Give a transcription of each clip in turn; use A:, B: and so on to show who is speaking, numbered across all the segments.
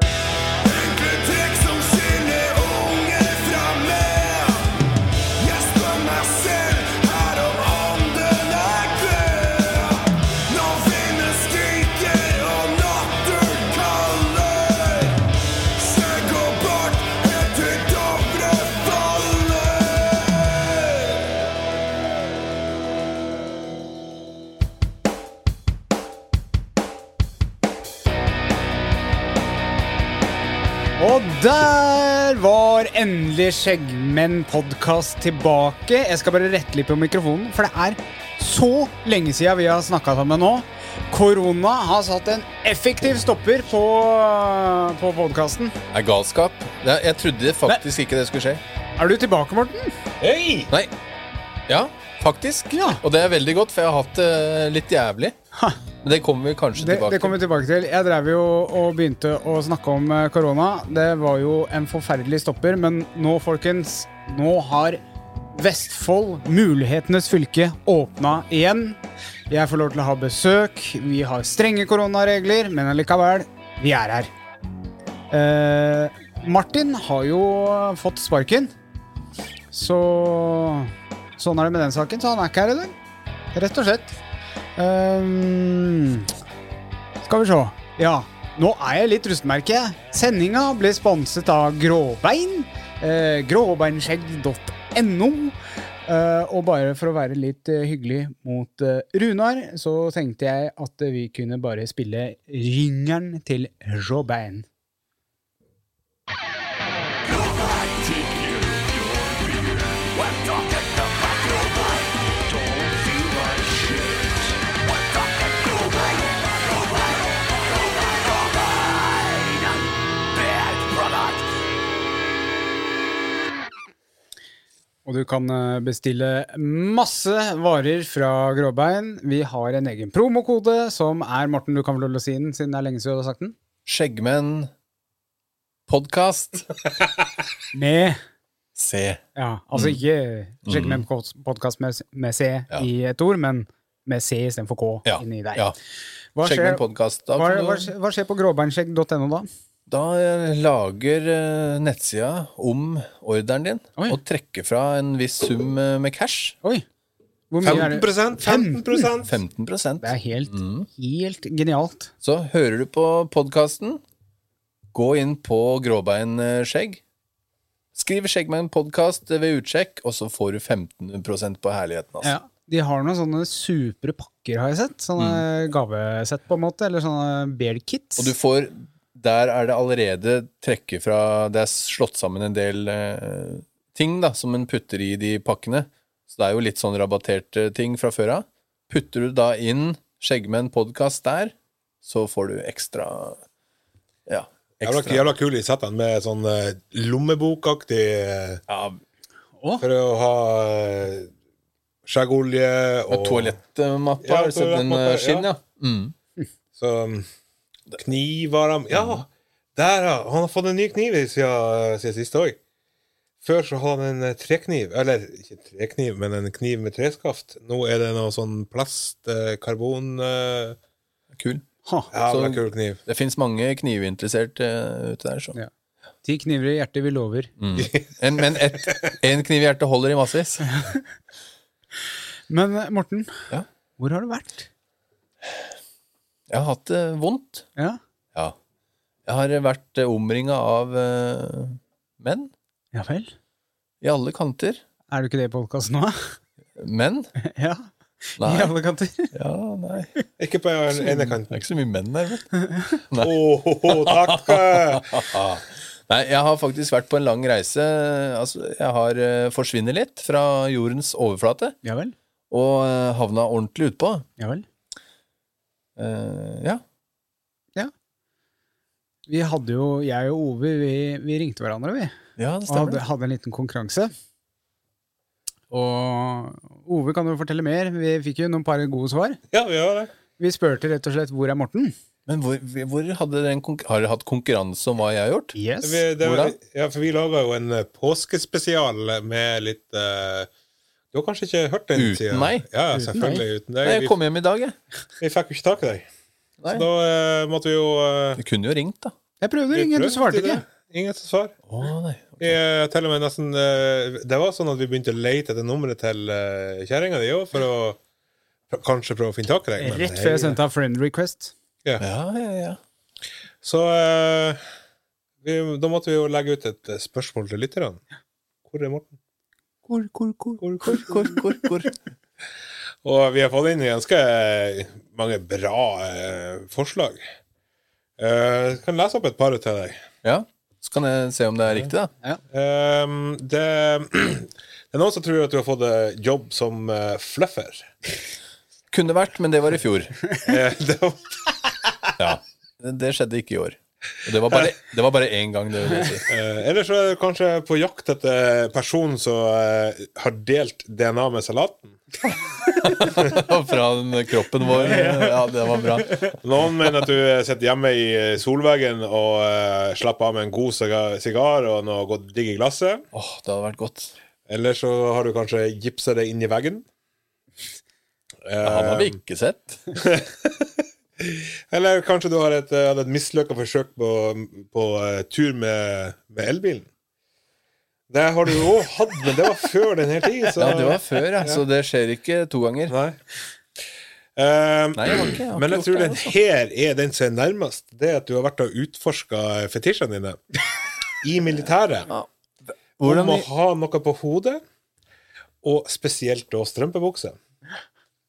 A: Trekk som skinner unge framme. Jeg spør meg selv her om ånden er død. Når vinden skriker og natten kaller. Skjegg og bart helt til Dovre faller.
B: Og der var endelig Skjeggmenn-podkast tilbake. Jeg skal bare rette litt på mikrofonen, for det er så lenge siden vi har snakka sammen nå. Korona har satt en effektiv stopper på, på podkasten.
C: er galskap. Jeg, jeg trodde faktisk ikke det skulle skje.
B: Er du tilbake, Morten?
C: Nei. Ja, faktisk.
B: Ja.
C: Og det er veldig godt, for jeg har hatt det litt jævlig.
B: Ha.
C: Men det kommer vi kanskje
B: Det,
C: tilbake
B: det kommer vi tilbake til. Jeg drev jo og begynte å snakke om eh, korona. Det var jo en forferdelig stopper, men nå, folkens, nå har Vestfold, mulighetenes fylke, åpna igjen. Jeg får lov til å ha besøk. Vi har strenge koronaregler, men allikevel, vi er her. Eh, Martin har jo fått sparken, så sånn er det med den saken. Så han er ikke her i dag, rett og slett. Ehm, skal vi se. Ja, nå er jeg litt rustmerke. Sendinga ble sponset av Gråbein. Eh, Gråbeinskjegg.no. Eh, og bare for å være litt eh, hyggelig mot eh, Runar, så tenkte jeg at eh, vi kunne bare spille ringeren til Gråbein. Og du kan eh, bestille masse varer fra Gråbein. Vi har en egen promokode som er Morten, du kan vel holde oss inn siden det er lenge siden du har sagt den?
C: til. Skjeggmenn podkast.
B: Med
C: Se.
B: Ja, altså ikke sjekk med podkast med, med C
C: Mm. Ja.
B: i et ord, men med C istedenfor K
C: Ja.
B: inni der.
C: ja.
B: Hva, skjer,
C: Skjeggmenn podkast. Da,
B: hva,
C: får du-
B: hva, skjer- hva skjer på gråbeinskjegg.no da?
C: da eh, lager eh, nettsida om ordren din
B: Oi.
C: og trekker fra en viss sum eh, med cash.
B: Oi! Hvor mye er det?
D: 15 15
C: 15
B: Det er helt,
C: Mm.
B: helt genialt.
C: Så hører du på podkasten, gå inn på Gråbein eh, skjegg. Skriv 'Skjeggmenn podkast' ved utsjekk, og så får du 15 på herligheten. Altså.
B: Ja. De har noen sånne supre pakker, har jeg sett. Sånne gavesett, på en måte. Eller sånne bear-kits.
C: Mm. Og du får Der er det allerede trekke fra Det er slått sammen en del eh, ting da, som en putter i de pakkene. Så det er jo litt sånn rabatterte ting fra før av. Putter du da inn 'Skjeggmenn podkast' der, så får du ekstra Ja.
D: Jævla,
C: Ekstra.
D: jævla kul i settene med sånn eh, lommebokaktig eh,
C: Ja,
D: For å ha eh, skjeggolje og
C: med toalettmappa.
D: Ja,
C: har du sett den
D: toalettmappa,
C: eh, skinn, ja? Mm.
D: så, mm, Kniver han- Ja, der, ja! Han har fått en ny kniv i siden, siden sist òg. Før så hadde han en eh, trekniv Eller ikke en trekniv, men en kniv med treskaft. Nå er det noe sånn plast, eh, karbon eh,
C: Kul.
B: Ha,
D: Jævla
C: Så-
D: kul kniv.
C: Det fins mange knivinteresserte eh, ute der. Så. Mm.
B: Ja. ti kniver i hjertet, vi lover.
C: En, men ett en kniv i hjertet holder i massevis.
B: Men eh, Morten,
C: Ja.
B: hvor har du vært?
C: Jeg har hatt det vondt.
B: Ja.
C: Ja. Jeg har vært omringa av eh, menn
B: ja vel?
C: i alle kanter.
B: Er du ikke det i podkasten nå?
C: Menn?
B: ja.
C: Nei.
B: I alle kanter.
C: Ja, nei.
D: Ikke på den ene
C: Det
D: kanten.
C: er ikke så mye menn der, vet du.
D: Å, takk! eh.
C: Nei, jeg har faktisk vært på en lang reise. Altså, jeg har eh, forsvinnet litt fra jordens overflate
B: Ja vel?
C: og eh, havna ordentlig utpå.
B: Ja vel?
C: Eh, ja.
B: Vi hadde jo, jeg og Ove, vi, vi ringte hverandre, vi.
C: ja, det
B: Og
C: stemmer.
B: hadde, hadde en liten konkurranse. Og Ove kan jo fortelle mer. Vi fikk jo noen par gode svar.
D: Ja, vi gjør det.
B: Vi spurte rett og slett hvor er Morten?
C: Men hvor, hvor hadde den konkur- har dere hatt konkurranse om hva jeg har gjort?
B: Yes.
D: Vi, det,
C: Hvordan?
D: ja, for vi laga jo en eh, påskespesial med litt eh, Du har kanskje ikke hørt den
C: Uten
D: siden?
C: meg?
D: Ja, ja,
C: Uten
D: selvfølgelig uten deg.
C: Nei, jeg
D: Vi,
C: kom hjem i dag, jeg.
D: vi fikk jo ikke tak i deg. Så
C: Nei.
D: da eh, måtte vi jo
C: Du
D: eh,
C: kunne jo ringt, da.
B: Jeg prøvde å
D: vi
B: ringe, du
D: prøvde
B: svarte
D: til
B: ikke.
D: det. Ingen som svar.
C: Å, nei.
D: Vi, eh, til og med nesten eh, Det var sånn at vi begynte å lete etter nummeret til uh, kjerringa di òg, for å pr- kanskje prøve å finne tak i deg. men
B: Rett
D: nei,
B: før jeg sendte av friend request.
C: Ja, ja, ja.
D: Så eh, vi, da måtte vi jo legge ut et eh, spørsmål til lytterne. Hvor er Morten?
C: Hvor, hvor, hvor, hvor, hvor, hvor, hvor, hvor.
D: Og vi har fått inn ganske eh, mange bra eh, forslag. Eh, jeg kan lese opp et par til deg.
C: Ja, så kan jeg se om det er riktig, da.
D: Ehm, det, det er noen som tror at du har fått eh, jobb som eh, fluffer.
C: Kunne vært, men det var i fjor.
D: Eh, det var,
C: Ja. Det det skjedde ikke i år. Og det var bare, det var bare én gang, det vil jeg si.
D: eh, eller så er du kanskje på jakt etter personen som eh, har delt DNA med salaten.
C: Fra den kroppen vår. Ja, det var bra.
D: Noen mener at du sitter hjemme i eh, solveggen og eh, slapper av med en god siga- sigar og noe godt digg i glasset.
C: Åh, det hadde vært godt.
D: Eller så har du kanskje gipsa deg inn i veggen.
C: Han har
D: Eh,
C: vi ikke sett.
D: Eller kanskje du har et, eh, hadde et mislykka forsøk på, på eh, tur med, med elbilen. Det har du òg hatt, men det var før den hele tiden. Så,
C: Ja, det var før, ja. Så det skjer ikke to ganger.
D: Nei. Eh,
C: Nei, jeg har ikke, jeg har
D: men
C: ikke
D: jeg
C: gjort
D: tror
C: det,
D: den
C: altså.
D: her er den som er nærmest. Det at du har vært og utforska fetisjene dine i militæret.
C: Ja.
D: Om
C: Hvordan,
D: å ha noe på hodet, og spesielt da strømpebukse.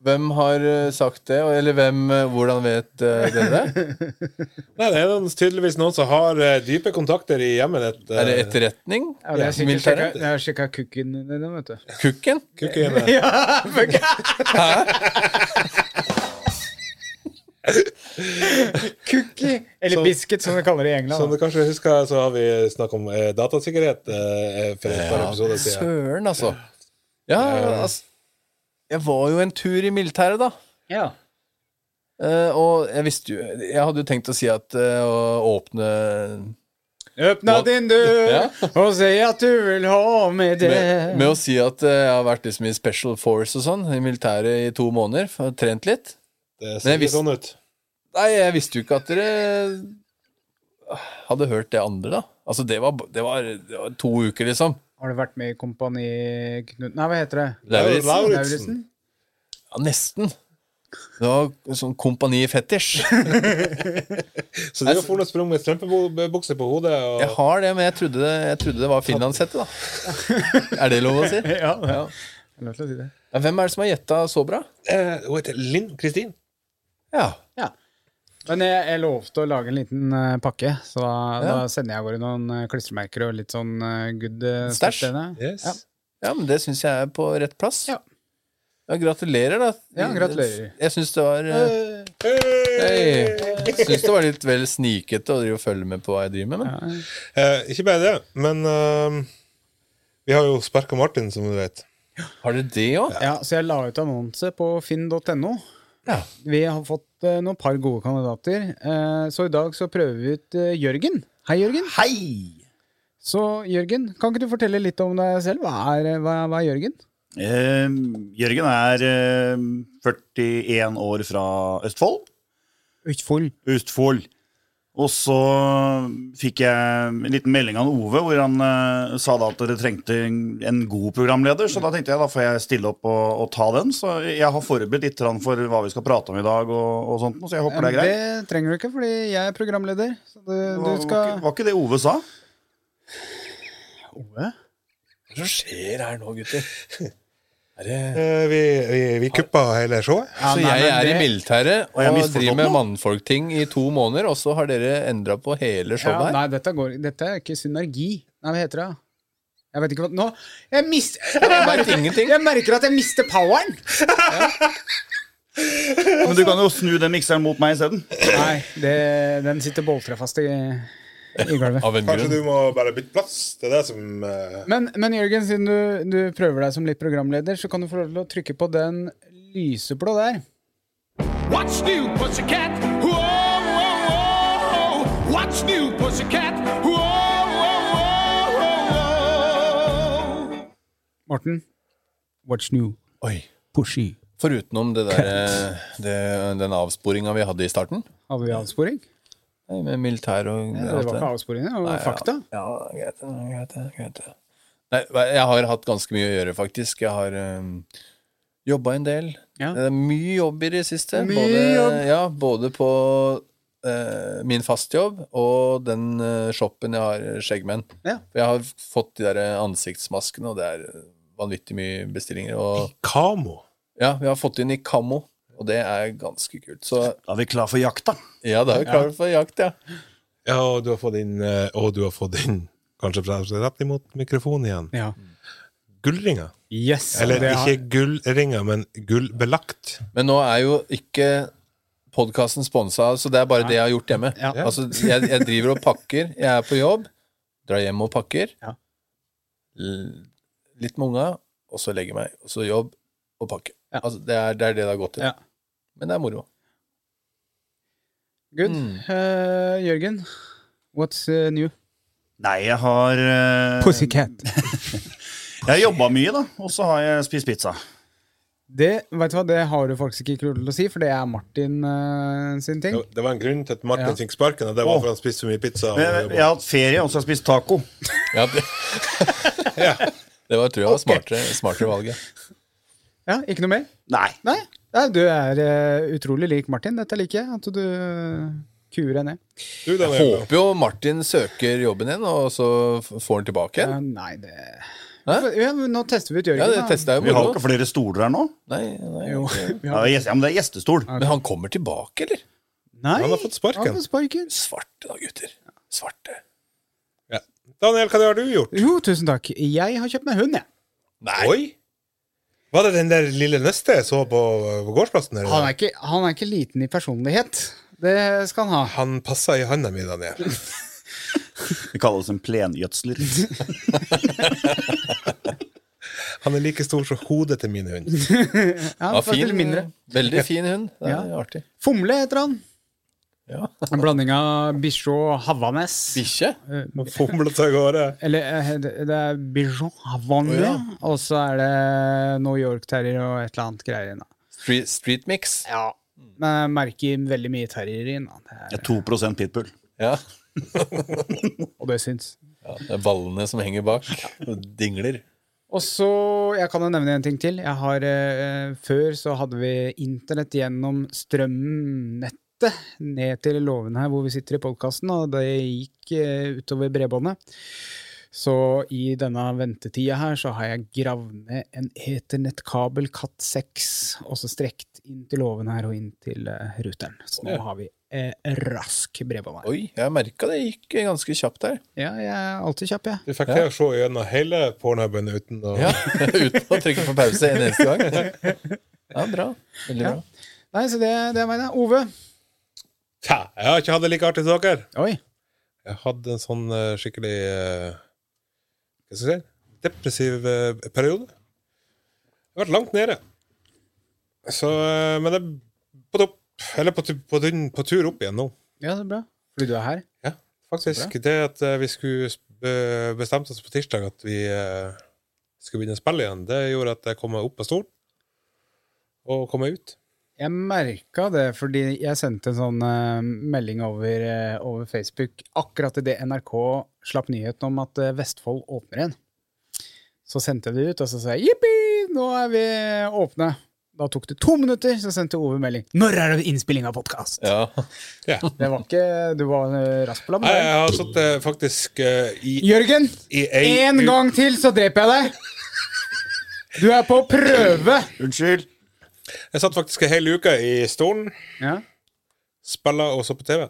C: hvem har eh, sagt det, og- eller hvem, eh, hvordan vet eh, dere det?
D: Nei, det er noen- tydeligvis noen som har eh, dype kontakter i hjemmet ditt. eh,
C: Er det etterretning?
B: Ja, det er sikkert
C: Militæret?
B: sjekka- jeg har sjekka kukken din, vet du.
C: Kukken?
D: kukkene.
B: Cookie! Eller
D: Så-
B: biscuit, som de kaller det i
D: Som
B: England.
D: du
B: da.
D: kanskje husker, så har vi snakket om eh, datasikkerhet eh, for et par episoder siden.
C: Søren, altså. Ja, altså. Jeg var jo en tur i militæret, da.
B: Ja.
C: Eh, og jeg visste jo Jeg hadde jo tenkt å si at eh, å åpne
B: Åpna
C: Hva-
B: din dør
C: Ja.
B: og si at du vil ha med det.
C: med, med å si at eh, jeg har vært liksom i Special Force og sånn, i militæret i to måneder, for- trent litt.
D: Det
C: Men jeg
D: ser
C: visste-
D: sånn ut.
C: Nei, jeg visste jo ikke at dere ah, hadde hørt det andre, da. Altså, det var, det var, det var to uker, liksom.
B: Har du vært med i Kompani Knut... Nei, hva heter det?
C: Lauritzen.
D: Lauritzen.
C: Ja, nesten. Det var sånn Kompani Fetisj.
D: Så du har fortsatt sprunget med strømpebukse på hodet. Og...
C: Jeg har det, men jeg trodde det, jeg trodde det var finlandshette, da. Er det lov å si?
B: Ja, det
C: Ja.
B: er lov til å si det.
C: Ja, Hvem er det som har gjetta så bra?
D: Eh, Hun heter Linn Kristin.
C: Ja.
B: Men jeg, jeg lovte å lage en liten eh, pakke, så da,
C: Ja.
B: da sender jeg av gårde noen eh, klistremerker og litt sånn eh, good eh,
C: Stæsj.
B: stuff til henne.
D: Yes.
B: Ja.
C: ja, men det syns jeg er på rett plass.
B: Ja.
C: Ja, gratulerer, da.
B: Ja, gratulerer.
C: Jeg syns det var eh,
D: Hey!
C: jeg Syns det var litt vel snikete å drive og følge med på hva jeg driver med, men
B: Ja.
D: Eh, ikke bare det, men eh, vi har jo Sparka Martin, som du vet.
C: har dere det òg?
B: Ja, så jeg la ut annonse på finn.no.
C: Ja.
B: Vi har fått eh, noen par gode kandidater, eh, så i dag så prøver vi ut eh, Jørgen. Hei, Jørgen.
C: Hei!
B: Så Jørgen, kan ikke du fortelle litt om deg selv? Hva er, hva, hva er Jørgen?
E: Eh, Jørgen er eh, 41 år fra Østfold.
B: Utfold.
E: Østfold. Og så fikk jeg en liten melding av Ove hvor han eh, sa da at dere trengte en, en god programleder. Så da tenkte jeg da får jeg stille opp og, og ta den. Så jeg har forberedt litt grann for hva vi skal prate om i dag, og, og sånt, noe, så jeg håper det er
B: Eh, det
E: greit.
B: trenger du ikke, fordi jeg er programleder. Så du, du
E: Var, var, ikke,
B: skal
E: var ikke det Ove sa?
B: Ove?
C: Hva er det som skjer her nå, gutter? Er det...
D: Eh, vi, vi, vi kuppa hele showet.
B: Ja,
C: så
B: nei,
C: jeg
B: men
C: er i
B: det-
C: militæret
E: jeg
C: og
E: misforstått
C: driver med
E: noe?
C: mannfolkting i to måneder, og så har dere endra på hele
B: Ja,
C: showet her?
B: nei, dette, går, dette er ikke synergi. Nei, hva heter det? Jeg vet ikke hva Nå! Jeg, mis, jeg,
C: vet
B: merker,
C: ingenting.
B: jeg merker at jeg mister poweren!
E: Men du kan jo snu den mikseren mot meg isteden.
B: Nei, det, den sitter boltrefast i, i gulvet.
C: Av en
D: Kanskje
C: grunn.
D: du må bare bytte plass? Det er det som eh,
B: Men, men Jørgen, siden du, du prøver deg som litt programleder, så kan du få lov til å trykke på den lyseblå der.
A: What's new, pussycat? Whoa, whoa, whoa, whoa. What's new, pussycat? Whoa, whoa, whoa, whoa, whoa.
B: Morten, What's new?
C: Oi.
B: Pushy.
C: Foruten om det der, eh, det, den avsporinga vi hadde i starten,
B: Hadde vi avsporing?
C: Nei, med militær og
B: Nei, det var ikke avsporing, det var fakta.
C: Ja, ja, greit, det, greit, det, greit. det. Nei, hva- jeg har hatt ganske mye å gjøre, faktisk. Jeg har um, jobba en del.
B: Ja.
C: Det er mye jobb i det siste.
B: Mye
C: både,
B: jobb.
C: Ja, både på eh, min fastjobb og den eh, shoppen jeg har, eh, Skjeggmenn.
B: Ja.
C: For Jeg har fått de der eh, ansiktsmaskene, og det er eh, vanvittig mye bestillinger. Og
D: Kamo.
C: ja, vi har fått inn i Kammo, og det er ganske kult. Så
E: Da er vi klar for jakta.
C: ja, da er vi klare for jakt, ja.
D: Ja, og du har fått inn eh, Og du har fått inn Kanskje rett imot mikrofonen igjen.
B: Ja.
D: Gullringer.
B: Yes.
D: Eller
B: det har-
D: ikke gullringer, men gullbelagt.
C: Men nå er jo ikke podkasten sponsa, så det er bare det jeg har gjort hjemme.
B: Ja.
C: Altså, jeg, jeg driver og pakker. Jeg er på jobb, drar hjem og pakker.
B: Ja.
C: L- Litt med unga, og så legger jeg meg. Og så jobb og pakke.
B: Ja.
C: Altså, det, er, det er det det har gått til.
B: Ja.
C: Men det er moro.
B: Good.
C: Mm.
B: Eh, Jørgen, what's eh, new?
E: Nei, jeg har eh, Jeg har jobba mye, da. Og så har jeg spist pizza.
B: Det, vet du hva, det har du faktisk ikke lov til å si, for det er Martin eh, sin ting.
D: Det det var en grunn til at Martin
B: Ja.
D: fikk sparken, og det var
E: Åh.
D: for han spiste så mye pizza. Og,
E: Jeg, jeg har hatt ferie, og så har jeg spist taco.
C: Ja, det, det var, tror jeg var smartere, smartere valget.
B: Ja, ikke noe mer?
E: Nei.
B: Nei. Nei du er eh, utrolig lik Martin. Dette liker jeg. At du eh, kuer deg ned.
D: du,
C: Jeg
D: da, Nebro?
C: håper jo Martin søker jobben igjen, og så f- får han tilbake
B: Eh,
C: igjen.
B: nei, det
C: Hæ?
B: ja, men Nå tester vi ut Jørgen.
C: Ja, det
B: da.
C: testa jeg
E: Vi
C: jo
E: har
C: moro.
E: ikke flere stoler her nå.
C: Nei, nei,
B: Jo, vi
E: Ja,
B: har-
E: gjest- ja, men det er gjestestol.
C: Men han kommer tilbake, eller?
B: Nei,
D: Han har fått sparken.
B: han har fått sparken.
C: Svarte da, gutter. Svarte.
D: Ja. Daniel, hva har du gjort?
B: Jo, tusen takk. Jeg har kjøpt meg hund, jeg.
C: Nei!
D: Oi! Var det den der lille nøstet jeg så på, på gårdsplassen? eller?
B: Han er, ikke, han er ikke liten i personlighet. Det skal han ha.
D: Han passa i handa mi, Daniel.
E: Vi kaller oss en plengjødsler.
D: Han er like stor som hodet til min hund.
B: Ja,
C: Ja,
B: faktisk
C: fin,
B: mindre.
C: Veldig fin hund. Det er artig.
B: Fomle heter han.
C: Ja.
B: En blanding av bichon og havanes.
C: Bikkje?
D: Han fomlet seg av gårde.
B: Eller eh, det det er bichon havane,
C: Å, ja.
B: og så er det New York-terrier og et eller annet greier. inne.
C: Street, street mix?
B: Ja. Men jeg merker veldig mye terrier inn. da. Det er-
E: Jeg er 2 pitbull.
C: Ja.
B: Og det syns.
C: ja. Det er ballene som henger bak. Og dingler.
B: Og så, jeg kan jo nevne en ting til. Jeg har, eh, før så hadde vi internett gjennom strømnettet ned til låven her hvor vi sitter i podkasten, og det gikk eh, utover bredbåndet. Så i denne ventetida her så har jeg gravd ned en eternettkabel Cat 6, og så strekt inn til låven her og inn til eh, ruteren. Så nå har vi eh, rask bredbånd her.
C: Oi, jeg merka det gikk ganske kjapt der.
B: Ja, jeg er alltid kjapp, jeg.
D: Du fikk til å se gjennom hele pornohuben uten å
C: Ja. Uten å trykke på pause en eneste gang. Ja, bra. Veldig
B: Ja.
C: bra.
B: Nei, så det, det er meg, det. Ove.
D: Tja, Jeg har ikke hatt det like artig som dere.
B: Oi.
D: Jeg hadde en sånn eh, skikkelig eh, Hva skal jeg si depressiv eh, periode. Jeg har vært langt nede. Så, eh, men jeg er på topp. Eller på, tu- på, tunn- på tur opp igjen nå,
B: Ja, det er bra. Fordi du er her.
D: faktisk. Det at eh, vi skulle eh, bestemte oss på tirsdag at vi eh, skulle begynne å spille igjen, det gjorde at jeg kom meg opp på stolen og kom meg ut.
B: Jeg merka det, fordi jeg sendte en sånn eh, melding over, eh, over Facebook akkurat idet NRK slapp nyheten om at eh, Vestfold åpner igjen. Så sendte jeg det ut, og så sa jeg jippi, nå er vi åpne. Da tok det to minutter, så sendte Ove melding. Når er det innspilling av podkast?
C: Ja.
D: Ja.
B: Det var ikke Du var eh, rask på
D: Jeg,
B: labben.
D: jeg har sittet eh, faktisk eh, i,
B: Jørgen,
D: i ei
B: én
D: uke-
B: gang til, så dreper jeg deg! Du er på prøve!
E: Unnskyld.
D: Jeg satt faktisk ei hel uke i stolen.
B: Ja.
D: Spilla og så på TV.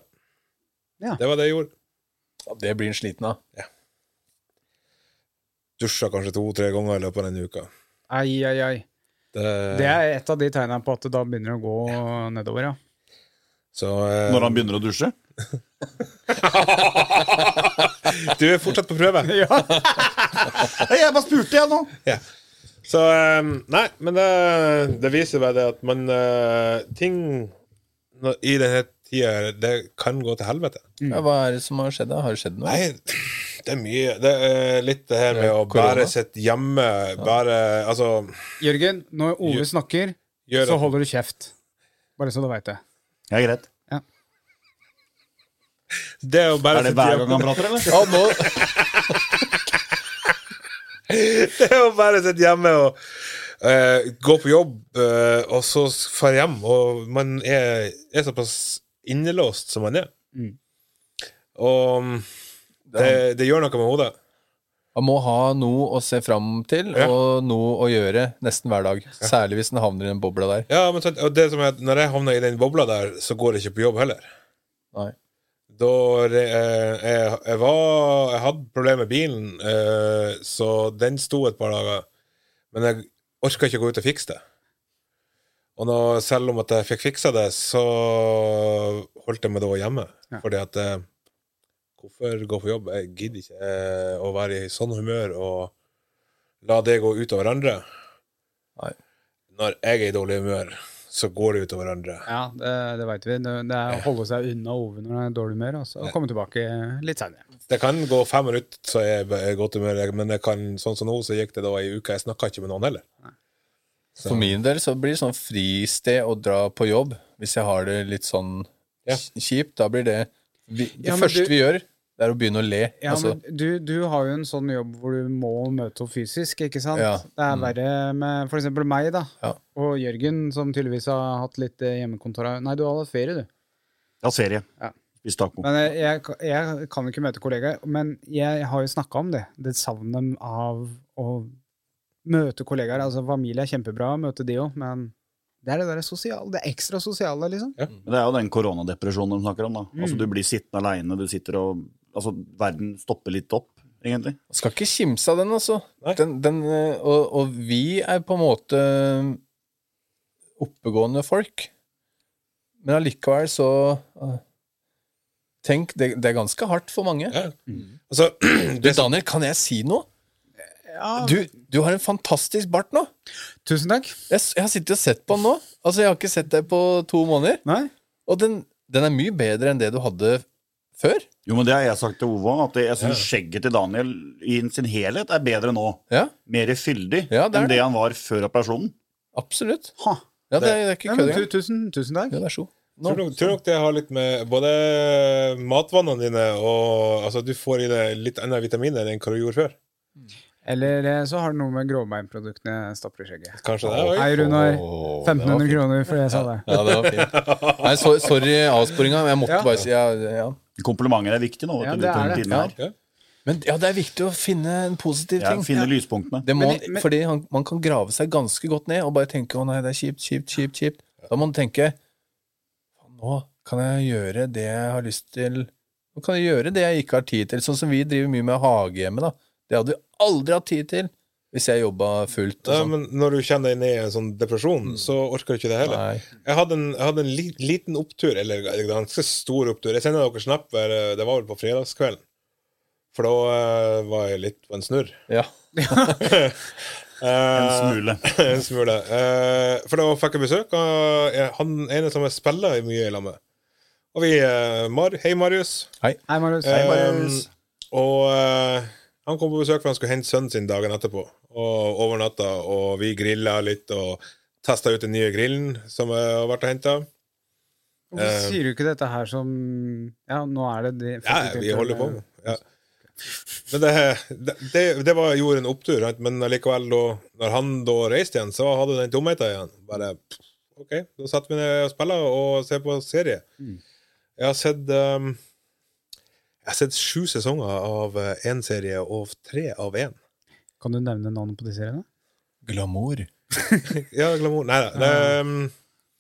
B: Ja.
D: Det var det jeg gjorde.
C: Ja, Det blir en sliten av.
D: Dusja kanskje to-tre ganger i løpet av den uka.
B: Ai, ai, ai.
D: Det,
B: Det er et av de tegna på at det da begynner å gå nedover, ja.
D: Så eh,
E: Når han begynner å dusje.
D: eh, Du er fortsatt på prøve.
E: Nei, Jeg bare spurte, jeg nå.
D: ja. Så eh, Nei, men det, det viser bare det at man eh, Ting når- i denne tida det kan gå til helvete.
C: Ja, hva er det som har skjedd? da? Har det skjedd noe?
D: Nei, Det er mye. Det er litt det her med å
C: Korona.
D: bare sitte hjemme, bare Altså,
B: Jørgen, når Ove snakker,
D: gjøre
B: så holder du kjeft. Bare så du veit det.
E: Ja, greit.
D: Det å bare
E: Er det
D: sitte
E: hver
D: hjemme-
E: gang han prater, eller?
C: Ja, nå,
D: Det er å bare sitte hjemme og eh, gå på jobb, eh, og så dra hjem. Og man er, er såpass innelåst som man er.
B: Mm.
D: Og mm, det, det gjør noe med hodet.
C: Man må ha noe å se fram til,
D: Ja.
C: og noe å gjøre nesten hver dag. Særlig hvis den havner i den bobla der.
D: Ja, men sant, og det som er, at Når jeg havner i den bobla der, så går jeg ikke på jobb heller.
C: Nei.
D: Da re- eh, jeg, jeg var Jeg hadde problemer med bilen, eh, så den sto et par dager. Men jeg orka ikke gå ut og fikse det. Og nå, selv om at jeg fikk fiksa det, så holdt jeg meg da hjemme.
B: Ja.
D: Fordi at eh, Hvorfor gå på jobb? Jeg gidder ikke eh, å være i sånn humør og la det gå ut over andre.
C: Nei.
D: Når jeg er i dårlig humør, så går det ut over andre.
B: Ja, det, det veit vi. Det, det er å holde seg unna Ove når han er i dårlig humør, og så komme tilbake litt seinere.
D: Det kan gå fem minutter, så er jeg i godt humør, jeg- men det kan, sånn som nå, så gikk det da ei uke. Jeg snakka ikke med noen heller.
C: For min del så blir det sånn fristed å dra på jobb, hvis jeg har det litt sånn
D: Ja.
C: kj- kjipt. Da blir det vi, Det
B: Ja, men
C: første
B: du-
C: vi gjør, det er å begynne å le.
B: Ja,
C: altså,
B: men du, du har jo en sånn jobb hvor du må møte opp fysisk, ikke sant?
C: Ja. Mm.
B: Det er verre med f.eks. meg, da.
C: Ja.
B: Og Jørgen, som tydeligvis har hatt litt eh, hjemmekontor. Nei, du har hatt ferie, du.
E: Ja, serie.
B: Ja.
E: Spis taco.
B: Men jeg, jeg, jeg kan ikke møte kollegaer, men jeg har jo snakka om det. Det savnet av å møte kollegaer. Altså, familie er kjempebra å møte de òg, men det er det der sosiale. Det er ekstra sosiale, liksom.
E: Men Det er jo den koronadepresjonen de snakker om. da. Altså,
B: Mm.
E: Du blir sittende aleine, du sitter og Altså, verden stopper litt opp, egentlig.
C: Skal ikke kimse av den, altså.
D: Nei.
C: Den, den, eh, og, og vi er på en måte eh, oppegående folk. Men allikevel så eh, Tenk, det, det er ganske hardt for mange.
D: Ja. Altså,
C: Du, Daniel, kan jeg si noe? Du, du har en fantastisk bart nå.
B: Tusen takk.
C: Jeg, s- jeg har sittet og sett på den nå. Altså, Jeg har ikke sett deg på to måneder.
B: Nei?
C: Og den, den er mye bedre enn det du hadde før.
E: Jo, men det har jeg sagt til Ove òg, at jeg syns skjegget til Daniel i sin helhet er bedre nå.
C: Ja,
E: Mer fyldig
C: Ja, det er
E: enn det
C: det.
E: han var før operasjonen.
C: absolutt.
B: Ha.
C: Ja, det, er- det er ikke
B: Nei,
C: kødd
B: men, tu,
C: engang.
B: tusen, tusen takk.
C: Ja, det er så.
D: tror, nok, tror nok det har litt med både matvannene dine og Altså, du får i deg litt andre vitaminer enn hva du gjorde før.
B: Eller eh, så har det noe med grovbeinproduktene jeg stopper i skjegget.
D: Kanskje det òg?
B: Hei, Runar.
C: Åh, det
B: 1500
C: var fint.
B: kroner for det jeg sa det.
C: Ja, det var fint. Nei, so, sorry avsporinga, men jeg måtte
B: Ja.
C: bare si ja, ja.
E: Komplimenter er viktig nå.
B: Ja,
E: vet
B: det
E: du,
B: er
E: litt under
B: det.
E: tiden
C: Ja.
E: her.
C: Men ja, det er viktig å finne en positiv
E: Ja,
C: ting.
E: finne lyspunktene.
C: Det må,
B: Men det- men-
C: fordi han, man kan grave seg ganske godt ned og bare tenke 'Å nei, det er kjipt, kjipt, kjipt'. kjipt. Da må man tenke 'Nå kan jeg gjøre det jeg har lyst til'. Nå kan jeg gjøre det jeg ikke har tid til. Sånn som vi driver mye med hage hjemme, da. Det hadde vi aldri hatt tid til hvis jeg jobba fullt. Og
D: Ja,
C: sånn.
D: men når du kjenner deg ned i en sånn depresjon, så orker du ikke det heller.
C: Mm. Nei.
D: Jeg hadde en, jeg hadde en li, liten opptur, eller en ganske stor opptur. Jeg sender dere snap, eh, det var vel på fredagskvelden. For da eh, var jeg litt på en snurr.
C: Ja.
D: Eh,
E: En smule.
D: en smule. Eh, for da fikk jeg besøk av eh, han ene som jeg spiller mye i lag med. Og vi eh, Mar Hei, Marius.
B: Hei, Marius.
D: Eh,
C: Um,
E: Marius.
D: og eh, han kom på besøk for han skulle hente sønnen sin dagen etterpå. Og overnatta, og vi grilla litt og testa ut den nye grillen som jeg har vært og henta.
C: eh,
B: Hvorfor sier du ikke dette her som Ja, nå er det det
D: Ja, vi holder på. Ja. Men det, det, det, det var, gjorde en opptur, sant? men allikevel, da når han da reiste igjen, så hadde den tomheten igjen. Bare pff, OK, da setter vi ned og spiller og ser på serie.
C: Mm.
D: Jeg har sett ehm, Jeg har sett sju sesonger av én serie og tre av én.
B: Kan du nevne navnet på de seriene?
C: Glamour.
D: Ja, glamour Nei da. Det,
C: Ah,
D: ehm,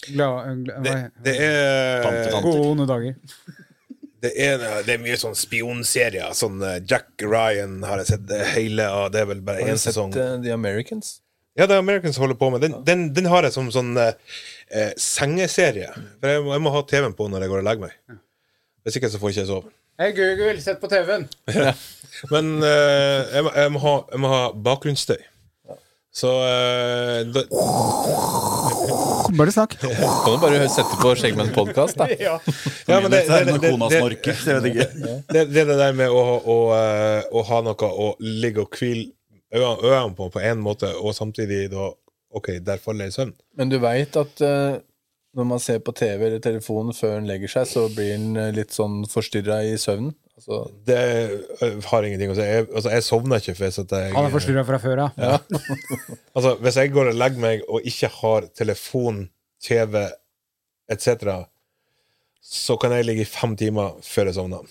B: Gla, gla,
D: det,
B: hva-
D: det er
E: Tante,
B: Gode onde dager.
D: Det er, det er mye sånn spionserier. Sånn eh, Jack Ryan har jeg sett eh, hele av. Det er vel bare
C: Har
D: én
C: du sett
D: sesong.
C: eh, The Americans?
D: Ja, det er Americans holder på med. Den, den, den har jeg som sånn eh, eh, sengeserie. For jeg må, jeg må ha TV-en på når jeg går og legger meg. Hvis ikke så får jeg ikke sove.
B: Hei, Google, sett på TV-en!
D: Men eh, jeg, må, jeg, må ha, jeg må ha bakgrunnsstøy. Så eh, da,
B: Bare snakk.
C: Kan du bare sette på Skjeggmenn podcast da?
D: ja,
E: men
D: men det, det,
E: er når
D: det,
E: kona
D: det,
E: snorker, så jeg vet ikke.
D: det, det er det der med å, å, eh, å ha noe å ligge og hvile øynene øynene på på en måte, og samtidig da OK, der faller jeg i søvn.
C: Men du veit at eh, når man ser på TV eller telefonen før en legger seg, så blir en eh, litt sånn forstyrra i søvnen. Altså,
D: Det eh, har ingenting å si. Jeg, altså, jeg sovner ikke hvis at jeg
B: Han er forstyrra fra før av. Ja.
D: Altså, hvis jeg går og legger meg og ikke har telefon, TV etc., så kan jeg ligge i fem timer før jeg sovner.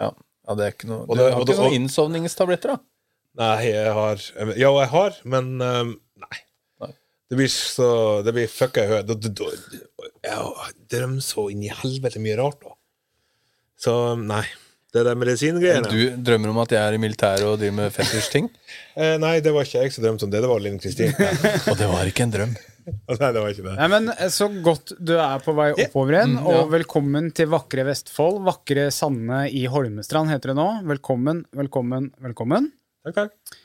C: ja. ja, det er ikke noe Du
D: Og det-
C: har
D: og det-
C: ikke noen
D: og-
C: innsovningstabletter, da?
D: Nei, jeg har Ja, jeg har, men ehm, nei.
C: Nei.
D: Det blir så Det blir fucka i hodet. Da- da- da- Jeg drømmer så inn i helvete mye rart, da. Så nei. Det der medisingreiene
C: Du drømmer om at jeg er i militæret og driver med fetisjting?
D: eh, Nei, det var ikke jeg som drømte om det. Det var Linn Kristin. nei,
C: Og det var ikke en drøm.
D: det var ikke det.
B: Nei, men eh, Så godt du er på vei oppover igjen,
C: ja.
B: og velkommen til vakre Vestfold. Vakre Sande i Holmestrand heter det nå. Velkommen, velkommen, velkommen.
D: Takk, takk.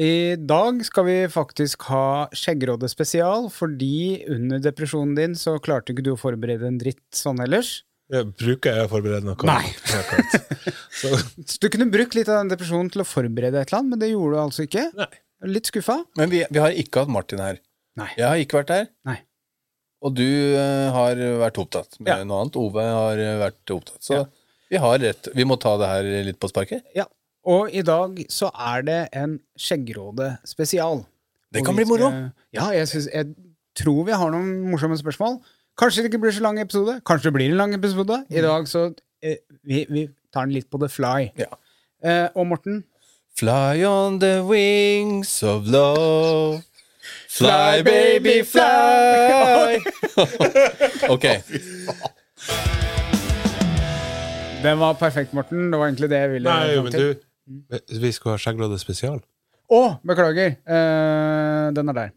B: I dag skal vi faktisk ha Skjeggrådet spesial, fordi under depresjonen din så klarte ikke du å forberede en dritt sånn ellers.
D: Jeg bruker jeg å forberede noe?
B: Nei.
D: Akkurat. Så,
B: Så du kunne brukt litt av den depresjonen til å forberede et eller annet, men det gjorde du altså ikke.
D: nei.
B: Litt skuffa.
C: Men vi, vi har ikke hatt Martin her.
B: Nei.
C: Jeg har ikke vært her.
B: Nei.
C: Og du eh, har vært opptatt med
B: Ja.
C: noe annet. Ove har eh, vært opptatt. Så
B: Ja.
C: vi har rett. Vi må ta det her litt på sparket.
B: Ja. Og i dag så er det en Skjeggråde spesial.
C: Det
B: Og
C: kan
B: vi
C: bli moro.
B: skal- Ja, jeg, synes, jeg tror vi har noen morsomme spørsmål. Kanskje det ikke blir så lang episode. Kanskje det blir en lang episode. I dag så eh, vi, vi tar den litt på the fly.
C: Ja.
B: Eh, og Morten,
C: Fly on the wings of love. Fly, baby, fly! ok.
B: den var perfekt, Morten. Det var egentlig det jeg ville
D: nei,
B: fram
D: men
B: til.
D: du, vi- vi skal ha Skjegglodde spesial.
B: Å, beklager. Eh, den er der.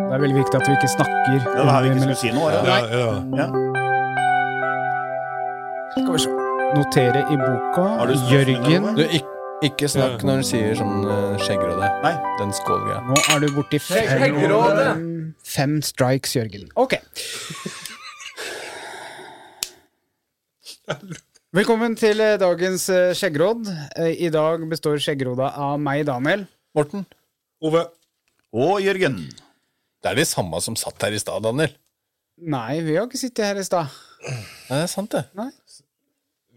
B: Det er veldig viktig at vi ikke snakker.
E: Det var her vi ikke skulle si noe. var det?
D: Ja, ja.
E: Ja.
B: Skal vi se. Notere i boka.
E: Har du stoff under
B: Jørgen.
E: noe?
C: Du, ikke, ikke snakk når du sier sånn uh, skjeggråde.
E: Nei.
C: Den skålgreia.
B: Nå er du borti fem, fem strikes, Jørgen. Ok. Velkommen til eh, dagens eh, skjeggråd. Eh, I dag består skjeggråda av meg, Daniel.
C: Morten,
D: Ove.
E: Og Jørgen.
C: det er de samme som satt her i stad, Daniel.
B: Nei, vi har ikke sittet her i stad.
C: Nei, det er sant, det.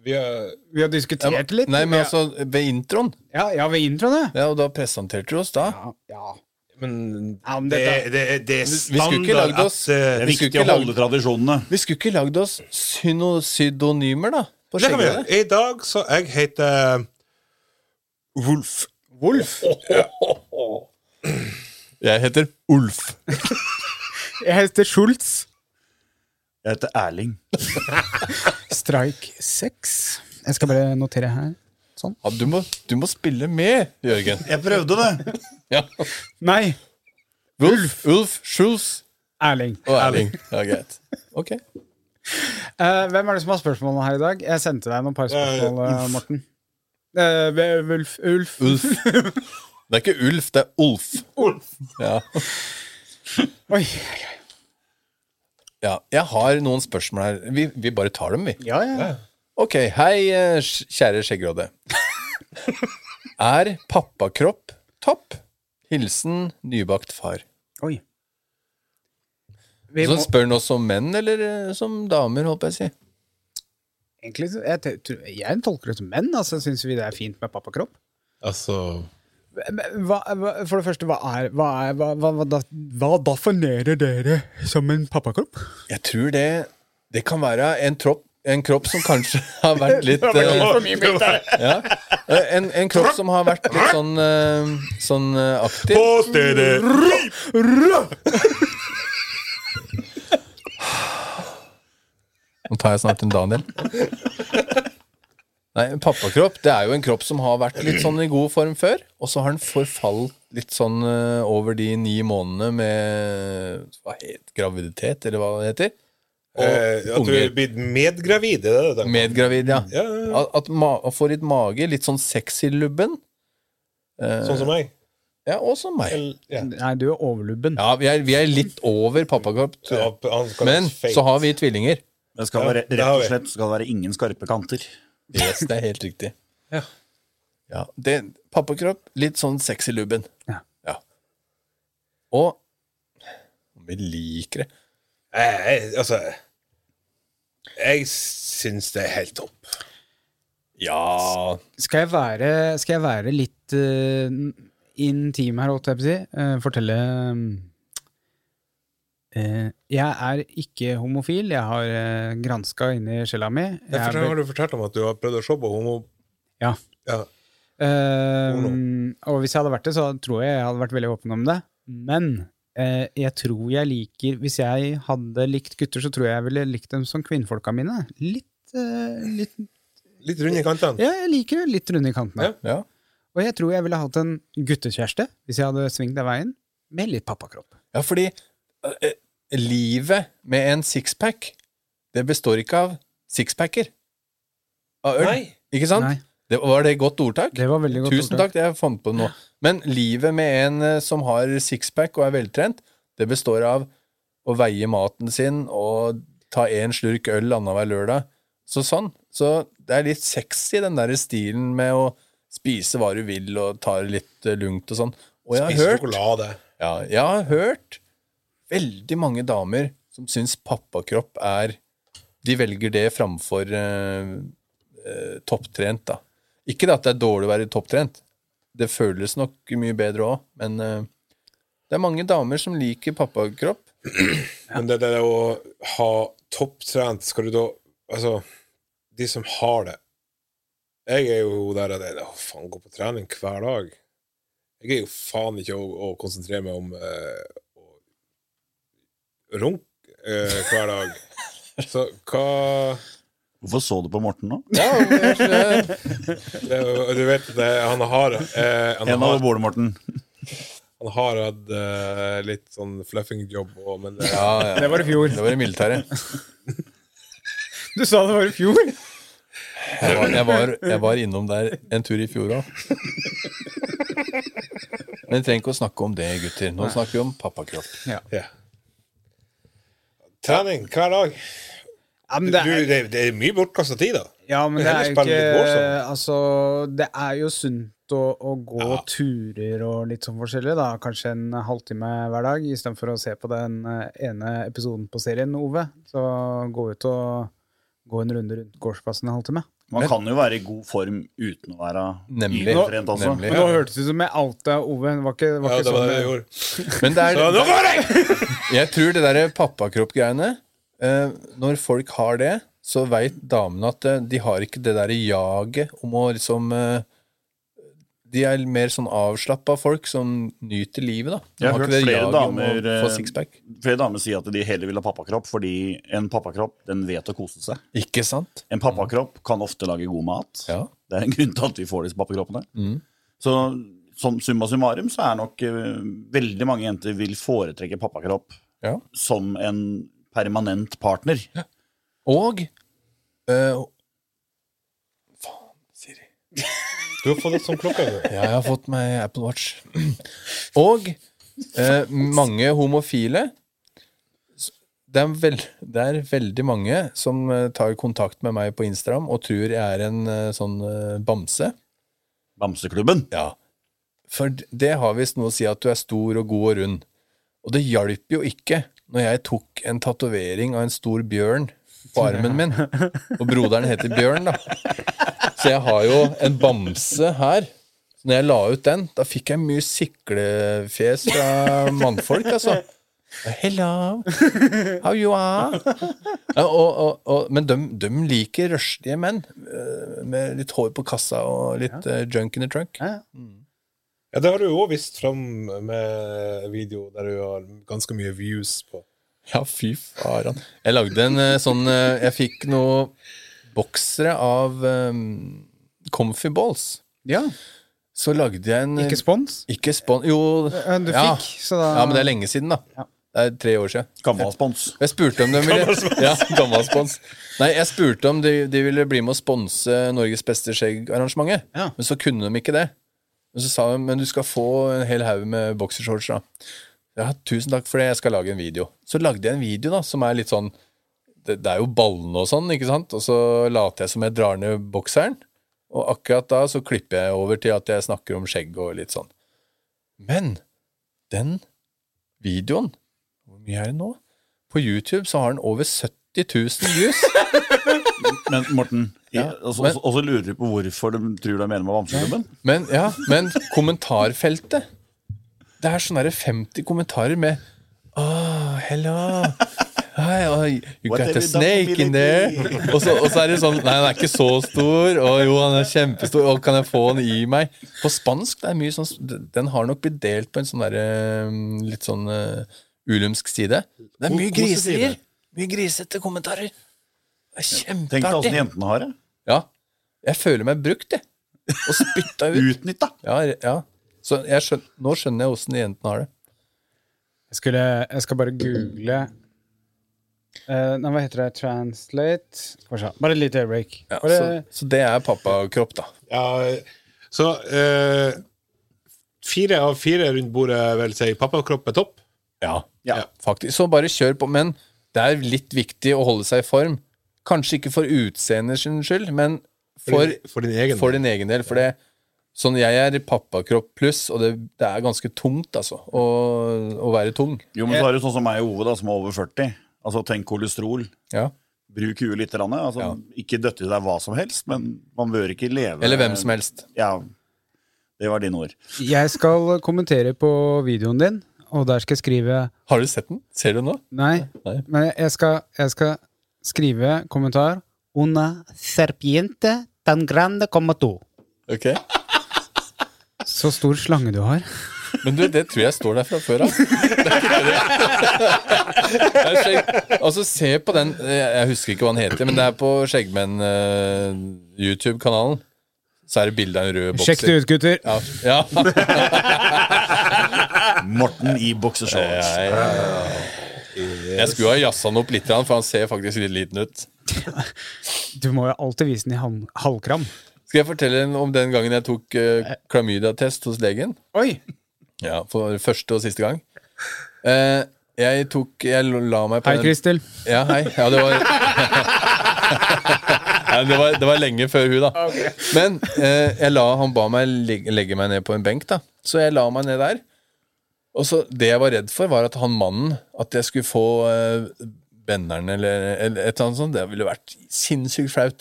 D: Vi er
B: Vi har diskutert litt.
C: Nei, men
B: Vi-
C: altså, ved introen.
B: ja, ja, ved introen, ja.
C: Ja, og da presenterte du oss da.
B: Ja, ja.
D: Men
B: Ja, men
D: det,
B: dette-
D: det, det er
C: skulle ikke
D: standard
C: lagd oss-
D: at eh,
E: Det er
C: Vi skulle
E: viktig å
C: ikke
E: holde tradisjonene.
C: Vi skulle ikke lagd oss syno synonymer, da. På
D: Det kan vi gjøre.
C: skjeggrådet.
D: I dag så jeg heter eh, Wolf. Wolf?
C: Jeg heter Ulf.
B: Jeg heter Schultz.
E: Jeg heter Erling.
B: Strike 6. Jeg skal bare notere her.
C: Ja, du, må, du må spille med, Jørgen.
E: Jeg prøvde det.
C: Ja.
B: Nei,
C: Ulf, Ulf, Schulz
B: Erling.
C: og Erling. Ja, greit. Ok.
B: Eh, hvem er det som har spørsmålene her i dag? Jeg sendte deg noen par spørsmål, eh, Morten. Eh, ve- Ulf. Ulf.
C: Ulf. Det er ikke Ulf, det er Ulf. Ja.
B: Oi.
C: ja. Jeg har noen spørsmål her. Vi, vi bare tar dem, vi.
B: Ja, ja.
C: Ok, hei, eh, sk- kjære skjeggråde. Er pappakropp topp? Hilsen nybakt far.
B: Oi. Vi
C: Så
B: må,
C: spør han oss som menn eller eh, som damer, holdt jeg å si.
B: egentlig, så- jeg, te- tror- jeg tolker det som menn, altså. Syns vi det er fint med pappakropp? Eh,
D: Altså
B: Men Hva, hva, for det første, hva er Hva, er, hva, hva, hva, da, hva definerer dere som en pappakropp?
C: Jeg tror det Det kan være en, tropp, en kropp som kanskje har vært litt eh, ja. Eh, en, en kropp som har vært litt sånn, eh, sånn eh, aktiv.
D: På stedet!
C: Nå tar jeg snart en Daniel. Nei, en pappakropp det er jo en kropp som har vært litt sånn i god form før, og så har den forfall litt sånn eh, over de ni månedene med hva het, graviditet, eller hva det heter. Og
D: Eh, at du
C: unger.
D: er blitt medgravid? Er det det? du tenker?
C: Medgravid, ja.
D: Ja, ja, ja.
C: At, at ma får litt mage, litt sånn sexy-lubben. Eh,
D: Sånn som meg.
C: Ja, og som meg.
D: Eller, ja.
B: Nei, du er overlubben.
C: Ja, vi er, vi er litt over pappakopp, tror jeg.
D: Ja, han kalles
C: Men
D: feit.
C: så har vi tvillinger.
E: Det skal
D: Ja,
E: være,
D: det
E: rett
D: har
E: og
D: vi.
E: slett skal det være ingen skarpe kanter.
C: Yes, det er helt riktig.
D: Ja.
C: Ja, det, pappakropp, litt sånn sexy lubben.
B: Ja.
C: Og om vi liker det.
D: jeg, jeg, Altså Jeg syns det er helt topp.
C: Ja
B: Skal jeg være, skal jeg være litt eh, intim her, holdt jeg på å si? Eh, fortelle eh, Jeg er ikke homofil. Jeg har uh, granska inni sjela mi.
D: Jeg
B: Jeg er
D: fortell, har du fortalt om at du har prøvd å se på homo...
B: Ja.
D: ja.
B: Ehm, og hvis jeg hadde vært det, så tror jeg jeg hadde vært veldig åpen om det. Men eh, jeg tror jeg liker Hvis jeg hadde likt gutter, så tror jeg jeg ville likt dem som kvinnfolka mine. Litt, eh, litt
D: Litt rund i kantene.
B: Ja, jeg liker det litt runde i kantene.
D: Ja.
C: Ja.
B: Og jeg tror jeg ville hatt en guttekjæreste hvis jeg hadde svingt den veien, med litt pappakropp.
C: Ja, fordi eh, livet med en sixpack, det består ikke av sixpacker. Av øl.
D: Nei.
C: Ikke sant?
B: Nei.
C: Det, var det et godt ordtak?
B: Det var veldig godt.
C: Tusen takk, det jeg fant på nå. Men livet med en eh, som har sixpack og er veltrent, det består av å veie maten sin og ta en slurk øl annenhver lørdag. Så sånn. Så det er litt sexy, den der stilen med å spise hva du vil og ta det litt eh, lungt og sånn. Og jeg
D: Spise
C: har hørt
D: sjokolade.
C: ja, jeg har hørt veldig mange damer som syns pappakropp er De velger det framfor eh, eh, topptrent, da. Ikke det at det er dårlig å være topptrent. Det føles nok mye bedre òg, men eh, det er mange damer som liker pappakropp.
D: Men det der å ha topptrent, skal du da Altså, de som har det Jeg er jo der at jeg å, faen gå på trening hver dag. Jeg er jo faen ikke å, å konsentrere meg om eh, å runke eh, hver dag. Så hva
E: Hvorfor så du på Morten nå?
C: Ja, jeg,
D: det, er jo- Du vet, det, han har eh, han,
E: En over
D: har,
E: bordet, Morten.
D: han har hatt eh, litt sånn fluffing-jobb og Men det,
C: ja, ja.
B: Det var i fjor.
C: Det var i militæret.
B: Du sa det var i fjor!
C: Jeg var, jeg, var, jeg var innom der en tur i fjor òg. Men vi trenger ikke å snakke om det, gutter. Nå snakker vi om pappakropp.
D: ja. Trening hver dag.
B: Ja, men
D: Du,
B: det
D: det,
B: er,
D: er, det er mye bortkasta tid, da.
B: ja, men det
D: heller
B: er jo
D: spille litt
B: ikke
D: Warzone.
B: Altså, det er jo sunt å, å gå
D: Ja.
B: turer og litt sånn forskjellig, da. Kanskje en halvtime hver dag, istedenfor å se på den eh, ene episoden på serien, Ove. Så gå ut og gå en runde rundt gårdsplassen en halvtime.
E: Man kan jo være i god form uten å være
C: Nemlig.
E: utrent, altså.
C: Nemlig.
B: Men nå hørtes det ut som jeg outa Ove. Det var ikke, var
D: Ja,
B: ikke
D: det var
B: sånn
D: det jeg
B: det-
D: gjorde.
C: Men det er,
D: Så nå går jeg!
C: Jeg tror det derre pappakropp-greiene eh, Når folk har det, så veit damene at eh, de har ikke det derre jaget om å liksom eh, De er mer sånn avslappa folk som nyter livet, da. De
E: Jeg har
C: ikke
E: hørt
C: det
E: flere
C: jaget om
E: damer,
C: å få
E: eh,
C: sixpack.
E: Flere damer sier at de heller vil ha pappakropp, fordi en pappakropp den vet å kose seg.
C: Ikke sant?
E: En pappakropp kan ofte lage god mat.
C: Ja.
E: Det er en grunn til at vi får disse pappakroppene.
C: Mm.
E: Så som summa summarum så er nok eh, veldig mange jenter vil foretrekke pappakropp
C: ja.
E: som en permanent partner.
C: Og eh, Faen, Siri.
D: Du har fått det som klokka. du.
C: Ja, jeg har fått meg Apple Watch. Og eh, mange homofile s- det er, vel, det er veldig mange som eh, tar kontakt med meg på Instagram og tror jeg er en eh, sånn eh, bamse.
E: Bamseklubben.
C: Ja. For d- det har visst noe å si at du er stor og god og rund. Og det hjalp jo ikke når jeg tok en tatovering av en stor bjørn på armen min. Og broderen heter Bjørn, da. Så jeg har jo en bamse her. Så når jeg la ut den, da fikk jeg mye siklefjes fra mannfolk, altså. Hello, how you are? Ja, og, og, og, men de, liker røslige menn. eh, Med litt hår på kassa og litt eh, junk in the trunk.
B: Ja, ja.
D: Ja, det har du jo òg vist fram med video der du har ganske mye views på.
C: Ja, fy faran. Jeg lagde en eh, sånn eh, Jeg fikk noe boksere av um, Comfy Balls.
B: Ja,
C: Så lagde jeg en
B: ikke spons.
C: Ikke spon... Jo.
B: Eh, Du
C: ja.
B: fikk, så da
C: ja, men det er lenge siden, da.
B: Ja.
C: Det er tre år siden.
E: Gammel spons.
C: Jeg spurte om de ville ja, gammel spons. Nei, jeg spurte om de, de ville bli med å sponse Norges beste skjegg-arrangementet,
B: Ja.
C: men så kunne de ikke det. Men så sa hun men du skal få en hel haug med boksershorts. da. Ja, tusen takk for det, jeg skal lage en video. Så lagde jeg en video da, som er litt sånn Det, det er jo ballene og sånn, ikke sant? Og så later jeg som jeg drar ned bokseren. Og akkurat da så klipper jeg over til at jeg snakker om skjegg og litt sånn. Men den videoen Hvor mye er det nå? På YouTube så har den over 70 000 views.
E: Men Morten,
C: Ja,
E: og så-
C: men-
E: og så- og så lurer du på hvorfor de tror det er medlem av Bamseklubben?
C: Men, ja, men kommentarfeltet Det er sånn der 50 kommentarer med Oh, hello Hi, oh, You
E: What
C: got
E: have
C: a
E: you done for
C: snake
E: me
C: in there og så, og så er det sånn Nei, han er ikke så stor Og jo, han er kjempestor Og kan jeg få han i meg På spansk, det er mye sånn Den har nok blitt delt på en sånn der eh, Litt sånn uh, ulumsk side Det er mye
E: Kos-
C: griser
E: koseside.
C: Mye grisete kommentarer Det er
E: Tenk deg åssen
C: kjempeartig
E: jentene har det.
C: Ja, jeg føler meg brukt, jeg Og spytta ut
E: Utnytta!
C: ja, re- ja. Så jeg skjøn, nå skjønner jeg åssen de jentene har det.
B: Jeg, skulle, jeg skal bare google eh, Nei, hva heter det? Translate Skal vi se. Bare et lite break.
C: Ja,
B: Bare,
C: så, så det er pappakropp, da.
D: Ja, så eh, fire av fire rundt bordet vil si pappakropp er topp.
C: Ja.
E: Ja.
C: Faktisk. Så bare kjør på. Men det er litt viktig å holde seg i form. Kanskje ikke for utseendet sin skyld, men for,
D: for din egen.
C: for din egen del. For det, sånn jeg er i pappakropp pluss, og det, det er ganske tungt, altså, å, å være tung.
E: Jo, men så er det jo sånn som meg og Ove, da, som er over 40. Altså, tenk kolesterol.
C: Ja.
E: Bruk huet litt. grann, Altså,
C: Ja.
E: Ikke døtte i deg hva som helst, men man bør ikke leve
C: Eller hvem som helst.
E: Ja, det var dine ord.
B: jeg skal kommentere på videoen din, og der skal jeg skrive
C: Har du sett den? Ser du den nå?
B: Nei,
C: Nei.
B: men jeg skal, jeg skal skrive kommentar Una serpiente tan grande como tú.
C: Ok.
B: Så stor slange du har.
C: Men du, det tror jeg står der fra før av. Det er ikke det. Det er skjegg. Altså, se på den eh, Jeg husker ikke hva den heter, men det er på Skjeggmenn-YouTube-kanalen. Så er det bilde av en rød bokser.
B: Sjekk det ut, gutter.
C: Ja, ja.
E: Morten i bokseshorts.
C: Jeg, jeg skulle ha jazza den opp litt, for han ser faktisk litt liten ut.
B: Du må jo alltid vise den i halv, halvkram.
C: Skal jeg fortelle en om den gangen jeg tok eh, klamydia-test hos legen?
B: Oi!
C: Ja, For første og siste gang. Eh, jeg tok Jeg la meg på
B: Hei,
C: den
B: Kristel.
C: Ja, hei. Ja, det var ja, det, var, det var lenge før hun, da. Men eh, jeg la, han ba meg legge, legge meg ned på en benk, da. Så jeg la meg ned der. Og så Det jeg var redd for, var at han mannen At jeg skulle få eh, benderen eller, eller et eller annet sånt. Det ville vært sinnssykt flaut.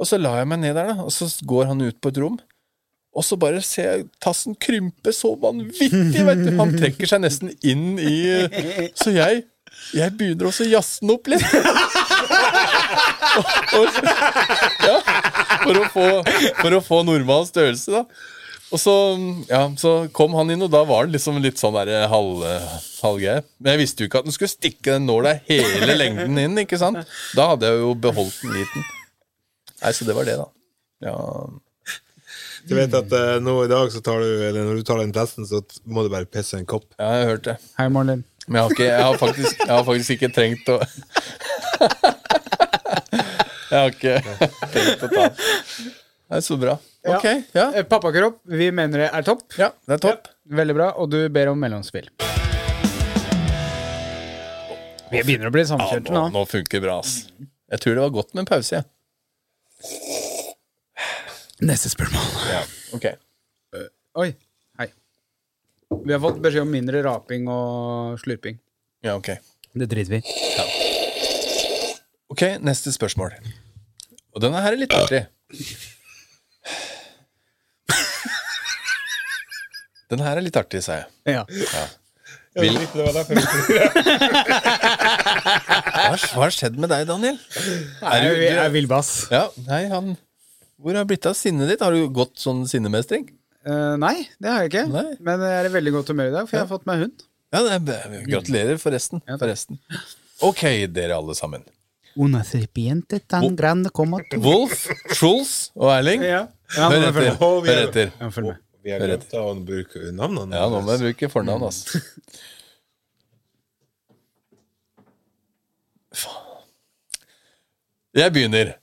C: Og så la jeg meg ned der, da. Og så går han ut på et rom. Og så bare ser jeg tassen krympe så vanvittig, vet du. Han trekker seg nesten inn i Så jeg, jeg begynner også å jazze den opp litt. Og- og- ja, for, å få, for å få normal størrelse, da. Og så, ja, så kom han inn, og da var det liksom litt sånn der halv, halvgreie. Men jeg visste jo ikke at den skulle stikke den nåla hele lengden inn. ikke sant? Da hadde jeg jo beholdt den liten. Nei, Så det var det, da. Ja,
D: Du vet at eh, nå i dag, så tar du, eller når du tar den testen, så må du bare pisse en kopp.
C: ja jeg har hørt det.
B: Hei, Marlin.
C: Men jeg har, ikke, jeg, har faktisk, jeg har faktisk ikke trengt å Jeg har ikke trengt å ta den. Det er så bra.
B: Ja.
C: Ok, ja.
B: Eh, Pappakropp, vi mener det er topp.
C: ja det er topp.
B: Veldig bra. Og du ber om mellomspill. Vi begynner å bli
C: Ja,
B: samkjørte
C: nå,
B: nå.
C: nå funker det bra, ass. Jeg tror det var godt med en pause, jeg.
B: Neste spørsmål.
C: Ja. Ok.
B: Oi. Hei. Vi har fått beskjed om mindre raping og slurping.
C: Ja, ok.
B: Det driter vi i.
C: Ok, neste spørsmål. Og denne her er litt artig. Den her er litt artig, sa jeg.
B: Ja.
C: Vil-
D: Det var derfor jeg-
C: Hva har- hva har skjedd med deg, Daniel?
B: Er
C: du-
B: du, jeg er villbass.
C: Ja, nei, han Hvor har det blitt av sinnet ditt? Har du gått sånn sinnemestring?
B: Eh, nei, det har jeg ikke.
C: Nei.
B: Men jeg er i veldig godt humør i dag, for jeg har fått meg hund.
C: Ja, det er, b- gratulerer, forresten.
B: Ja, takk.
C: forresten. Ok, dere alle sammen.
B: Una serpiente tan grande como tú.
C: Wolf, Truls og Erling,
B: Ja. Ja, nå
C: hør
B: må jeg følge
C: etter.
B: med.
D: Å, vi
C: Hør
D: er-
C: etter.
B: Ja, følg med.
D: Vi har glemt å bruke navnene.
C: Ja, nå må jeg bruke fornavn, altså. Faen. Jeg begynner.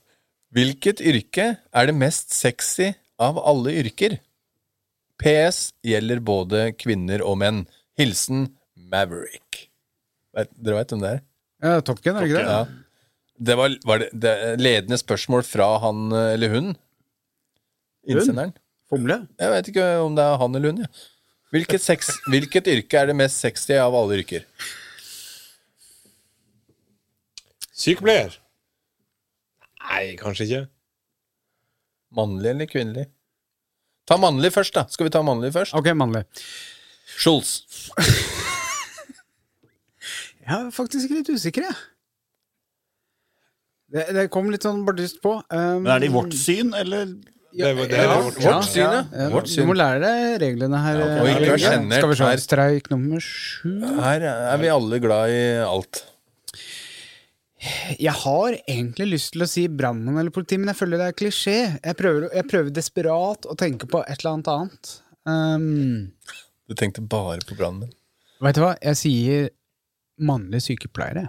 C: Hvilket yrke er det mest sexy av alle yrker? PS gjelder både kvinner og menn. Hilsen Maverick. Vet, dere veit hvem det er?
B: Ja, Top Gun, er det ikke det?
C: Ja. Det var, var det, det er ledende spørsmål fra han eh, eller hun. Innsenderen.
E: Fomle?
C: Jeg vet ikke om det er han eller hun. Ja. Hvilket, sex, hvilket yrke er det mest sexy av alle yrker?
D: Sykepleier? Nei, kanskje ikke.
C: Mannlig eller kvinnelig? Ta mannlig først, da. Skal vi ta mannlig først?
B: Ok, mannlig.
C: Scholz.
B: Jeg er faktisk litt usikker, jeg. Det, det kom litt sånn bardust på. Um,
E: Men er det i vårt syn, eller?
D: Det var- det
B: ja,
D: var
C: vårt,
D: vårt-
C: vårt syn, ja.
B: Eh,
C: Vårt
B: Du må
C: syn.
B: lære deg reglene her.
C: Ja, og ikke
B: eh,
C: være sjenert.
B: Skal vi se,
C: Her-
B: streik nummer sju
C: Her er vi alle glad i alt.
B: Jeg har egentlig lyst til å si brannmann eller politi, men jeg føler det er klisjé. Jeg prøver, jeg prøver desperat å tenke på et eller annet annet. Um,
C: Du tenkte bare på brannmenn.
B: Veit du hva, jeg sier mannlige sykepleiere.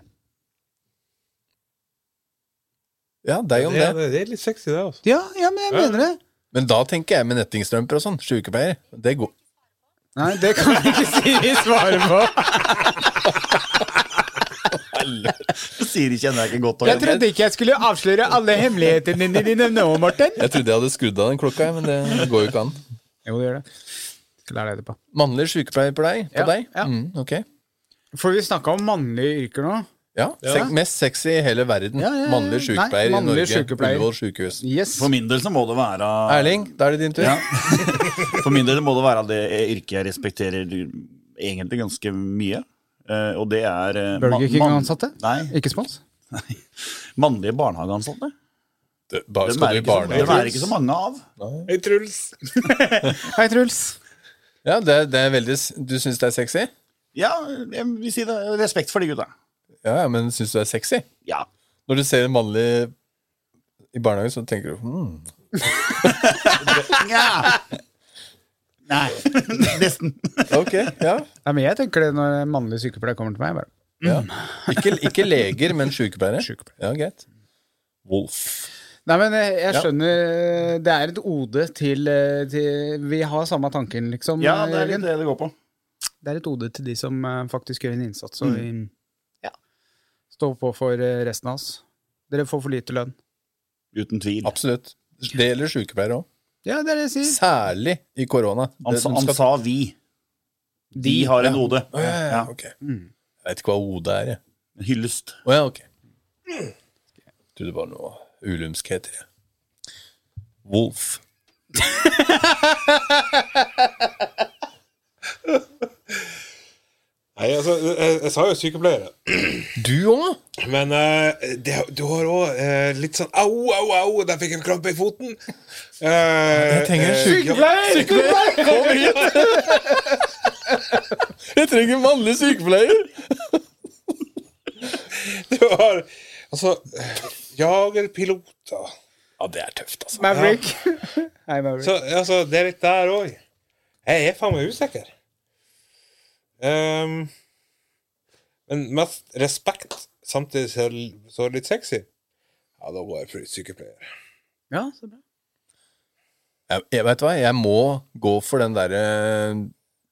C: Ja, deg om
D: Ja,
C: det.
D: det, det er litt sexy, det. altså.
B: Ja, ja, men jeg
D: Ja.
B: mener det!
C: Men da tenker jeg med nettingstrømper og sånn. Sjukepleier. Det går.
B: Nei, det kan jeg ikke si vi svarer på.
E: Siri kjenner jeg ikke godt.
B: Jeg trodde ikke jeg skulle avsløre alle hemmelighetene dine nå, Morten.
C: Jeg trodde jeg hadde skrudd av den klokka, men det går jo ikke an.
B: Jo, det gjør det. Skal lære deg etterpå.
C: Mannlig sykepleier på deg? På
B: Ja,
C: deg?
B: ja.
C: Mm, ok.
B: For vi snakka om mannlige yrker nå.
C: Ja, sek- Mest sexy i hele verden.
B: Ja, ja, ja.
C: Mannlig
B: Nei,
C: sykepleier i
B: mannlig
C: Norge.
B: sykepleier.
C: Ullevål sykehus.
B: Yes.
E: For min del så må det være
C: Erling, da er det din tur.
E: Ja. For min del må det være det yrket jeg respekterer egentlig ganske mye. eh, Og det er eh,
B: Burger
E: mann-
B: King-ansatte?
E: Nei,
B: Ikke spons?
E: mannlige barnehageansatte.
C: Det- Bare
E: Dem
C: skal
E: er
C: du i
E: ikke så- dem er
C: barnehage.
E: ikke så mange av.
D: Hei, Truls.
B: Hei, Truls.
C: Ja, det, det er veldig s- Du syns det er sexy?
E: Ja, jeg vil si det. Respekt for de gutta.
C: Ja, ja, men syns du det er sexy?
E: Ja.
C: Når du ser en mannlig i barnehagen, så tenker du hmm.
E: Nja. Nei, nesten.
C: Ok, ja.
B: Nei, men jeg tenker det når en mannlig sykepleier kommer til meg. Bare.
C: ja.
E: Mm.
C: Ikke, ikke leger, men sykepleiere.
B: Sykepleiere.
C: Ja, greit. Wolf.
B: Nei, men jeg, jeg
C: Ja.
B: skjønner eh, Det er et ode til, eh, til Vi har samme tanken, liksom.
E: Ja, det er
B: Jørgen.
E: litt det det går på.
B: det er et ode til de som eh, faktisk gjør en innsats og
E: Mm.
B: vi, ja, står på for eh, resten av oss. Dere får for lite lønn.
E: Uten tvil.
C: Absolutt. Det gjelder sykepleiere òg.
B: Ja, det er det jeg sier.
C: Særlig i korona. Det-
E: Han, sa-
C: de
E: han
C: skal-
E: sa vi. De har en ode.
C: Å, ja, ja,
E: Ja. Mm.
C: ok. Jeg vet ikke hva OD er, jeg.
E: Hyllest.
C: Å ja, ok. Trodde det var noe ulumsk heter det. Wolf.
D: Nei, altså, jeg, jeg sa jo sykepleiere.
C: Du òg?
D: Men eh, det, du har òg litt sånn au, au, au, der fikk jeg en krampe i foten. Eh, jeg
C: trenger en
D: sykepleier! Kom hit!
C: Jeg trenger mannlig sykepleier!
D: Du har altså jagerpiloter.
C: Ja, det er tøft, altså.
B: Maverick. Hei, Maverick.
D: Så altså, det er litt der òg. Jeg er faen meg usikker. Ehm, men mest respekt, samtidig så, så litt sexy. Ja, da går jeg for sykepleier.
B: ja, så bra.
C: Jeg, jeg vet hva, jeg må gå for den derre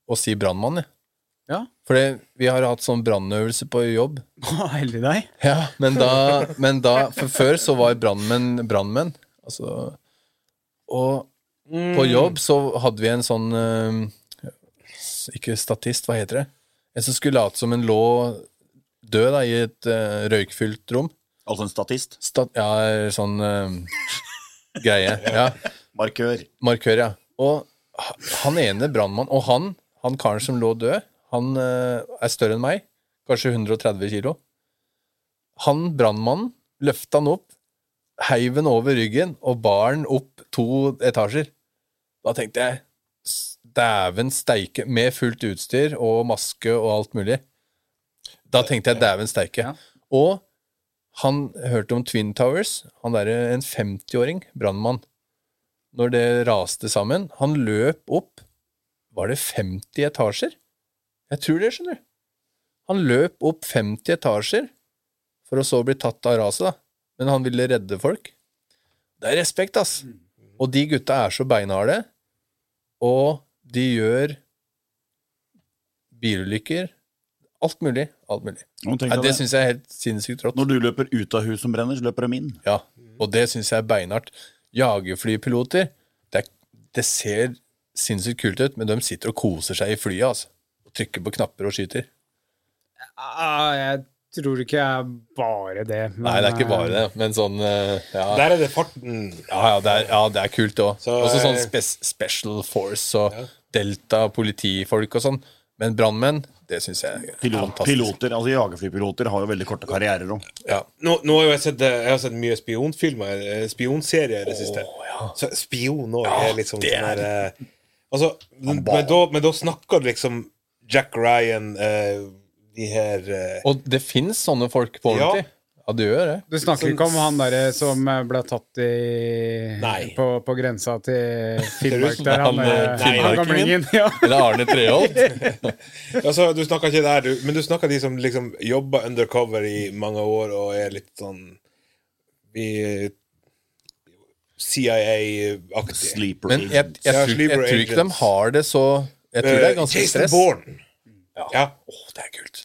C: å si brannmann, jeg.
B: Ja.
C: For det- vi har hatt sånn brannøvelse på jobb.
B: Å, heldig deg.
C: Ja, men da, men da For før så var brannmenn brannmenn. Altså Og mm. på jobb så hadde vi en sånn eh, s- Ikke statist, hva heter det? En som skulle late som en lå død da, i et eh, røykfylt rom.
E: Altså en statist.
C: Stat ja, sånn eh, greie. Ja
E: Markør.
C: markør, ja. Og h- han ene brannmann, og han, han karen som lå død, han eh, er større enn meg. Kanskje 130 kilo. Han brannmannen løfta han opp, heiv han over ryggen og bar han opp to etasjer. Da tenkte jeg "S- Dæven steike. Med fullt utstyr og maske og alt mulig. Da tenkte jeg dæven steike.
E: Ja.
C: Og han hørte om Twin Towers. Han derre en 50-åring brannmann når det raste sammen. Han løp opp Var det 50 etasjer? Jeg tror det, skjønner du. Han løp opp 50 etasjer for å så bli tatt av raset, da. Men han ville redde folk. Det er respekt, ass. Og de gutta er så beinharde. Og De gjør bilulykker. Alt mulig. Alt mulig.
E: Nå tenker
C: Nei,
E: jeg
C: det
E: det.
C: syns jeg er helt sinnssykt rått.
E: Når du løper ut av hus som brenner, så løper de inn.
C: Ja, og det syns jeg er beinhardt. Jagerflypiloter, det, er- det ser sinnssykt kult ut, men de sitter og koser seg i flyet, altså. Og trykker på knapper og skyter.
B: Ah, jeg tror ikke jeg er bare det. men,
C: Nei, det er ikke
B: eh,
C: bare det, men sånn eh, Ja,
D: Der er det farten.
C: ja, ja, det, er, ja det er kult òg.
D: Så,
C: Også sånn
D: eh,
C: spes Special Force og Delta, politifolk og sånn. Men brannmenn, det syns jeg er
E: Pilot,
C: fantastisk.
E: piloter, altså Jagerflypiloter har jo veldig korte karrierer òg.
C: Ja.
D: Nå, nå har jo jeg sett, eh, jeg har sett mye spionfilmer, eh, spionserier i det siste.
C: ja.
D: Så spion òg
C: Ja,
D: er liksom
C: det
D: sånn
C: er-
D: der eh, Altså, men, men, da, men da snakker du liksom Jack Ryan, eh, de her eh,
C: Og det fins sånne folk på
D: Ja.
C: ordentlig. Ja, det gjør det.
B: Du snakker ikke om han derre som eh, ble tatt i
D: Nei.
B: på, på grensa til Finnmark
D: Russland?
B: der, han,
C: Han,
B: eh,
C: eh,
B: han
C: finnmarkingen?
B: gamlingen? Ja.
C: Eller Arne Treholt.
D: Altså, du snakker ikke der, du, men du snakker de som liksom jobber undercover i mange år og er litt sånn i CIA-aktig.
E: Sleeper
C: Men jeg, jeg,
D: Ja,
C: tror, jeg
D: sleeper
C: tror ikke de
D: agents.
C: har det så Jeg tror det er ganske
D: Eh, Jason
C: stress.
D: Bourne.
C: Ja.
D: Ja.
C: Åh, det er kult.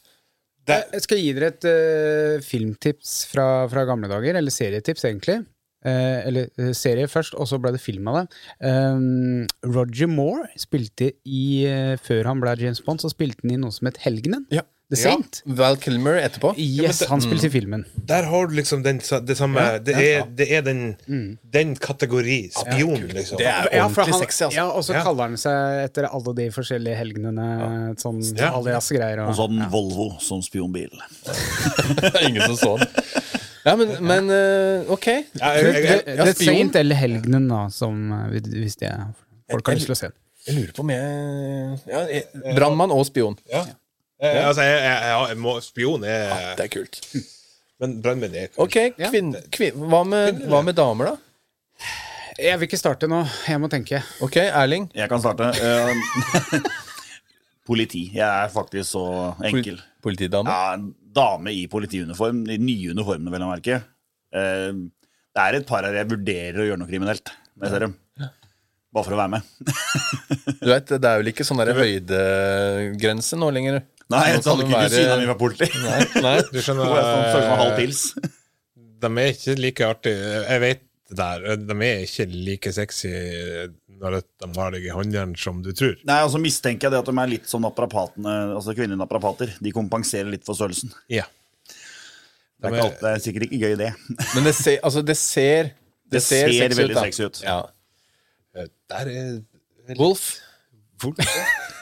D: Det,
B: Jeg skal gi dere et eh, filmtips fra, fra gamle dager, eller serietips, egentlig. Eh, eller eh, serie først, og så ble det film av det. Um, Roger Moore spilte i eh, Før han ble James Bond, så spilte han i noe som het Helgenen.
C: Ja.
B: The Saint.
C: Val Kilmer etterpå.
B: Yes, han spilte i filmen.
D: der har du liksom den, sa- det samme det, er, det er den,
E: Mm.
D: den kategori. Spion, liksom.
C: Det er
B: Ja, for
C: ordentlig
B: han-
C: sexy, altså.
B: Ja, og så
D: Ja.
B: kaller han seg etter alle de forskjellige helgenene, sånn
D: Ja.
B: alias-greier.
E: Og
B: Og,
E: så hadde den Volvo som spionbil.
C: Det er Ingen som så den. Ja, men, men eh, ok.
D: Ja, jeg, jeg, jeg,
C: Ja,
B: The
C: spion.
B: Saint eller Helgenen, da, som eh, hvis det er folk har lyst til å se den.
C: Jeg lurer på om jeg ja, jeg- Brannmann og spion.
D: ja. Eh, altså, jeg, jeg, jeg, jeg må, spion er
C: Det er kult.
D: Men brannmenn er
C: Ok, kvinn, kvinn, hva, med, hva med damer, da?
B: Jeg vil ikke starte nå, jeg må tenke.
C: Ok, Erling.
E: Jeg kan starte. Eh, politi. Jeg er faktisk så enkel.
C: Poli- Politidame.
E: Ja, en dame i politiuniform. De nye uniformene, vel å merke. Eh, det er et par her jeg vurderer å gjøre noe kriminelt. når Jeg ser dem. Bare for å være med.
C: Du vet, Det er vel ikke sånn der høydegrense nå lenger?
E: Nei, jeg
C: Nå kan
E: hadde
C: du
E: ikke
C: være-
E: ved siden av min var politi.
C: Nei, nei.
D: Du eh,
E: Nå er jeg sånn, føler meg halv pils.
D: De er ikke like artige. Jeg vet det der. eh, De er ikke like sexy eh, når at de har deg i håndjern som du tror.
E: Nei, og så mistenker jeg det at de er litt som naprapatene, altså kvinnelige naprapater. De kompenserer litt for størrelsen.
D: Ja.
E: Det er,
D: De er-
E: ikke alt, det er sikkert ikke gøy, det.
C: Men det ser, altså, det ser
E: Det ser
C: sexy
E: veldig
C: da.
E: sexy ut.
C: Ja.
D: Eh, Der er
C: Wolf.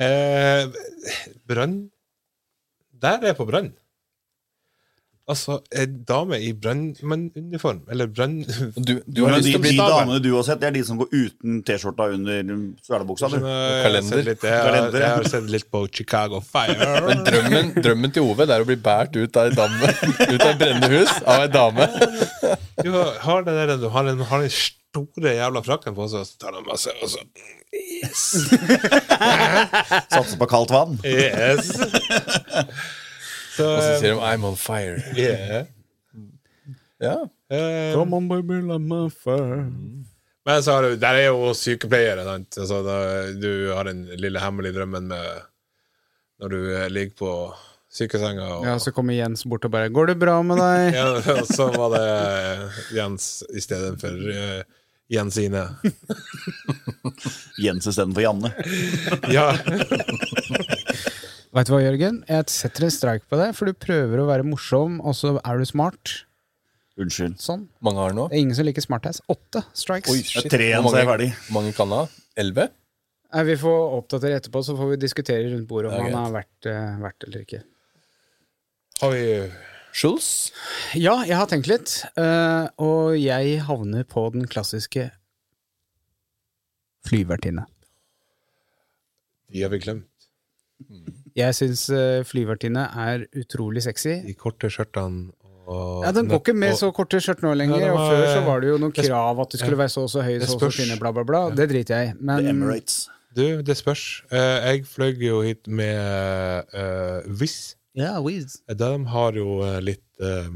D: eh, Brann Der er jeg på brann. Altså, en dame i brannmannuniform, eller brann...
C: Du, du
E: Men
C: har lyst
E: de,
C: til å bli
E: de
D: dame.
E: damene du har sett, det er de som går uten T-skjorta under svelebuksa. du.
C: Kalender.
D: Jeg har sett litt, jeg har,
E: Kalender, ja.
D: jeg har sett litt på Chicago Fire.
C: Drømmen, drømmen til Ove det er å bli båret ut av ei damme Ut av et brennende hus av ei dame.
D: Du har, har det der, du har den, har den store jævla frakken på, så tar de masse, og så
E: Satser på kaldt vann.
D: Yes. Så,
C: Og så sier de 'I'm on fire'.
D: eh, yeah.
C: Ja.
D: Eh, Mm.
B: on, baby, let me
D: men så har du, der er jo sykepleiere, sant. Altså, da, du har den lille hemmelige drømmen med når du eh, ligger på sykesenga og
B: Ja, så kommer Jens bort og bare 'Går det bra med deg?'
D: Ja, og så var det Jens i stedet for eh, Jensine.
E: Jens istedenfor Janne.
D: Ja.
B: Vet du hva, Jørgen? Jeg setter en streik på deg, for du prøver å være morsom, og så er du smart.
E: Unnskyld.
B: Sånn.
C: Mange har nå.
B: Det er ingen som liker smartass. Åtte strikes.
C: Oi,
E: Det
C: shit.
E: er tre igjen,
C: Hvor
E: så er jeg
C: mange,
E: ferdig.
C: hvor mange kan ha? Elleve?
B: Nei, vi får oppdatere etterpå, så får vi diskutere rundt bordet om
C: Det er
B: han har vært, eh, vært eller ikke.
D: Har vi
C: Schulz?
B: Ja, jeg har tenkt litt, eh, og jeg havner på den klassiske flyvertinne.
D: De har vi glemt.
B: Jeg syns eh, flyvertinne er utrolig sexy.
D: De korte skjørtene og
B: Ja, Den går ikke med
D: og-
B: så korte skjørt nå lenger,
D: Ja, det
B: og
D: var-
B: før så var det jo noen
D: det sp-
B: krav at du skulle være så og så høy,
D: Det
B: så og så
D: spørs.
B: tynne, bla, bla, bla. Det driter jeg i.
E: The
B: Men
E: Emirates.
D: Du, det spørs. Eh, jeg fløy jo hit med uh, Wizz.
B: ja, Wiz.
D: De har jo eh, litt eh,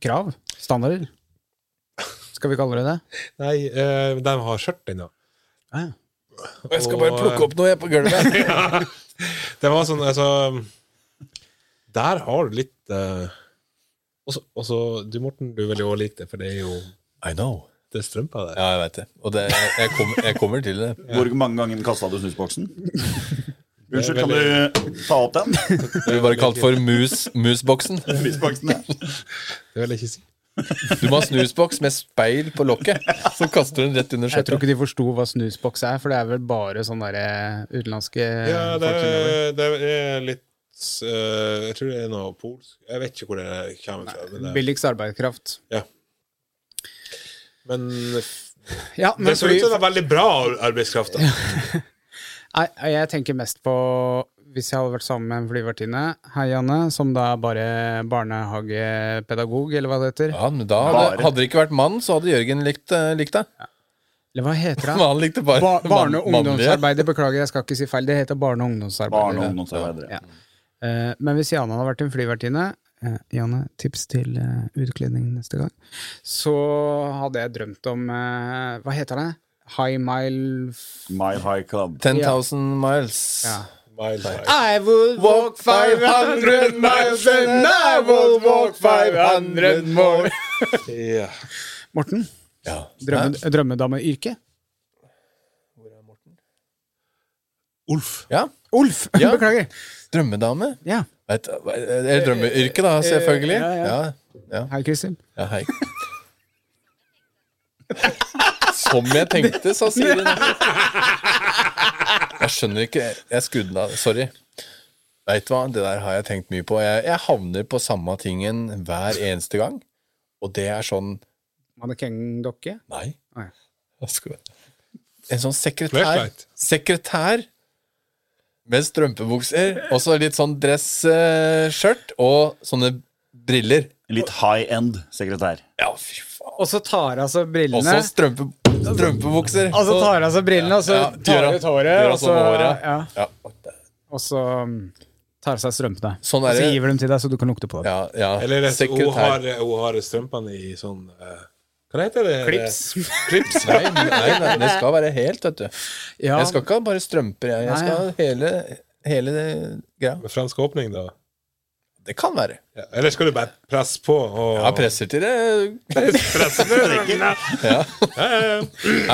B: Krav. Standarder. Skal vi kalle det det?
D: Nei, eh, de har skjørt ennå.
B: Ah, Ja.
C: Og jeg skal bare plukke opp noe jeg på gulvet.
D: Det var sånn, altså Der har du litt eh, også, også du, Morten, du vil jo også like det, for det er jo
C: I know.
D: det er strømpa der.
C: Ja, jeg veit det. Og det, jeg, kommer, jeg kommer til det.
E: Hvor mange ganger kasta du snusboksen? Unnskyld, kan
D: veldig-
E: du ta opp den?
C: Det blir bare kalt for mus, musboksen.
E: Snusboksen, ja.
D: Det vil jeg ikke si.
C: Du må ha snusboks med speil på lokket, så kaster du den rett under
B: Jeg tror
C: skjørtet.
B: ikke de forsto hva snusboks er, for det er vel bare sånne der utenlandske
D: Ja, det,
B: folk som gjør det.
D: det er litt eh, Jeg tror det er noe polsk Jeg vet ikke hvor det kommer fra. Men, eh, det,
B: Billigst arbeidskraft.
D: men
B: Ja, men
D: det ser
B: fordi,
D: ut som det er veldig bra arbeidskraft. Da.
B: nei, jeg tenker mest på hvis jeg hadde vært sammen med en flyvertinne, hei Janne, som da er bare barnehagepedagog, eller hva det heter.
C: Ja, men da hadde,
E: Bare.
C: hadde det ikke vært mann, så hadde Jørgen likt, eh, likt deg.
B: Eller hva heter
C: Men
B: det?
C: han likte bare
B: Ba barne- og
C: mann- mannlige.
B: ungdomsarbeider, beklager, jeg skal ikke si feil. Det heter barne- og ungdomsarbeider.
E: Barn og ungdomsarbeidere.
B: Ja. Eh, men hvis Jane hadde vært en flyvertinne eh, Jane, tips til eh, utkledning neste gang. Så hadde jeg drømt om eh, Hva heter det? High Mile f-
E: My High Club.
C: 10,000 miles.
B: ja.
D: Mile high.
B: I would walk 500 miles and I would walk 500 more.
D: Ja.
B: Morten,
C: Ja.
B: drømme, drømmedameyrke?
D: Ulf.
C: Ja,
B: Olf!
C: Ja.
B: Beklager.
C: Drømmedame.
B: Ja.
C: Vet, eller drømmeyrke, da, selvfølgelig.
B: Eh, Ja, ja.
C: Ja, ja.
B: Hei, Kristin.
C: ja hei. Som jeg tenkte, sa Siri. Jeg skjønner ikke Jeg skrudde den av. Sorry. Veit du hva, det der har jeg tenkt mye på. Jeg, jeg havner på samme tingen hver eneste gang. Og det er sånn
B: Mannekengdokke?
C: Nei.
B: Nei.
C: Hva skal vi- En sånn sekretær
D: Flashlight.
C: Sekretær med strømpebukser, og så litt sånn dressskjørt og sånne briller.
E: Litt high end sekretær.
C: Ja, fy faen.
B: Og så tar av seg
C: Og
B: brillene.
C: så strømpe, strømpebukser.
B: Og så tar hun av seg brillene, og så
C: Ja,
B: tar
C: gjør
B: hun
C: han.
B: ut håret,
C: Gjør han
B: og så,
C: sånn med håret.
B: ja,
C: Ja,
B: og så mm, tar hun av seg strømpene.
C: Sånn
B: og så
C: er det.
B: gir hun dem til deg, så du kan lukte på dem.
C: ja, ja.
D: Eller at hun har,
C: sekretær.
D: hun har strømpene i sånn eh, Hva heter det?
B: Klips.
D: Klips.
C: Nei, nei, nei, det skal være helt, vet du.
B: Ja,
C: Jeg skal ikke ha bare strømper, jeg. Jeg
B: Nei,
C: skal ha hele, hele det greia.
D: Med fransk åpning, da.
C: Det kan være.
D: Ja. Eller skal du bare presse på? Og...
C: Jeg presser til det
D: presse på.
C: Ja.
D: Ja, ja, ja.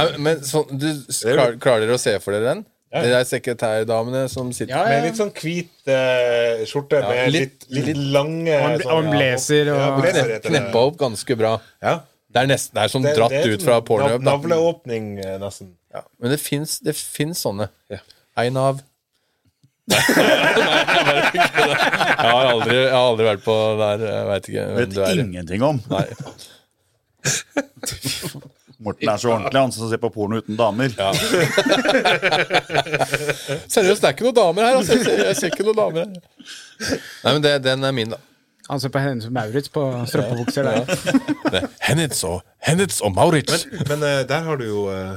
C: Nei, men sånn, du, s- klar, Klarer dere å se for dere den? De der sekretærdamene som sitter
B: Ja, ja.
D: Med litt sånn hvit eh, skjorte
C: Ja,
D: med litt,
C: litt-
D: litt, lange
B: Og en-
D: sånn,
B: og en
D: ja,
B: blazer og-
D: ja, blazer heter det.
C: Kneppa opp ganske bra.
D: Ja.
C: Det er, nesten, det er som
D: Det-
C: dratt
D: det er
C: ut fra
D: sånn
C: pornhub.
D: nav-
C: da.
D: Navleåpning, eh, nesten.
C: Ja. Men det fins det finnes sånne.
D: Ja.
C: Ein av Nei, jeg bare kødder. jeg har, aldri, jeg har aldri vært på der. Jeg veit ikke hvem
E: Vet
C: du er.
E: ingenting om.
C: Nei.
E: Morten er så ordentlig, han som ser på porno uten damer.
C: Seriøst, det er ikke noen damer her. Altså. Jeg, ser, jeg ser ikke noen damer her. Nei, men det, den er min, da.
B: Han ser altså, på henne som Maurits på strømpebukser der.
C: Det. Henitz og, Henitz og Maurits.
D: Men eh, der har du jo eh,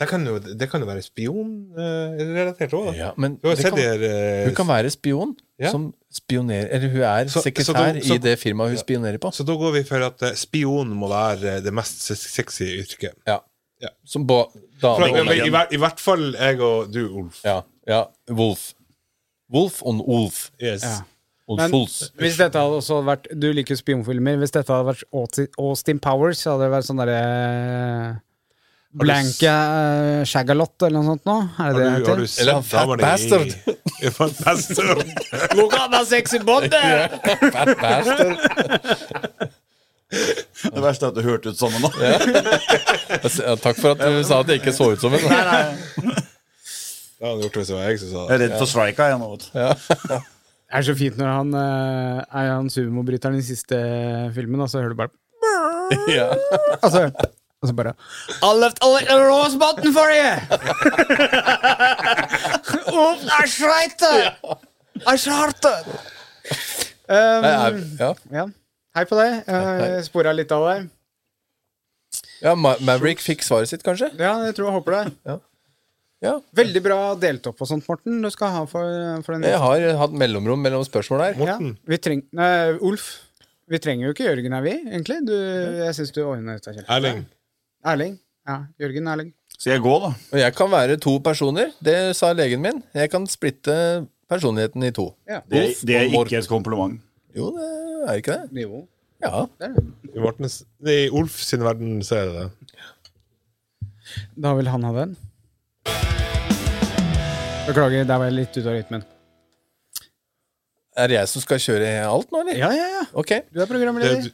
D: der kan jo, Det kan jo være spionrelatert uh, òg, da.
C: Ja, men
D: Du har
C: det
D: sett
C: kan-
D: de her eh,
C: Hun kan være spion
D: Ja.
C: som spionerer Eller hun er
D: Så- så
C: sekretær
D: da- så-
C: i det firmaet hun spionerer på.
D: Så da går vi for at eh, spion må være eh, det mest se- sexy yrket.
C: Ja.
D: Ja.
C: Som ba, dame og
D: Fra, men, i, hver- I hvert fall jeg og du, Olf.
C: ja, ja. Wolf. Wolf on Wolf.
D: Yes.
B: Ja.
C: On
B: Men-
C: Fools.
B: Hvis dette hadde også vært Du liker spionfilmer. Hvis dette hadde vært Auti- Austin Powers, så hadde det vært sånn derre Blanke eh, Shagalot eller noe sånt nå? Er det det
D: Har du, har
B: det
D: du
B: heter?
D: satt
C: Eller Fat
D: damene i-
C: Bastard.
D: i Fat Bastard.
B: Look at that sexy body!
C: Fat bastard.
E: Det verste er at det hørtes ut sånn nå.
C: Altså, ja, Takk for at du sa at jeg ikke så ut som en.
D: Det hadde han gjort hvis det var jeg som sa
E: Jeg
D: det.
E: er redd for strika, jeg nå. vet du.
B: Det er så fint når han eh, er han sumobryteren i siste filmen, og så hører du bare
C: Ja.
B: Og så, Altså, og så bare I left a little rose button for you! Oop, I shrite! I shrite!
C: Nei, er,
B: Um,
C: ja.
B: ja. Hei på deg. Uh, Spora litt av deg.
C: ja Ma Maverick fikk svaret sitt, kanskje?
B: Ja, jeg tror jeg håper det.
C: Ja.
B: Veldig bra delt opp og sånt, Morten. Du skal ha for, for den.
C: Jeg har hatt mellomrom mellom spørsmål her.
B: Ja, vi treng, nei, Ulf, vi trenger jo ikke Jørgen her, vi, egentlig. Du, jeg syns du ordner dette. kjempebra.
D: Erling.
B: Erling. Ja, Jørgen Erling.
E: Skal jeg gå, da?
C: Og jeg kan være to personer, det sa legen min. Jeg kan splitte personligheten i to.
B: Ja.
E: Det,
C: Uff,
E: det er
C: og Morten.
E: ikke et kompliment.
C: Jo, det er ikke det.
B: Jo.
C: Ja.
D: I, Mortens, I Ulf sin verden så er det det.
B: Da vil han ha den. Beklager, der var jeg litt ute av rytmen.
C: Er det jeg som skal kjøre alt nå, eller?
B: Ja, ja, ja.
C: Ok.
B: Du er
D: det
B: programleder.
D: du,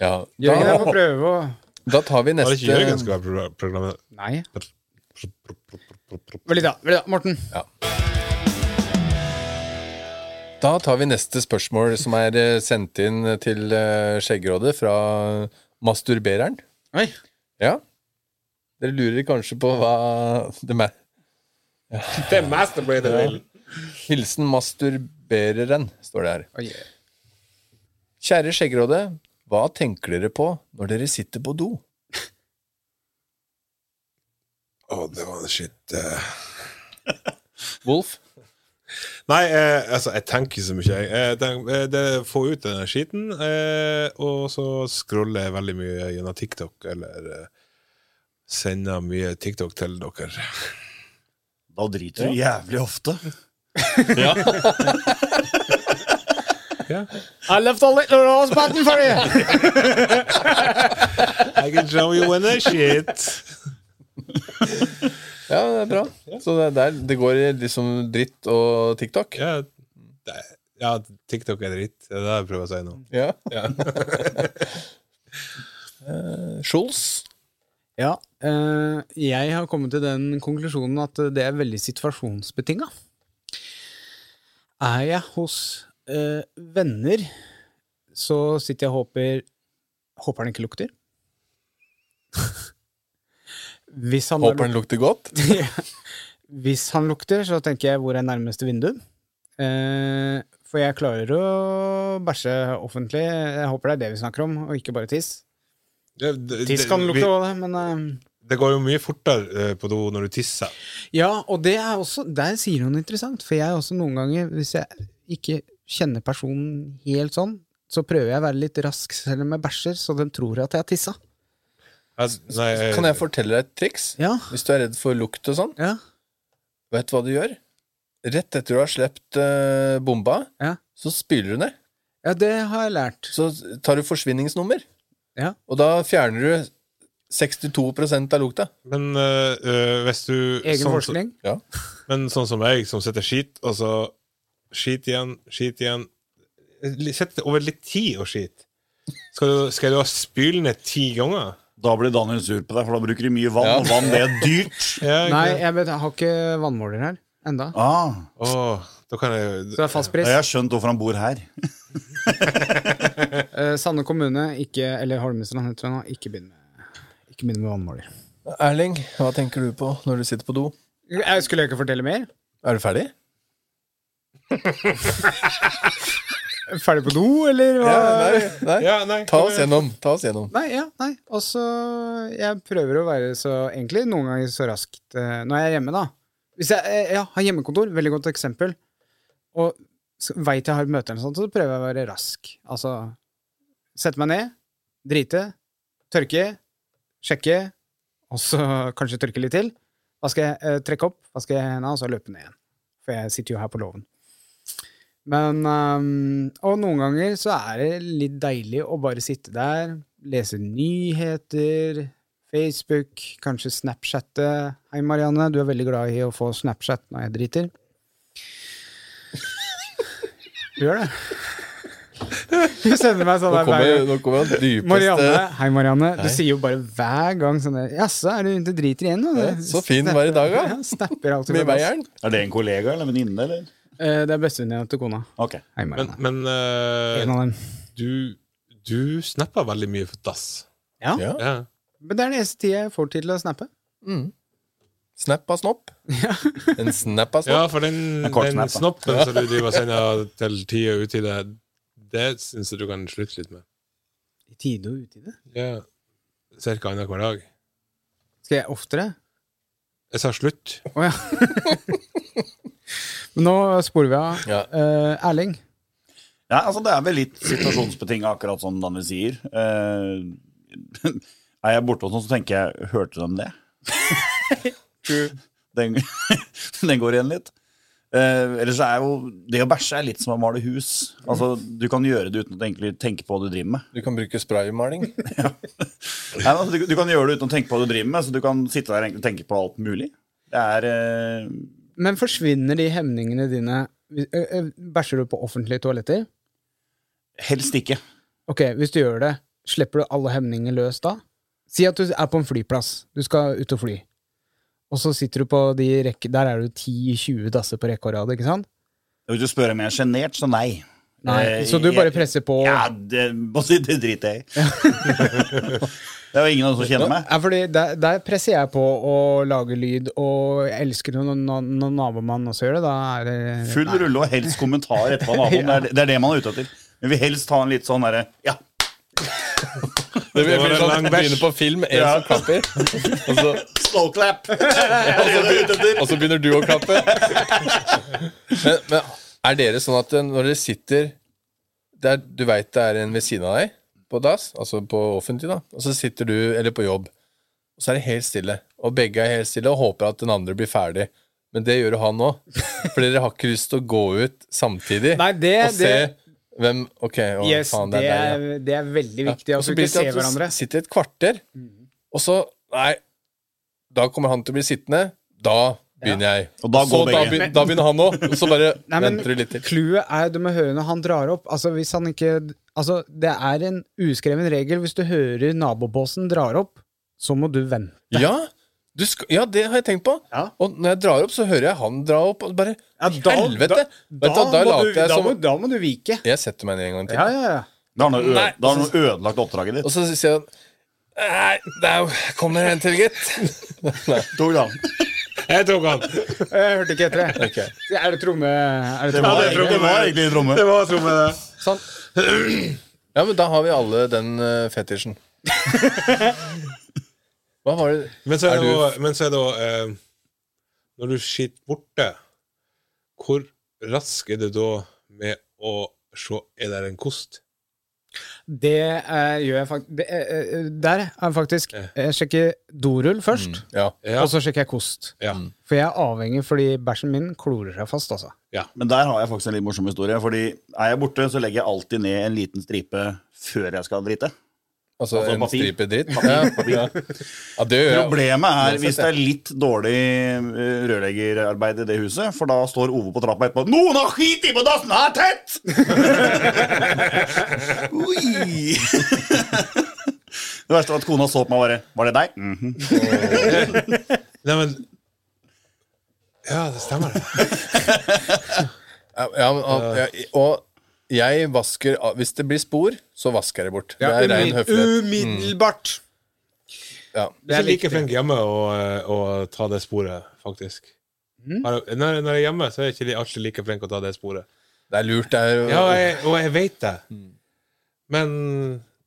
C: Ja.
B: Jørgen er
C: Da,
B: på prøve og
C: da tar vi
D: var det ikke Jørgen
C: neste
D: som var pro- programmet?
B: Nei. Veldig da, veldig da. Morten.
C: Da tar vi neste spørsmål, som er eh, sendt inn til eh, Skjeggrådet fra masturbereren.
B: Oi.
C: Ja. Dere lurer kanskje på hva det er.
D: Det er masterbrader, Will.
C: Hilsen masturbereren, står det her.
B: Oi.
C: Kjære Skjeggråde, hva tenker dere på når dere sitter på do?
D: Å, det var en shit eh.
C: Wolf?
D: Nei, eh, altså, jeg tenker så mye. Jeg, jeg tenk- eh, det er å få ut den skiten, eh, og så scroller jeg veldig mye gjennom TikTok, eller eh, sender mye TikTok til dere.
E: Da driter du jævlig ofte.
B: I left a little rose button for you!
D: I can show you when I shit.
C: Ja, det er bra. Så det, er der, det går i liksom dritt og TikTok?
D: Ja, det, ja, TikTok er dritt. Det er det jeg prøver å si nå.
C: Ja. Eh, Scholz?
B: Ja, eh, jeg har kommet til den konklusjonen at eh, det er veldig situasjonsbetinga. Er jeg hos eh, venner, så sitter jeg og håper Håper han ikke lukter. Hvis han,
C: Håper
B: er,
C: den lukter godt.
B: hvis han lukter, så tenker jeg hvor er nærmeste vindu? Eh, for jeg klarer å bæsje offentlig. Jeg håper det er det vi snakker om, og ikke bare tiss.
D: Det- det-
B: Tiss kan
D: det-
B: lukte òg, det, men eh,
D: vi- Det går jo mye fortere eh, på do når du tisser.
B: Ja, og det er også, der sier hun interessant, for jeg er også noen ganger, hvis jeg ikke kjenner personen helt sånn, så prøver jeg å være litt rask selv om jeg bæsjer, så de tror at jeg har tissa.
D: Jeg, Altså, nei, eh, jeg,
C: Kan jeg fortelle deg et triks?
B: Ja,
C: Hvis du er redd for lukt og sånn,
B: ja,
C: vet du hva du gjør? Rett etter du har sluppet eh, bomba,
B: Ja.
C: så spyler du ned.
B: ja, det har jeg lært.
C: Så tar du forsvinningsnummer,
B: Ja.
C: og da fjerner du 62 av lukta.
D: Men eh, eh, hvis du
B: Egen
D: sånn-
B: forskning.
D: Men sånn som jeg, som setter skit, og så skit igjen, skit igjen Eh, Li- Sett det over litt tid og skit. Skal du, skal du ha spyle ned ti ganger?
E: Da blir Daniel sur på deg, for da bruker de mye vann,
C: Ja.
E: og vann det er dyrt.
D: Ja, ikke
B: Nei,
D: sant?
B: jeg, vet, jeg har ikke vannmåler her enda.
E: Ah,
D: Åh, da kan jeg
B: Så det er fastpris.
E: ja, jeg har skjønt hvorfor han bor her.
B: Eh, Sande kommune, ikke, eller Holmestrand, heter det nå, ikke begynn med, ikke begynn med vannmåler.
C: Erling, hva tenker du på når du sitter på do?
B: Jeg skulle jeg ikke fortelle mer?
C: Er du ferdig?
B: Ferdig på do, eller hva?
C: nei, nei.
D: Ja, nei,
C: Ta
D: kom
C: oss
D: igjen.
C: gjennom. Ta oss gjennom.
B: Nei, ja, nei. Og så Jeg prøver å være så egentlig noen ganger så raskt eh, når jeg er hjemme, da. Hvis jeg eh, ja, har hjemmekontor, veldig godt eksempel, og s- veit jeg har et møte eller noe sånt, så prøver jeg å være rask. Altså sette meg ned, drite, tørke, sjekke, og så kanskje tørke litt til. Da skal jeg eh, trekke opp, da skal jeg hendene, og så løpe ned igjen. For jeg sitter jo her på låven. Men ehm, Og noen ganger så er det litt deilig å bare sitte der, lese nyheter, Facebook, kanskje Snapchatte. Hei, Marianne, du er veldig glad i å få Snapchat når jeg driter. Du gjør det. Du sender meg sånn der
C: Nå
B: hver
C: kommer,
B: gang.
C: nå kommer han dypeste
B: Marianne, hei Marianne.
C: Hei.
B: Du sier jo bare hver gang sånn der, Jaså, er du ute og driter igjen? nå?»
C: Ja,
B: Det
C: så fin hver dag, da.
B: Ja, snapper alltid
C: med
B: fra dass.
C: veieren.
E: Er det en kollega eller venninne, eller?
B: Eh, Det er bestevenninna til kona.
E: Ok.
B: Hei,
D: Men,
B: Marianne.
D: men eh,
B: en av dem.
D: du, du snapper veldig mye for dass.
B: Ja.
C: Ja.
D: Ja.
B: Men det er den eneste tida jeg får til å snappe.
C: Mm. Snap av snopp. En snap av
D: ja,
C: snopp.
D: for den,
E: En kort
D: den
E: snap, da.
D: snoppen som du driver og sender til tida uti det, det syns jeg du kan slutte litt med.
B: I tide og utide.
D: Ja. Cirka annenhver dag.
B: Skal jeg oftere?
D: Jeg sa slutt.
B: Å ja. Men nå sporer vi av.
C: Ja.
B: Eh, Erling,
E: Ja, altså det er vel litt situasjonsbetinget, akkurat som Danne sier. Eh, er sånn, jeg borte hos noen, så tenker jeg Hørte de det? Den, den går igjen litt. Eh, ellers er jo det å bæsje er litt som å male hus. Altså, Du kan gjøre det uten å egentlig tenke på hva du driver med.
C: Du kan bruke spraymaling.
E: Nei, men altså, du, du kan gjøre det uten å tenke på hva du driver med, så du kan sitte der og egentlig tenke på alt mulig. Det er eh,
B: Men forsvinner de hemningene dine hvis- ø, ø, Bæsjer du på offentlige toaletter?
E: helst ikke.
B: Ok, Hvis du gjør det, slipper du alle hemninger løs da? Si at du er på en flyplass. Du skal ut og fly. Og så sitter du på de rekke... Der er det jo 10-20 dasser på rekke og rad, ikke sant?
E: Hvis du spør om jeg er sjenert, så nei.
B: Nei,
E: Eh,
B: Så du bare presser på?
E: Ja, det, må si, det driter jeg i. det er jo ingen av dem som kjenner meg.
B: Ja, fordi der, der presser jeg på å lage lyd, og jeg elsker det når, når, når nabomannen også gjør det. Da er det
E: Full rulle og helst kommentar etterpå av naboen. Det, er, det er det man er ute etter. Men vi helst ha en litt sånn derre Ja,
C: Det blir
D: Det var en
C: sånn,
D: lang
C: begynner
D: bæsj.
C: på film, en
E: Ja.
C: som klapper, og så,
E: slow clap! Det er det vi er ute etter.
C: og så begynner du å klappe. Men, men er dere sånn at eh, når dere sitter der Du veit det er en ved siden av deg på dass, altså på offentlig, da, og så sitter du, eller på jobb, og så er det helt stille. Og begge er helt stille og håper at den andre blir ferdig. Men det gjør jo han òg. For dere har ikke lyst til å gå ut samtidig
B: Nei, det,
C: og se
B: det,
C: hvem Ok, å,
B: yes,
C: faen,
B: det,
C: det er deg. Ja.
B: er, det er veldig
C: Ja,
B: viktig
C: og
B: at
C: så
B: vi ikke
C: blir det til
B: ser
C: at du
B: hverandre. Mm.
C: Sitter et kvarter, og så Nei, da kommer han til å bli sittende. Da begynner jeg.
E: Og da
C: så
E: går
C: da
E: begge.
C: begynner, da begynner han òg, og så bare
B: Nei, men
C: venter du litt til.
B: Clouet er du må høre når han drar opp. Altså, hvis han ikke Altså, det er en uskreven regel. Hvis du hører nabobåsen drar opp, så må du vente.
C: Ja, du skal, ja, det har jeg tenkt på.
B: Ja.
C: Og når jeg drar opp, så hører jeg han dra opp, og bare Helvete!
B: Da,
C: Vet du hva, da
B: må
C: later
B: du, da,
C: jeg som-
B: må, da må du vike.
C: Jeg setter meg ned en gang til.
B: Ja, ja, ja.
E: Da har noe øde-
C: Nei.
E: da har noe ødelagt oppdraget ditt.
C: Og så sier han Nei, der kommer en til, gitt.
E: Tok da.
D: Jeg tok han!
B: Jeg hørte ikke etter det.
C: Ok.
B: Er det tromme... Er det
E: Det
B: tromme?
E: var,
D: det er
E: egentlig- det var egentlig tromme.
D: Det var som eh,
C: Sånn. Ja, men da har vi alle den eh, fetisjen. Hva var det
D: Men så
C: Er
D: er
C: du-
D: det også- men så er det også, eh, Når du sitter borte, hvor rask er du da med å se Er det en kost?
B: Det eh, gjør jeg faktisk Der er faktisk
D: Ja.
B: Jeg sjekker dorull først,
C: Mm. Ja.
D: Ja.
B: og så sjekker jeg kost.
D: ja.
E: Mm.
B: For jeg er avhengig fordi bæsjen min klorer seg fast, altså.
E: Men der har jeg faktisk en litt morsom historie. Fordi er jeg borte, så legger jeg alltid ned en liten stripe før jeg skal drite.
C: Altså,
E: Altså,
C: en
E: papir.
C: stripe dritt? Ja. Ja. ja, det gjør jeg.
E: Problemet er
C: Det er
E: hvis det
C: sant,
E: er litt dårlig eh, rørleggerarbeid i det huset, for da står Ove på trappa etterpå 'Noen har skiti på dassen her, tett!' Oi. det verste var at kona så på meg og bare 'Var det deg?' Mhm.
D: Nei, men Ja, det stemmer. det.
C: Ja, ja, men, og- ja, og jeg vasker ah, Hvis det blir spor, så vasker jeg det bort. Det er rein høflighet. Mm.
B: umiddelbart.
C: Ja.
D: Jeg er like
B: riktig.
D: flink hjemme å, eh, å ta det sporet, faktisk.
E: Mm.
D: Har- Når, når jeg er hjemme, så er jeg ikke alltid like flink å ta det sporet.
C: Det er lurt, det er jo
D: Ja, og jeg, og jeg vet det.
E: Mm.
D: Men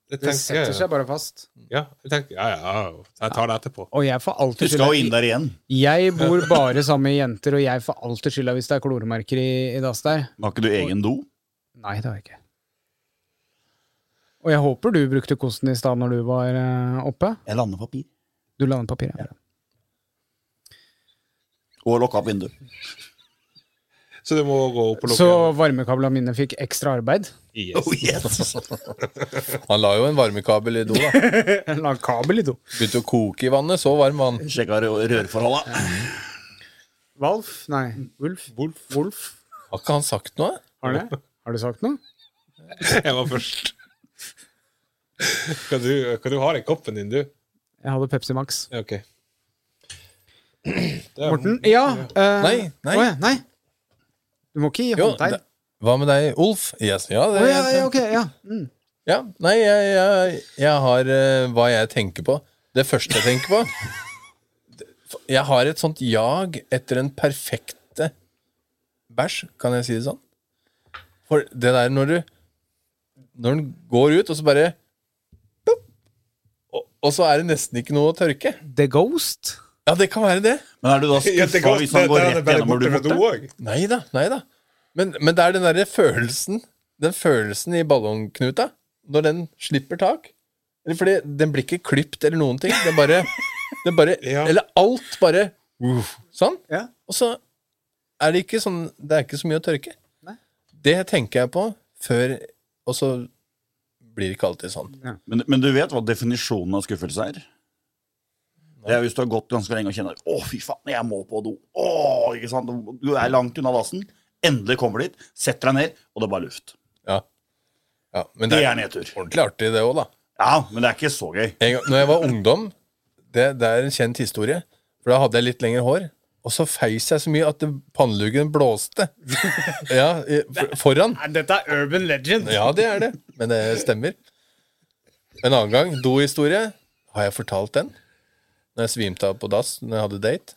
D: jeg
B: Det
D: tenker,
B: setter seg bare fast.
D: ja, jeg tenker ja, ja, jeg tar det etterpå.
B: Og jeg får
E: Du
B: alltid
E: skal jo inn
B: skylda.
E: der igjen.
B: Jeg bor bare sammen med jenter, og jeg får alltid skylda hvis det er kloremerker i, i dass der.
E: Har ikke du egen do?
B: Nei, det har jeg ikke. Og jeg håper du brukte kosten i stad når du var eh, oppe.
E: Jeg lander papir.
B: Du landet papiret.
E: Og lokka opp vinduet.
D: Så du må gå opp og lukke
B: Så
D: igjen.
B: varmekablene mine fikk ekstra arbeid.
D: Yes.
E: Oh, yes.
C: Han la jo en varmekabel i do, da.
B: En lang kabel i do.
C: Begynte å koke i vannet, så varm vann.
E: Sjekka rø- rørforholda.
B: Valf? Nei, Ulf? Wolf?
C: Har ikke han sagt noe?
B: Har, det? har du sagt noe?
D: Jeg var først. Hva du, hva du har i koppen din, du?
B: Jeg hadde Pepsi Max.
D: Ja, OK. Det er-
B: Morten? Ja. eh,
C: Nei, nei.
B: å ja, nei. Du må ikke gi
C: Jo,
B: håndtegn.
C: det- hva med deg, Olf? Yes, ja, det,
B: Å ja, ja, ok, ja. Mm.
C: Ja, nei, jeg, jeg, jeg har eh, hva jeg tenker på. Det første jeg tenker på Det- Jeg har et sånt jag etter den perfekte bæsj, kan jeg si det sånn? For det der når du Når den går ut, og så bare plopp, og, og så er det nesten ikke noe å tørke.
B: The Ghost?
C: Ja, det kan være det.
E: Men er du da
D: Ja, det
E: skuffa
D: går-
E: hvis han
D: det-
E: går
D: det er
E: rett
D: bare
E: gjennom og
D: borte
E: du er
D: fra do
E: borte?
D: også.
C: Nei da, nei da. Men, men det er den derre følelsen Den følelsen i ballongknuta når den slipper tak. Eller Fordi den blir ikke klipt eller noen ting. Den bare Det bare,
D: Ja.
C: Eller alt bare uff, Sånn.
B: Ja.
C: Og så er det ikke sånn Det er ikke så mye å tørke.
B: Nei.
C: Det tenker jeg på før Og så blir det ikke alltid sånn.
E: Men, men du vet hva definisjonen av skuffelse er? Det er hvis du har gått ganske lenge og kjenner Å, fy faen, jeg må på do. Å, ikke sant? Du er langt unna dassen. Endelig kommer du dit, setter deg ned, og det er bare luft.
C: Ja. Ja, men
E: Det er nedtur.
C: ordentlig artig, det òg, da.
E: Ja, men det er ikke så gøy.
C: En gang, når jeg var ungdom, det, det er en kjent historie, for da hadde jeg litt lengre hår, og så feis jeg så mye at det- panneluggen blåste. Ja, i- for- foran.
B: Nei, Dette er urban legend.
C: Ja, det er det, men det stemmer. En annen gang, dohistorie. Har jeg fortalt den? Når jeg svimte av på dass når jeg hadde date.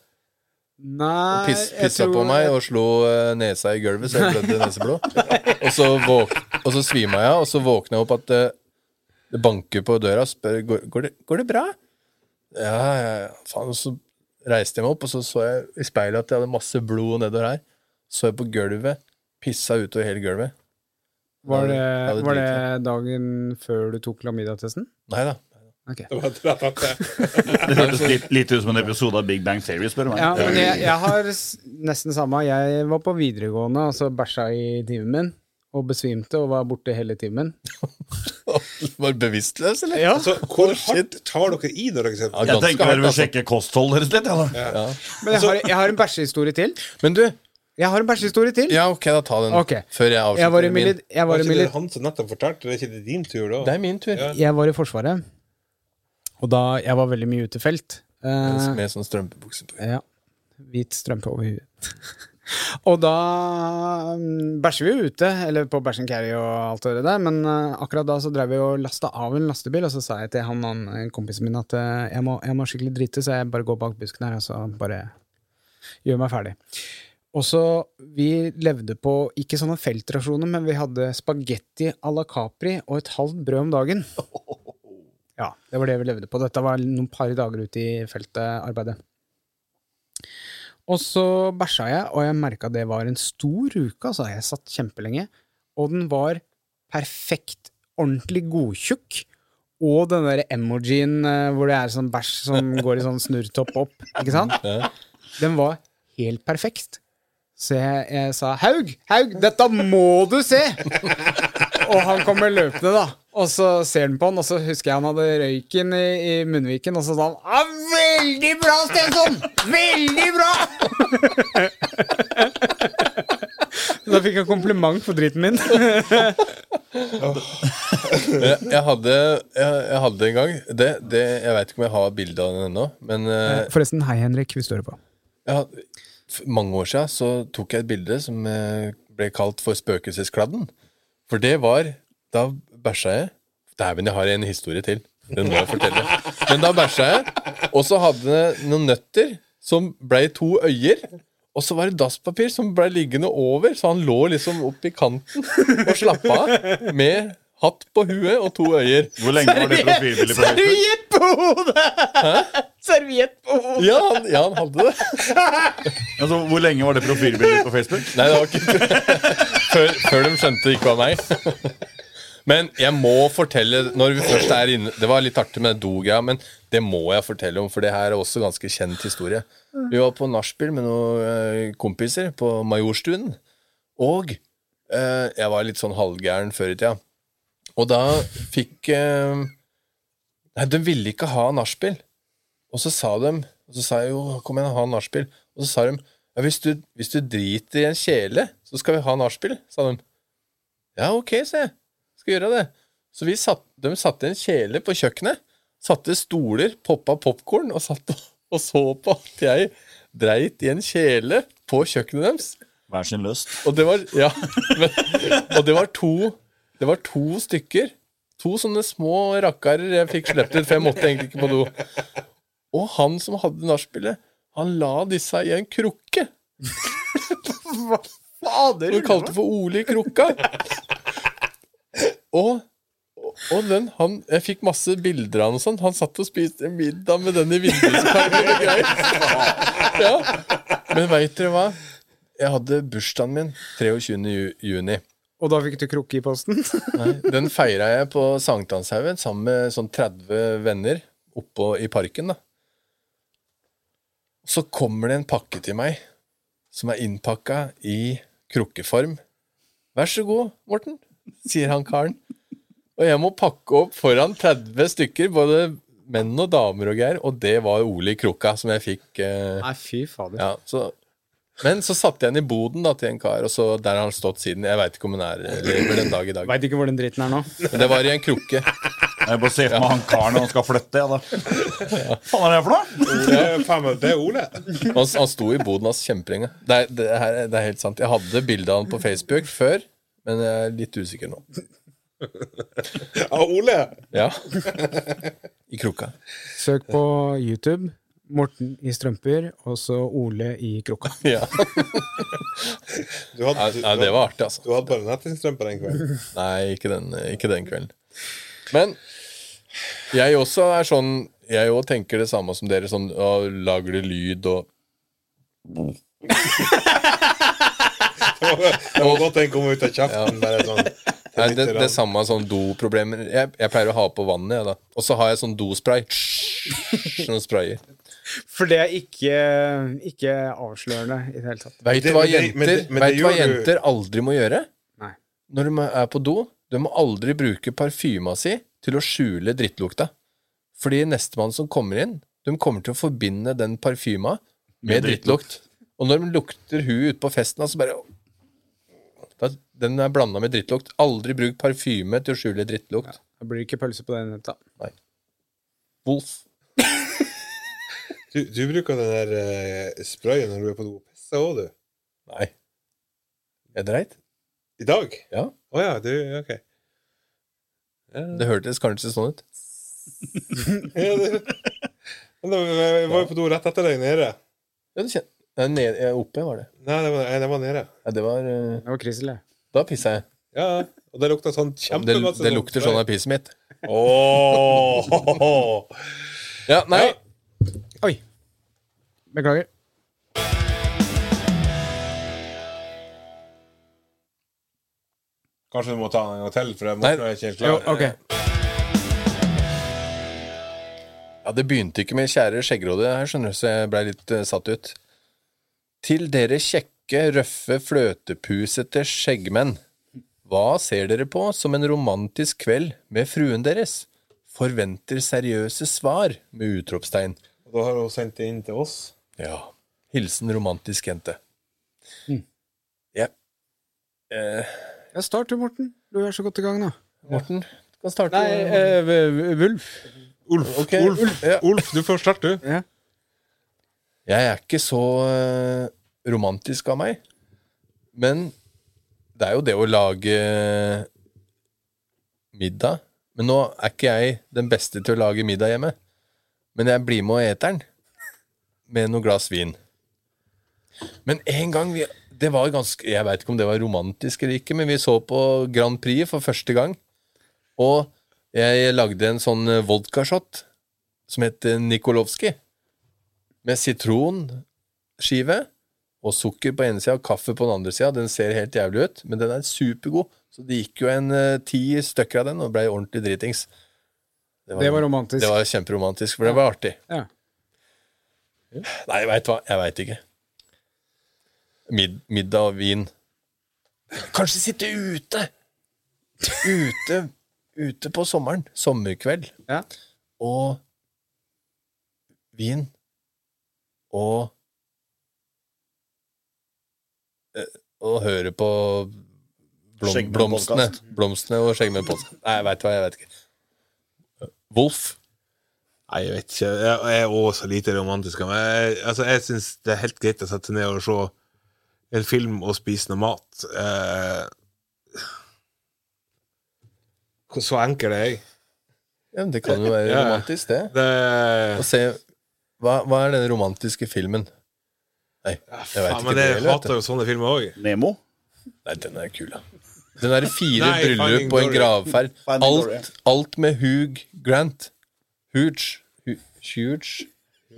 B: Nei,
C: Piss,
B: jeg
C: pissa
B: tror-
C: på meg og slo eh, nesa i gulvet, så jeg blødde neseblod. Og så, våk, og så svima jeg, og så våkna jeg opp at eh, det banker på døra og spør går, går, det, går det bra. Ja, ja, ja, faen. Og så reiste jeg meg opp, og så så jeg i speilet at jeg hadde masse blod nedover her. Så jeg på gulvet, pissa utover hele gulvet.
B: Var
C: Ja,
B: det,
C: det
B: var
C: driter
B: det dagen før du tok klamydia-testen?
C: Nei da.
B: Ok.
D: Det var det jeg tenkte.
E: Det hørtes litt, litt ut som en episode av Big Bang Theory, spør du meg.
B: Ja, men jeg, jeg har s- nesten samme. Jeg var på videregående, og så bæsja i timen min. Og besvimte og var borte hele timen.
C: Var du bevisstløs, eller?
D: Altså, hvor hardt tar dere i når dere
C: Ja,
D: ser på?
E: Jeg
C: ganske
E: tenker dere
C: hardt,
E: vil
C: altså.
E: sjekke kostholdet deres litt. Ja, da.
B: Men jeg har, jeg har en bæsjehistorie til.
C: Men du,
B: Jeg har en bæsjehistorie til.
C: ja, ok, da ta den
B: Ok.
C: før jeg
B: Jeg var i,
C: avslutter min.
B: mili- jeg var
D: Var
B: i
D: ikke
B: mili-
D: det han som nettopp fortalte? Det er ikke det din tur, da?
C: Det er min tur.
D: Ja.
B: Jeg var i Forsvaret, og da jeg var veldig mye ute i felt. Eh,
C: Med sånn strømpebukse på.
B: ja. Hvit strømpe over huet. og da mm, bæsjer vi jo ute, eller på bæsjen carry og alt det der, men eh, akkurat da så drev vi og lasta av en lastebil, og så sa jeg til han, han eh, kompisen min at eh, jeg, må, jeg må skikkelig drite, så jeg bare går bak busken her, og så bare gjør meg ferdig. Og så, Vi levde på ikke sånne feltrasjoner, men vi hadde spagetti à la Capri og et halvt brød om dagen. Ja, det var det vi levde på. Dette var noen par dager ute i feltet arbeidet. Og så bæsja jeg, og jeg merka det var en stor uke. Altså. Jeg satt kjempelenge, og den var perfekt, ordentlig godtjukk. Og den der emojien eh, hvor det er sånn bæsj som går i sånn snurrtopp opp. Ikke sant?
C: Ja.
B: Den var helt perfekt. Så jeg, jeg sa 'Haug, Haug, dette må du se!' og han kommer løpende, da. Og så ser han på han, og så husker jeg han hadde røyken i, i munnviken, og så sa han ah, 'Veldig bra, Stensson! Veldig bra!' da fikk jeg kompliment for driten min.
C: Jeg, jeg, hadde, jeg, jeg hadde en gang det, det, Jeg veit ikke om jeg har bilde av den ennå, men eh,
B: Forresten, hei, Henrik, hvis du hører på.
C: jeg, had- for mange år siden så tok jeg et bilde som eh, ble kalt for Spøkelseskladden. For det var Da bæsja jeg Dæven, jeg har en historie til. Den må jeg fortelle. Men da bæsja jeg, og så hadde jeg noen nøtter som blei to øyer. Og så var det dasspapir som blei liggende over, så han lå liksom opp i kanten og slappa av med hatt på huet og to øyer.
E: Hvor lenge var det profilbildet på Facebook?
B: Serviett på hodet! Serviett på hodet!
C: Ja, han, ja, han hadde det.
E: Altså, hvor lenge var det profilbildet på Facebook?
C: Nei, det var ikke før, før de skjønte det ikke var meg. Men jeg må fortelle når vi først er inne Det var litt artig med Doga, men det må jeg fortelle om, for det her er også ganske kjent historie. Vi var på nachspiel med noen eh, kompiser på Majorstuen, og eh, jeg var litt sånn halvgæren før i tida. Og da fikk eh, Nei, de ville ikke ha nachspiel. Og så sa de Og så sa jeg jo Kom igjen, ha nachspiel. Og så sa de ja, hvis, du, hvis du driter i en kjele, så skal vi ha nachspiel, sa de. Ja, ok, sa jeg. Skal gjøre det. Så vi satt, de satte en kjele på kjøkkenet, satte stoler, poppa popkorn og satt og, og så på at jeg dreit i en kjele på kjøkkenet deres.
E: Hver sin løst.
C: Og det var Ja. Men, og det var to Det var to stykker. To sånne små rakkarer jeg fikk sluppet ut, for jeg måtte egentlig ikke på do. Og han som hadde nachspielet, han la disse i en krukke.
B: Fader!
C: Hun kalte for Ole i krukka. Og, og den, han, jeg fikk masse bilder av han og sånn. Han satt og spiste middag med den i vinduskarmen og greier. Ja. Men veit dere hva? Jeg hadde bursdagen min 23. ju- juni.
B: Og da fikk du krukke i posten?
C: Nei, den feira jeg på Sankthanshaugen sammen med sånn 30 venner oppå i parken. da Så kommer det en pakke til meg som er innpakka i krukkeform. Vær så god, Morten, sier han karen. Og jeg må pakke opp foran 30 stykker, både menn og damer og greier, og det var Ole i krukka som jeg fikk. Eh,
B: Nei, fy fader.
C: ja, så. Men så satte jeg den i boden da, til en kar, og så der har han stått siden. Jeg veit ikke om hun er lever den dag i dag.
B: Veit ikke hvor den dritten er nå.
C: Men det var i en krukke.
E: Jeg bare ser for meg han karen når han skal flytte. Ja, da. Faen er det for noe?
D: Det er, faen meg, det er Ole.
C: Han, han sto i boden hans kjempelenge. Det, er- det, her- det er helt sant. Jeg hadde bildet av han på Facebook før, men jeg er litt usikker nå.
D: Ja, Ole!
C: Ja. I krukka.
B: Søk på YouTube. Morten i strømper, og så Ole i krukka.
C: Ja.
D: Du hadde, du,
C: Nei, det var artig, altså.
D: du hadde bare nettingstrømpe den kvelden.
C: Nei, ikke den, ikke den kvelden. Men jeg også er sånn Jeg òg tenker det samme som dere. Sånn, å, lager du lyd og
D: Det var, det var godt den kom ut av kjeften. Bare sånn
C: Nei, det, det er samme sånn doproblemer. Jeg, jeg pleier å ha på vannet, jeg, da. Og så har jeg sånn dospray. Sånn sprayer.
B: For det er ikke, ikke avslørende i det hele tatt.
C: Veit du
D: Det-
C: hva
D: men det- men
C: jenter,
D: det- men det
C: vet du hva
D: gjør du-
C: jenter aldri må gjøre?
B: Nei.
C: Når de er på do, de må aldri bruke parfyma si til å skjule drittlukta. Fordi nestemann som kommer inn, de kommer til å forbinde den parfyma med
E: Med
C: drittlukt. Og når de lukter huet ute på festen, så bare da, Den er blanda med drittlukt. Aldri bruk parfyme til å skjule drittlukt.
B: Da blir det ikke pølse på den netta.
C: Wolf.
D: Du, du bruker den der eh, sprayen når du er på do og pisser òg, du.
C: Nei. Er det reit?
D: I dag?
C: Ja.
D: Å ja, du OK. Ja,
C: Det hørtes kanskje sånn ut.
D: ja, det- Men da- eh, Jeg var jo på do rett etter deg nede.
C: Ja, du kjen- Nei, ned, ja, oppe var det.
D: Nei, det var, nei, det var nede.
C: Ja, det var eh,
B: Det var Krisel, det.
C: Da pissa jeg.
D: Ja, og det lukta sånn
C: Det,
D: kjempemasse
C: det lukter sånn av pisset mitt.
D: Ååå!
C: Ja, nei.
D: Ja.
B: Oi. Beklager.
D: Kanskje du må ta den en gang til, for jeg må
C: Nei.
D: jeg er ikke helt
B: Jo,
D: klar.
B: ok.
C: Ja, Det begynte ikke med kjære skjeggråde her, skjønner du, så jeg blei litt eh, satt ut. Til dere kjekke, røffe, fløtepusete skjeggmenn. Hva ser dere på som en romantisk kveld med fruen deres? Forventer seriøse svar med utropstegn.
D: Og Da har hun sendt det inn til oss.
C: Ja. Hilsen romantisk jente. Ja. Eh,
B: Ja, start du, Morten. Du er så godt i gang nå.
C: Morten, du kan starte.
B: Nei, eh, Wulf.
D: Ulf,
C: Ok, Ulf, ja.
D: Ulf, du får starte, du.
C: Jeg er ikke så eh, romantisk av meg, men det er jo det å lage middag. Men nå er ikke jeg den beste til å lage middag hjemme, men jeg blir med og eter den med noe glass vin. Men en gang vi, det var ganske, Jeg veit ikke om det var romantisk eller ikke, men vi så på Grand Prix for første gang. Og jeg lagde en sånn vodkashot som het eh, Nikolovskij med sitronskive og sukker på ene sida og kaffe på den andre sida. Den ser helt jævlig ut, men den er supergod. Så det gikk jo en eh, ti stykker av den og blei ordentlig dritings.
B: Det var romantisk.
C: Det var kjemperomantisk, for det var artig.
B: Ja.
C: Nei, jeg veit hva. Jeg veit ikke. Mid middag og vin. Kanskje sitte ute! Ute Ute på sommeren. Sommerkveld.
B: Ja.
C: Og vin. Og eh, Og høre på blom,
E: Skjeggmenn
C: blomstene.
E: podcast.
C: Blomstene og skjeggmenn podcast. Nei, jeg veit hva. Jeg veit ikke. Wolf.
D: Nei, jeg vet ikke. Jeg jeg er også så lite romantisk. Men jeg, altså, jeg syns det er helt greit å sette seg ned og se en film og spise noe mat. Eh, hvor- så enkel er jeg.
C: Ja, men det kan jo være
D: Ja.
C: romantisk, det. Og
D: Det,
C: se hva, hva er den romantiske filmen? Nei, jeg veit
D: faen,
C: ikke
D: men
C: det.
D: jeg
C: eller, vet
D: hater
C: du.
D: jo sånne filmer òg.
E: Nemo?
C: Nei, den er kul, da. Den derre fire
D: Nei, Finding
C: bryllup og en
D: Dory.
C: gravferd.
E: Finding
C: Alt, alt med Hugh Grant. Huge. Hu- Huge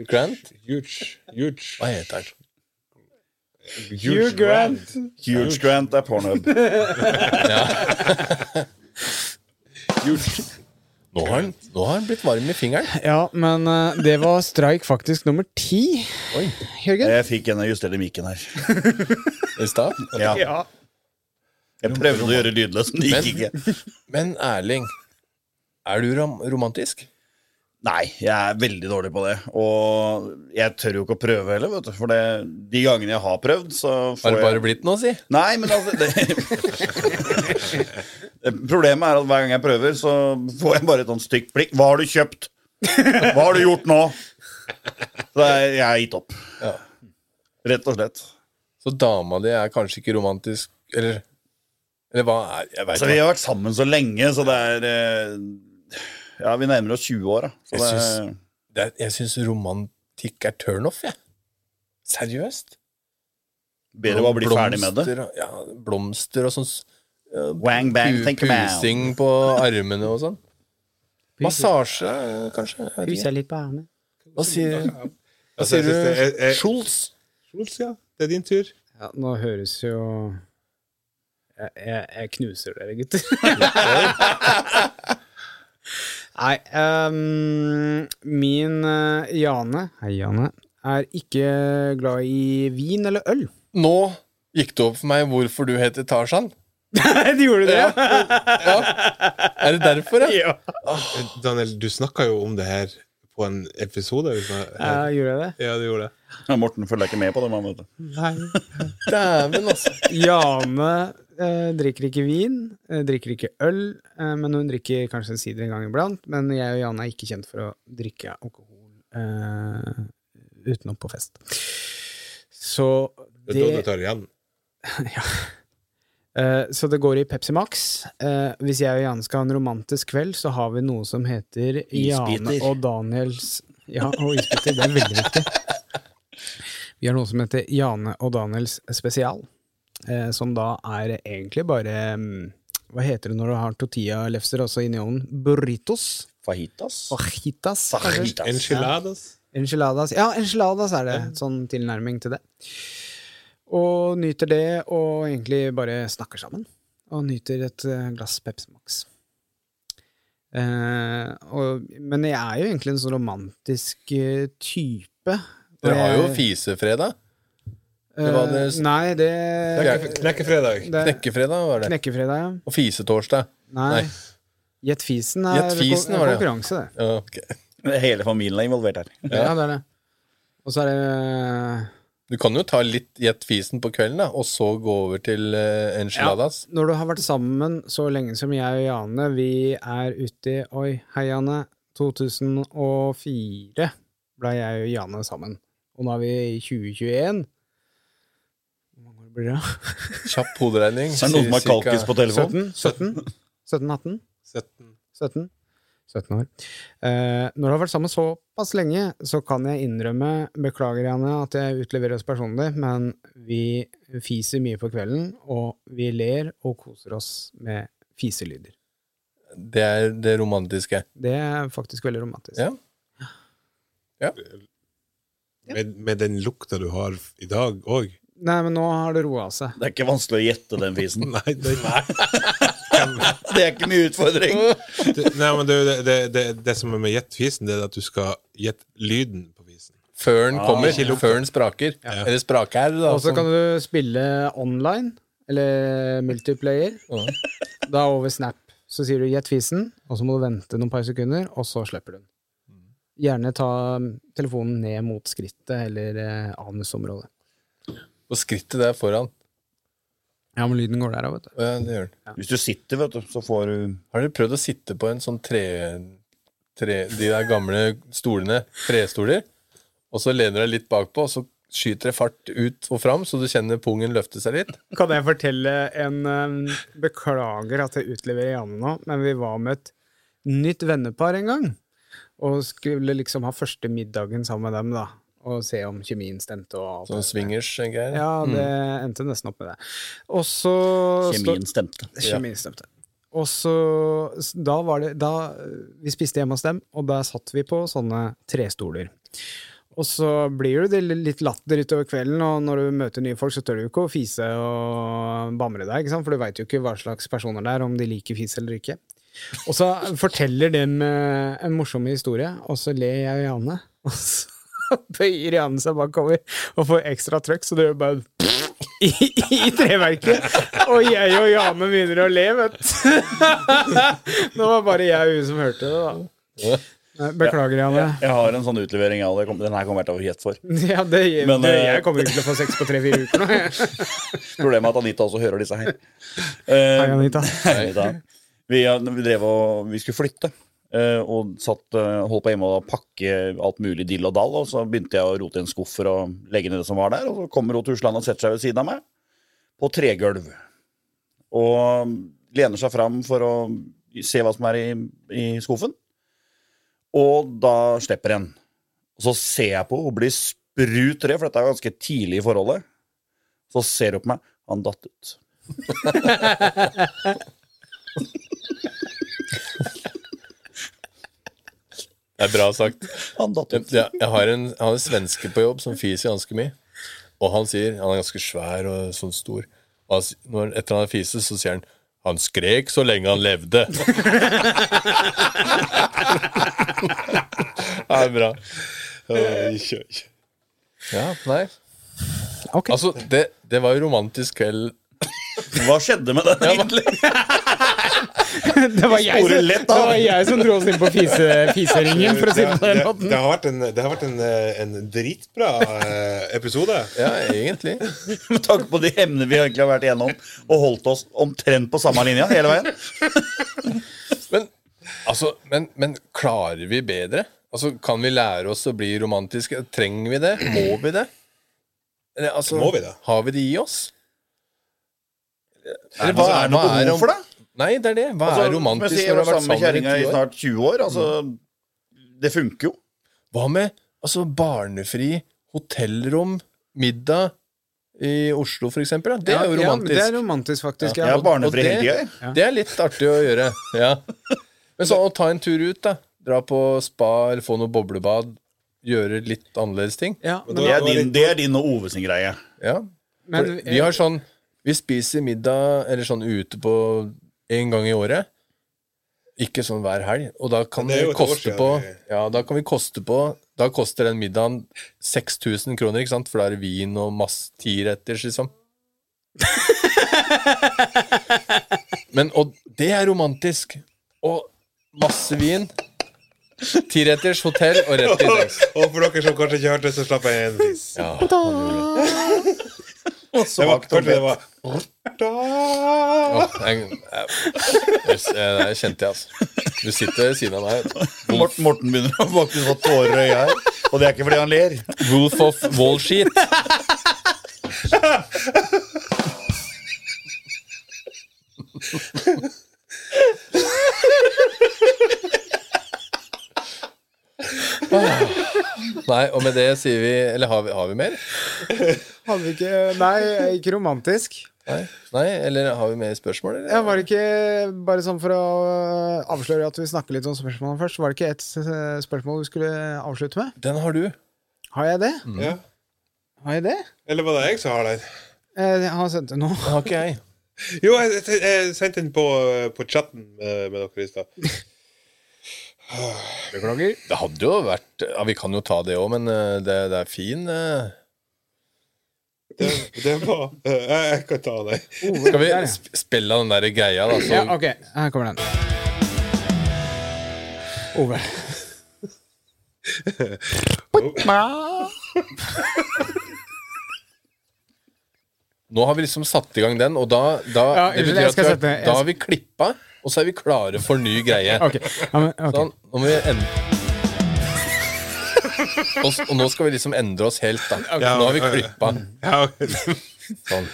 C: Grant?
D: Huge. Huge.
C: Hva heter han?
D: Huge Grant.
E: Huge Grant er pornhub.
C: Nå har han, nå har han litt varm i fingeren.
B: Ja, men eh, det var streik faktisk nummer ti,
C: Oi,
B: Jørgen.
E: Jeg fikk en justert i mikken her.
C: i stad.
E: Ja. Jeg prøvde å gjøre lydløs, men det gikk ikke.
C: Men Erling, er du rom romantisk?
E: Nei, jeg er veldig dårlig på det. Og jeg tør jo ikke å prøve heller, vet du. For det, de gangene jeg har prøvd, så
C: Har
E: får
C: det
E: jeg
C: bare blitt noe, si?
E: Nei, men altså det... Problemet er at hver gang jeg prøver, så får jeg bare et sånt stygt blikk. Hva har du kjøpt? Hva har du gjort nå? Så jeg jeg har gitt opp.
C: Ja.
E: Rett og slett.
C: Så dama di er kanskje ikke romantisk Eller, eller hva er Jeg veit
D: Altså,
E: Så vi
C: ikke.
E: har vært sammen så lenge, så det er eh, Ja, vi nærmer oss 20 år, da. Så
C: Jeg
E: det,
C: syns- Det er- Jeg syns romantikk er turnoff, jeg. Seriøst.
E: bedre bare å bli ferdig med det.
C: Blomster og- Ja, blomster og sånn s-
E: Wang bang,
C: pu-
E: thank you, man.
C: pusing på armene og sånn. Massasje, eh, kanskje? Jeg vet ikke.
B: litt på ærene.
C: Hva sier, hva
D: Altså,
C: sier
D: jeg synes det
C: du?
D: er- er-
C: Schultz?
D: Truls, ja. Det er din tur.
B: Ja, nå høres jo jeg, jeg, jeg knuser dere, gutter. Nei ehm, Min eh, Jane Hei, Jane. Er ikke glad i vin eller øl.
C: Nå gikk det opp for meg hvorfor du heter Tarzan.
B: Du gjorde det, ja?
C: Er det derfor, ja?
D: Daniel, du snakka jo om det her på en episode. hvis jeg-
B: ja gjorde jeg det?
D: Ja, du gjorde det.
E: Ja, Morten følger ikke med på det. Man, vet du.
C: Dæven, altså.
B: Jane eh, drikker ikke vin, eh, drikker ikke øl, eh, men hun drikker kanskje en sider en gang iblant. Men jeg og Jane er ikke kjent for å drikke alkohol eh, utenom på fest. Så
D: Det er da du
B: det,
D: tar igjen.
B: eh, så det går i Pepsi Max. Eh, hvis jeg og Jane skal ha en romantisk kveld, så har vi noe som heter Jane
E: Isbiter.
B: og Daniels Ja, og isbiter. Det er veldig viktig. Vi har noe som heter Jane og Daniels spesial. eh, som da er egentlig bare mm, Hva heter det når du har tortilla-lefser også inni ovnen? Burritos?
E: Fajitas?
B: Fajitas? kanskje?
E: Fajitas.
D: Enchiladas.
B: Enchiladas. Ja, enchiladas er det. Sånn tilnærming til det. Og nyter det, og egentlig bare snakker sammen. Og nyter et eh, glass Pepsi Max. Eh, og, men jeg er jo egentlig en sånn romantisk eh, type.
C: Dere har jo
B: Og jeg-
C: fisefredag. det var det-
B: Eh, Nei, det,
C: Knekke-
D: Knekkefredag.
B: det
C: Knekkefredag var det.
B: Knekkefredag, ja.
C: Og fisetorsdag.
B: Nei.
C: Nei.
B: Gjett fisen er
C: Gjett fisen
B: kon-
C: var det, ja.
B: konkurranse, det.
C: Ja, ok.
E: Hele familien er involvert her.
B: Ja. det er det. Og så er det
C: Du kan jo ta litt gjett fisen på kvelden, da, og så gå over til eh, enchiladas.
B: Når du har vært sammen så lenge som jeg og Jane, vi er ute i Oi, hei, Jane. 2004 ble jeg og Jane sammen. Og nå er vi i 2021. Hvor mange år blir det? da?
C: Kjapp hoderegning.
E: Så er det noen som har
C: Cirka-
E: kalkis på telefonen.
B: 17? 17? 17 18?
D: 17.
B: 17? 17 år. Eh, når du har vært sammen såpass lenge, så kan jeg innrømme, beklager Janne, at jeg utleverer oss personlig, men vi fiser mye på kvelden, og vi ler og koser oss med fiselyder.
C: Det er det romantiske.
B: Det er faktisk veldig romantisk.
C: Ja.
D: Med, med den lukta du har i dag òg.
B: Nei, men nå har det roa seg.
E: Det er ikke vanskelig å gjette den fisen.
D: Nei, det,
E: Det er ikke mye utfordring.
D: det, nei, men det, det, det, det, det som er med gjett fisen, det er at du skal gjette lyden på fisen.
C: Før
E: Ah,
C: den kommer.
D: ikke lukten.
C: Før den spraker. Eller spraker, da.
B: Og så
C: som-
B: kan du spille online, eller multiplayer.
C: Ja.
B: Da over Snap. Så sier du 'gjett fisen', og så må du vente noen par sekunder, og så slipper du den. Gjerne ta telefonen ned mot skrittet eller eh, anusområdet.
C: Og skrittet der foran.
B: Ja, men lyden går der òg, vet du.
C: Ja, det gjør den.
E: Hvis du sitter, vet du, så får du
C: Har dere prøvd å sitte på en sånn tre, tre De der gamle stolene, trestoler, og så lener deg litt bakpå, og så skyter det fart ut og fram, så du kjenner pungen løfte seg litt?
B: Kan jeg fortelle en em, Beklager at jeg utleverer Janne nå, men vi var med et nytt vennepar en gang. Og skulle liksom ha første middagen sammen med dem, da. Og se om kjemien stemte og alt.
C: Sånn
B: det der.
C: swingers-greier.
B: Ja, det endte nesten opp med det. Og så stå-
E: Kjemien stemte.
B: Kjemien stemte. Og så s- Da var det da, eh, Vi spiste hjemme hos dem, og der satt vi på sånne trestoler. Og så blir det litt latter utover kvelden, og når du møter nye folk, så tør du ikke å fise og bamre deg, ikke sant? for du veit jo ikke hva slags personer det er, om de liker fis eller ikke. Og så forteller de eh, en morsom historie, og så ler jeg og Janne. Og så bøyer Janne seg bakover og får ekstra trøkk, så det gjør bare i, i treverket. Og jeg og Jane begynner å le, vet du. Nå var bare jeg og hun som hørte det, da. Nei, Beklager, Janne.
E: Jeg har en sånn utlevering av det. Den her kommer jeg til å få kjeft for.
B: Ja, det,
E: Men,
B: det,
E: eh,
B: jeg kommer ikke til å få sex på tre-fire uker nå. jeg.
E: Problemet er at Anita også hører disse her. Eh,
B: Hei, Anita.
E: hei, Anita. Vi, eh, vi drev og Vi skulle flytte. eh, og satt, eh, holdt på hjemme og pakke alt mulig dill og dall. Og så begynte jeg å rote i en skuff for å legge ned det som var der. Og så kommer hun tusland og setter seg ved siden av meg på tregulv. Og um, lener seg fram for å se hva som er i, i skuffen. Og da slipper en. Og så ser jeg på og blir sprut rød, for dette er jo ganske tidlig i forholdet. Så ser hun på meg. Han datt ut.
C: Det er bra sagt.
E: Han datt
C: Jeg,
E: ut.
C: jeg, jeg har en, jeg har en svenske på jobb som fiser ganske mye. Og han sier Han er ganske svær og sånn stor. Og han, s- når, etter han har fiset, så sier han han skrek så lenge han levde. det er bra. Ja, nei.
B: Ok.
C: Altså, det, det var jo romantisk kveld.
E: Hva skjedde med den egentlig?
B: Det var jeg
E: Store
B: som,
E: lett,
B: det
E: da.
B: var jeg som dro oss inn på fise, fiseringen, for å si det på den
D: det,
B: måten.
D: det har vært en, det har vært en, eh, en dritbra eh, episode.
C: Ja, egentlig.
E: Med tanke på de emnene vi egentlig har vært igjennom, og holdt oss omtrent på samme linja hele veien.
C: Men, altså, men, men klarer vi bedre? Altså, Kan vi lære oss å bli romantiske? Trenger vi det? Må vi det? Eller, altså,
D: Må vi det?
C: Har vi det i oss?
E: Nei, altså, er det noe
C: hva
E: behov for det?
C: Nei, det er det. Hva
E: Altså,
C: er romantisk
E: som jeg sier,
C: når du har
E: jeg var
C: vært
E: sammen med
C: sammen i
E: kjerringa
C: ti
E: i
C: år?
E: snart 20 år. Altså, det funker jo.
C: Hva med altså, barnefri, hotellrom, middag i Oslo, for eksempel? Da? Det er
B: Ja,
C: jo
B: men
C: romantisk.
B: det er romantisk, faktisk.
E: Jeg
B: Ja.
E: er barnefri
C: og
E: hele
C: det-
E: tida, jeg.
C: Det er litt artig å gjøre. Ja. Men sånn å ta en tur ut, da. Dra på spa eller få noe boblebad. Gjøre litt annerledes ting.
B: Ja, men,
E: Det er din, det er din og Ove sin greie.
C: Ja.
B: men,
C: For vi har sånn Vi spiser middag eller sånn ute på en gang i året. Ikke sånn hver helg. Og da kan
D: Det
C: vi
D: er jo et år
C: koste
D: siden
C: på
D: vi-
C: Ja, da kan vi koste på Da koster den middagen 6000 kroner, ikke sant? For da er det vin og masse tiretters, liksom. Men og det er romantisk. Og masse vin. Tiretters, hotell og rett til sengs.
D: Og for dere som kanskje ikke hørte, så slapp jeg en fis.
C: Ja.
D: Det var, kanskje det var
C: Åh, jeg, jeg, jeg, jeg kjente jeg, altså. Du sitter ved siden av meg.
E: Morten, Morten begynner å faktisk få tårer i øya her. Og det er ikke fordi han ler.
C: Wolf of Wall Sheet. Nei, og med det sier vi Eller har vi, har vi mer?
B: hadde vi ikke Nei, ikke romantisk.
C: Nei? Nei, eller har vi mer spørsmål? Eller?
B: Ja, var det ikke bare sånn for å eh, avsløre at vi snakker litt om spørsmålene først, var det ikke ett eh, spørsmål du skulle avslutte med?
C: Den har du.
B: Har jeg det?
D: ja.
B: Har jeg det?
D: Eller var det jeg som har den?
B: Eh, Jeg har sendt det nå.
C: Den har ikke jeg.
D: Jo, jeg, jeg, jeg sendte den på, eh, på chatten med, med dere i stad.
B: Beklager.
C: Det hadde jo vært Ja, vi kan jo ta det òg, men eh, det, det er fin eh.
D: Det, det var eh, jeg, jeg kan ta den.
C: Skal vi
B: Der, ja.
C: sp- spille av den der greia, da? Så
B: Ja, ok. Her kommer den. Ove.
C: Nå har vi liksom satt i gang den, og da, da
B: Ja,
C: det
B: unnskyld,
C: betyr
B: jeg
C: at vi,
B: skal
C: har-
B: sette- jeg
C: Da
B: skal-
C: har vi klippa, og så er vi klare for ny greie.
B: Ok. Ja, men, ok.
C: Sånn, nå må vi endre og, s- og nå skal vi liksom endre oss helt, da. Nå har vi klippa.
D: Ja, ok.
C: Sånn.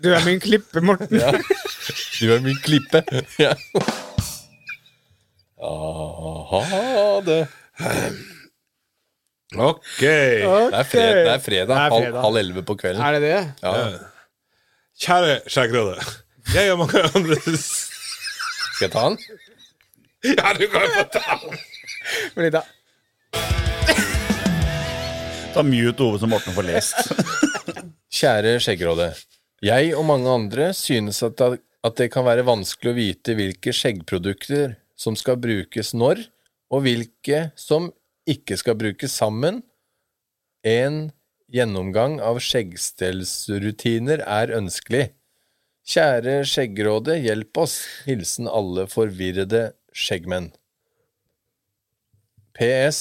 B: Du er min klippe, Morten.
C: Du er min klippe. Ja. Aha, det.
D: OK.
C: Det er fredag, det er fredag.
B: Det er
C: Halv,
B: fredag.
C: halv elleve på kvelden.
B: Er det det?
C: Ja.
D: Kjære skjeggrøde. Jeg og mange andre s-
C: Skal jeg ta den?
D: Ja, du kan få ta den!
B: Fordi da
E: Da mute Ove så Morten får lest.
C: Kjære Skjeggerådet. Jeg og mange andre synes at det at det kan være vanskelig å vite hvilke skjeggprodukter som skal brukes når, og hvilke som ikke skal brukes sammen. En gjennomgang av skjeggstellsrutiner er ønskelig. Kjære Skjeggrådet, hjelp oss. Hilsen alle forvirrede skjeggmenn. PS.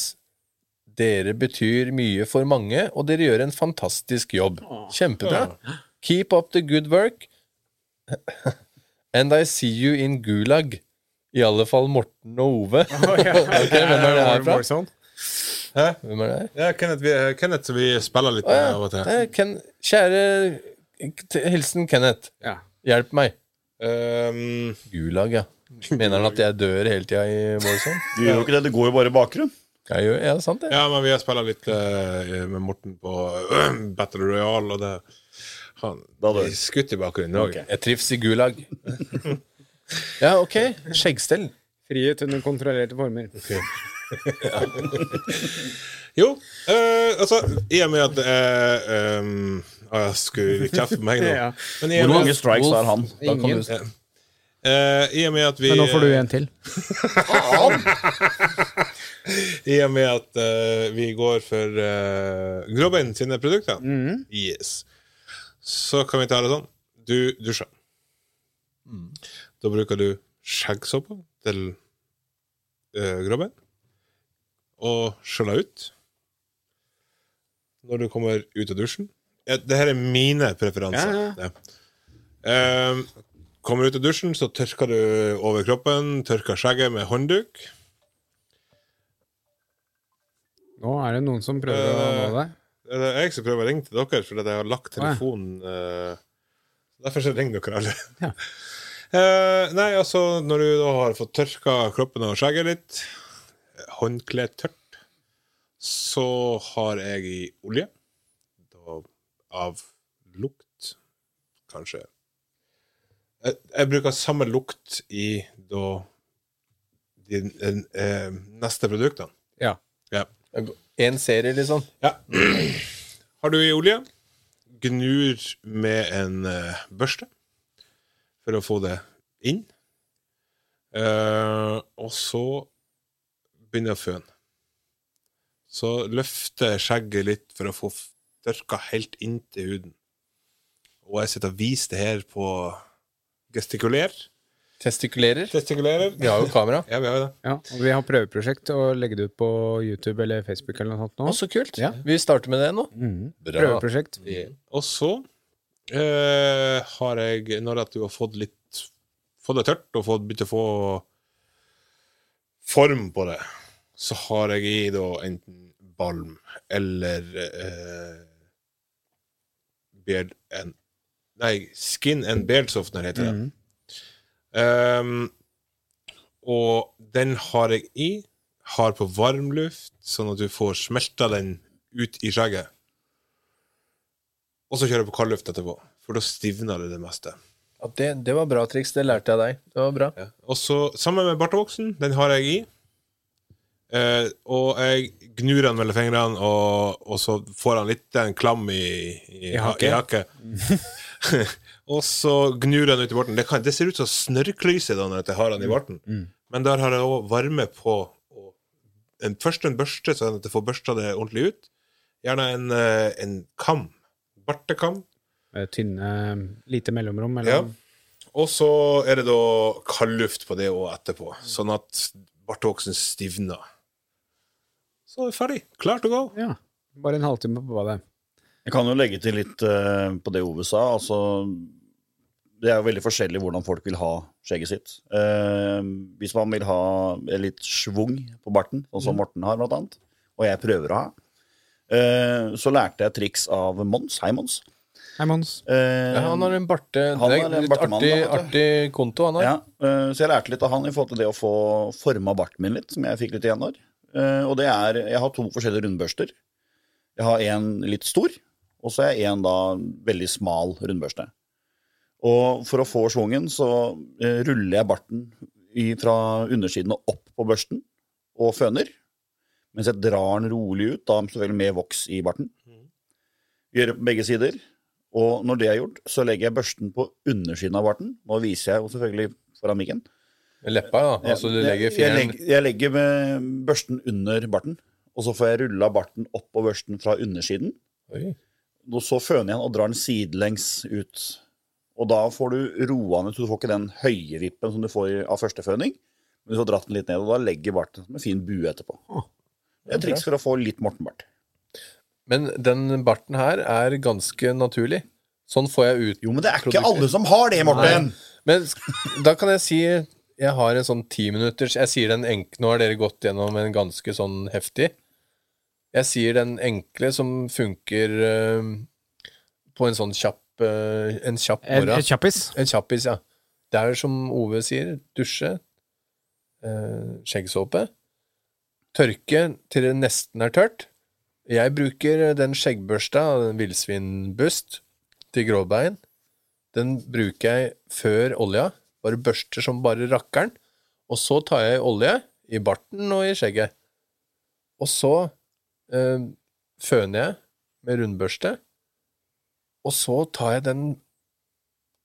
C: Dere betyr mye for mange, og dere gjør en fantastisk jobb. Kjempebra. Keep up the good work. And I see you in Gulag. I alle fall Morten og Ove. Ok, hvem er det her fra? Hvem er det her?
D: Ja, Kenneth, vi, Kenneth som vi spiller litt
C: Å
D: med
C: ja,
D: av og til.
C: det er Ken Kjære K- Hilsen Kenneth.
B: Ja.
C: Hjelp meg.
D: Ehm,
C: Gulag, ja. Mener han at jeg dør hele tida i Warzone?
E: Du gjør jo ikke det, det går jo bare i bakgrunnen.
C: Jeg gjør, ja, sant det.
D: ja, men vi har spilla litt eh, med Morten på Battle Royale, og det Han
E: Da dør.
D: blir skutt i bakgrunnen òg.
C: Jeg trivs i Gulag. Ja, ok. Skjeggstell.
B: Frihet under kontrollerte former.
D: Jo, eh, altså I og med at eh, ehm, ah, Jeg skulle kjefte på meg nå.
B: Ja.
D: Men i og
E: Hvor
D: med,
E: mange strikes
C: Wolf.
E: har han?
C: Da kan
B: Ingen.
C: du
D: eh, i og med at vi
B: Men nå får du en til.
D: I og med at eh, vi går for uh, Grobbein sine produkter,
B: Mm.
D: yes. så kan vi ta det sånn. Du dusjer. Da bruker du skjeggsåpe til uh, Grobbein og skjøller ut. Når du kommer ut av dusjen ja, Det her er mine preferanser.
B: Ja,
D: Det. Ehm, kommer ut av dusjen, så tørker du over kroppen, tørker skjegget med håndduk.
B: Nå er det noen som prøver å
C: Eh.
B: nå deg.
D: Det er jeg som prøver å ringe til dere, fordi at jeg har
B: Å,
D: lagt
B: ja.
D: telefonen eh, Derfor så ringer dere alle.
B: Ja.
D: Eh, nei, altså, når du da har fått tørka kroppen og skjegget litt, håndkleet tørt, så har jeg i olje da, av lukt, kanskje jeg, jeg bruker samme lukt i da de eh, neste produktene.
B: Ja.
D: Ja.
C: En serie, liksom.
D: Ja. Har du i olje? Gnur med en eh, børste for å få det inn. Eh, og så begynner føn. Så løfter jeg skjegget litt for å få f- tørka helt inntil huden. Og jeg sitter og viser det her på gestikuler.
C: Testikulerer.
D: Gestikulerer.
C: Vi har jo kamera.
D: Ja, vi har jo det.
B: Ja, og vi har prøveprosjekt og legger det ut på YouTube eller Facebook eller noe sånt nå.
C: Å, så kult.
B: Ja.
C: Vi starter med det nå.
B: Mhm.
C: Bra.
B: Prøveprosjekt.
D: Og så eh, har jeg, når at du har fått litt Fått det tørt og fått begynt å få form på det, så har jeg i da enten balm eller eh, beard and Nei, skin and beard softener heter det. Ehm, og den har jeg i. Har på varmluft, sånn at du får smelta den ut i skjegget. Og så kjører jeg på kaldluft etterpå, for da stivner det det meste.
C: Ja, det, det var bra triks. Det lærte jeg deg. Det var bra.
D: Og så, sammen med bartevoksen, den har jeg i. Eh, og jeg gnur den mellom fingrene, og, og så får han litt en klam i, i,
B: I
D: ha- i hakket. og så gnur han ut i barten. Det, kan, det ser ut som snørrklyse da når jeg har den i barten. Men der har jeg òg varme på og en, Først en børste, sånn at jeg får børsta det ordentlig ut. Gjerne en, eh, en kam. Bartekam.
B: Med Eh, Tynne, lite mellomrom
D: Ja.
B: mellom
D: Og så er det da kaldluft på det òg etterpå, sånn at bartoksen stivner. Så er det ferdig. Klart å gå.
B: Ja. Bare en halvtime på badet.
E: Jeg kan jo legge til litt eh, på det Ove sa. Altså, det er jo veldig forskjellig hvordan folk vil ha skjegget sitt. Eh, hvis man vil ha litt schwung på barten, sånn
C: Mm.
E: som Morten har, blant annet, og jeg prøver å ha, eh, så lærte jeg triks av Mons. Hei, Mons.
B: Hei, Mons.
E: Eh,
C: Ja, han har en barte...
E: Han
C: det
E: er
C: er
E: en
C: litt
E: bartemann,
C: artig,
E: da, vet
C: artig konto han har.
E: Ja, eh, så jeg lærte litt av han i forhold til det å få forma barten min litt, som jeg fikk litt igjen der. Eh, Og det er, jeg har to forskjellige rundbørster. Jeg har en litt stor, og så har jeg en da veldig smal rundbørste. Og for å få schwungen så eh, ruller jeg barten i, fra undersiden og opp på børsten og føner, mens jeg drar den rolig ut, da selvfølgelig med voks i barten. Gjør det på begge sider, Og når det er gjort, så legger jeg børsten på undersiden av barten. Nå viser jeg jo selvfølgelig foran mikken.
C: Med leppa, ja. Altså du legger
E: Jeg- Jeg
C: fjæren
E: legger, jeg legger med børsten under barten, og så får jeg rulla barten opp på børsten fra undersiden.
C: Oi.
E: Og så føner jeg den og drar den sidelengs ut. Og da får du roa ned, så du får ikke den høye vippen som du får av første føning. Men du får dratt den litt ned, og da legger barten som en fin bue etterpå. Det er et triks for å få litt Mortenbart.
C: Men den barten her er ganske naturlig. Sånn får jeg ut
E: Jo, men det er ikke alle som har det, Morten!
C: Men sk- da kan jeg si Jeg har en sånn ti minutters Jeg sier den enkle Nå har dere gått gjennom en ganske sånn heftig. Jeg sier den enkle som funker eh, på en sånn kjapp eh, En kjapp
B: En,
C: morgen.
B: en kjappis.
C: En kjappis, ja. Det er som Ove sier, dusje, eh, skjeggsåpe, tørke til det nesten er tørt. Jeg bruker den skjeggbørsta, den villsvinbust, til gråbein. Den bruker jeg før olja, bare børster som bare rakkeren. Og så tar jeg olje i barten og i skjegget. Og så eh, føner jeg med rundbørste, og så tar jeg den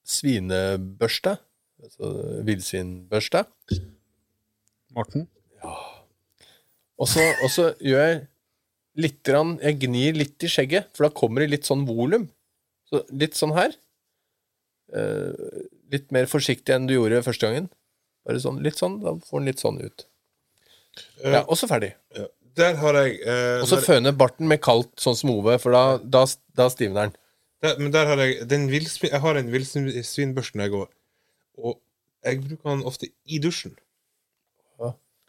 C: svinebørste, altså villsvinbørste,
B: Morten.
C: og så, og så gjør jeg litt grann, Jeg gnir litt i skjegget, for da kommer det litt sånn volum. Så litt sånn her. Eh, litt mer forsiktig enn du gjorde første gangen. Bare sånn, litt sånn, Da får den litt sånn ut.
D: Eh,
C: Ja, Og så ferdig.
D: Der har jeg eh,
C: Og så
D: når-
C: føner barten med kaldt, sånn som Ove, for da, da, da stivner den.
D: der, Men der har jeg den villsvin, Jeg har en villsvinbørste når jeg går, og jeg bruker den ofte i dusjen.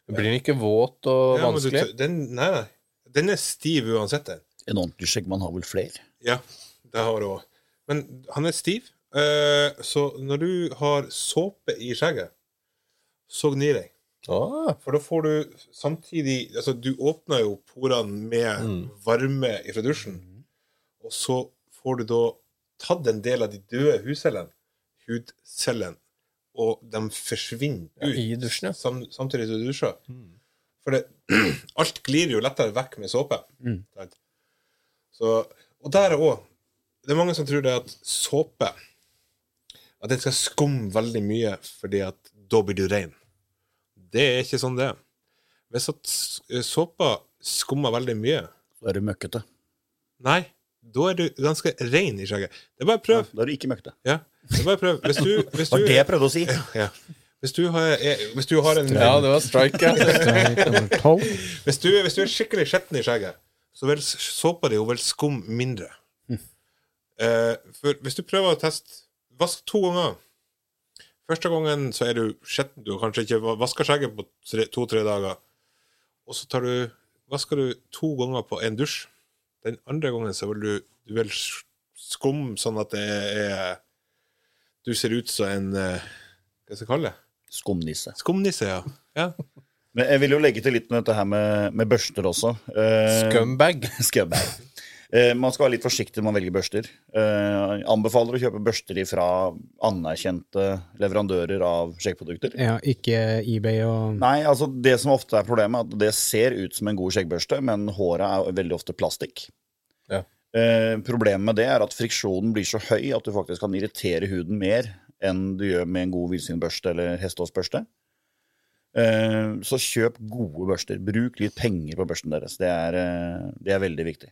C: Blir den ikke våt og
D: Ja, men du
C: vanskelig?
D: tør- den, nei, nei. Den er stiv uansett, den.
E: En ordentlig skjeggmann har vel flere?
D: Ja, det har du òg. Men han er stiv, eh, så når du har såpe i skjegget, så gnir jeg.
C: Ah,
D: For da får du samtidig Altså, du åpner jo porene med
C: Mm.
D: varme fra dusjen, og så får du da tatt en del av de døde hudcellene, hudcellene, og de forsvinner
C: Ja,
D: ut
C: i dusjen, ja. Mm.
D: sam, samtidig som du dusjer. For det, alt glir jo lettere vekk med såpe.
C: Mm.
D: Sant? Så, og der òg Det er mange som tror det at såpe At den skal skumme veldig mye fordi at da blir du ren. Det er ikke sånn det er. Hvis at s- eh, såpa skummer veldig mye
E: Da er du møkkete.
D: Nei, da er du ganske rein i skjegget. Det er bare å
E: Da
D: prøve.
E: er du ikke møkkete.
D: Ja. Det er bare å prøve. Hvis du, hvis
E: Det var
D: du,
E: det jeg prøvde å si.
D: ja. hvis du, har, er, hvis du har en
C: ja, det var strike, ja.
B: Eh,
D: hvis, du, hvis du er skikkelig skitten i skjegget, så vil s- såpa di jo vel skumme mindre. Eh, for hvis du prøver å teste Vask to ganger. Første gangen så er du skitten. Du har kanskje ikke vaska skjegget på tre- to-tre dager. Og så tar du, vasker du to ganger på en dusj. Den andre gangen så vil du, du vil s- skumme sånn at det er Du ser ut som en eh, Hva skal jeg kalle det?
E: Skumnisse.
D: Skumnisse, ja. ja.
E: Men jeg vil jo legge til litt med dette her med, med børster også. Eh,
C: Scumbag.
E: Scumbag. Eh, man skal være litt forsiktig når man velger børster. Eh, anbefaler å kjøpe børster fra anerkjente leverandører av skjeggprodukter.
B: Ja, ikke eBay og
E: Nei, altså Det som ofte er problemet, er at det ser ut som en god skjeggbørste, men håra er veldig ofte plastikk.
C: Ja.
E: Eh, problemet med det er at friksjonen blir så høy at du faktisk kan irritere huden mer enn du gjør med en god villsvinbørste eller hestehåsbørste. Eh, så kjøp gode børster. Bruk litt penger på børsten deres. Det er, eh, det er veldig viktig.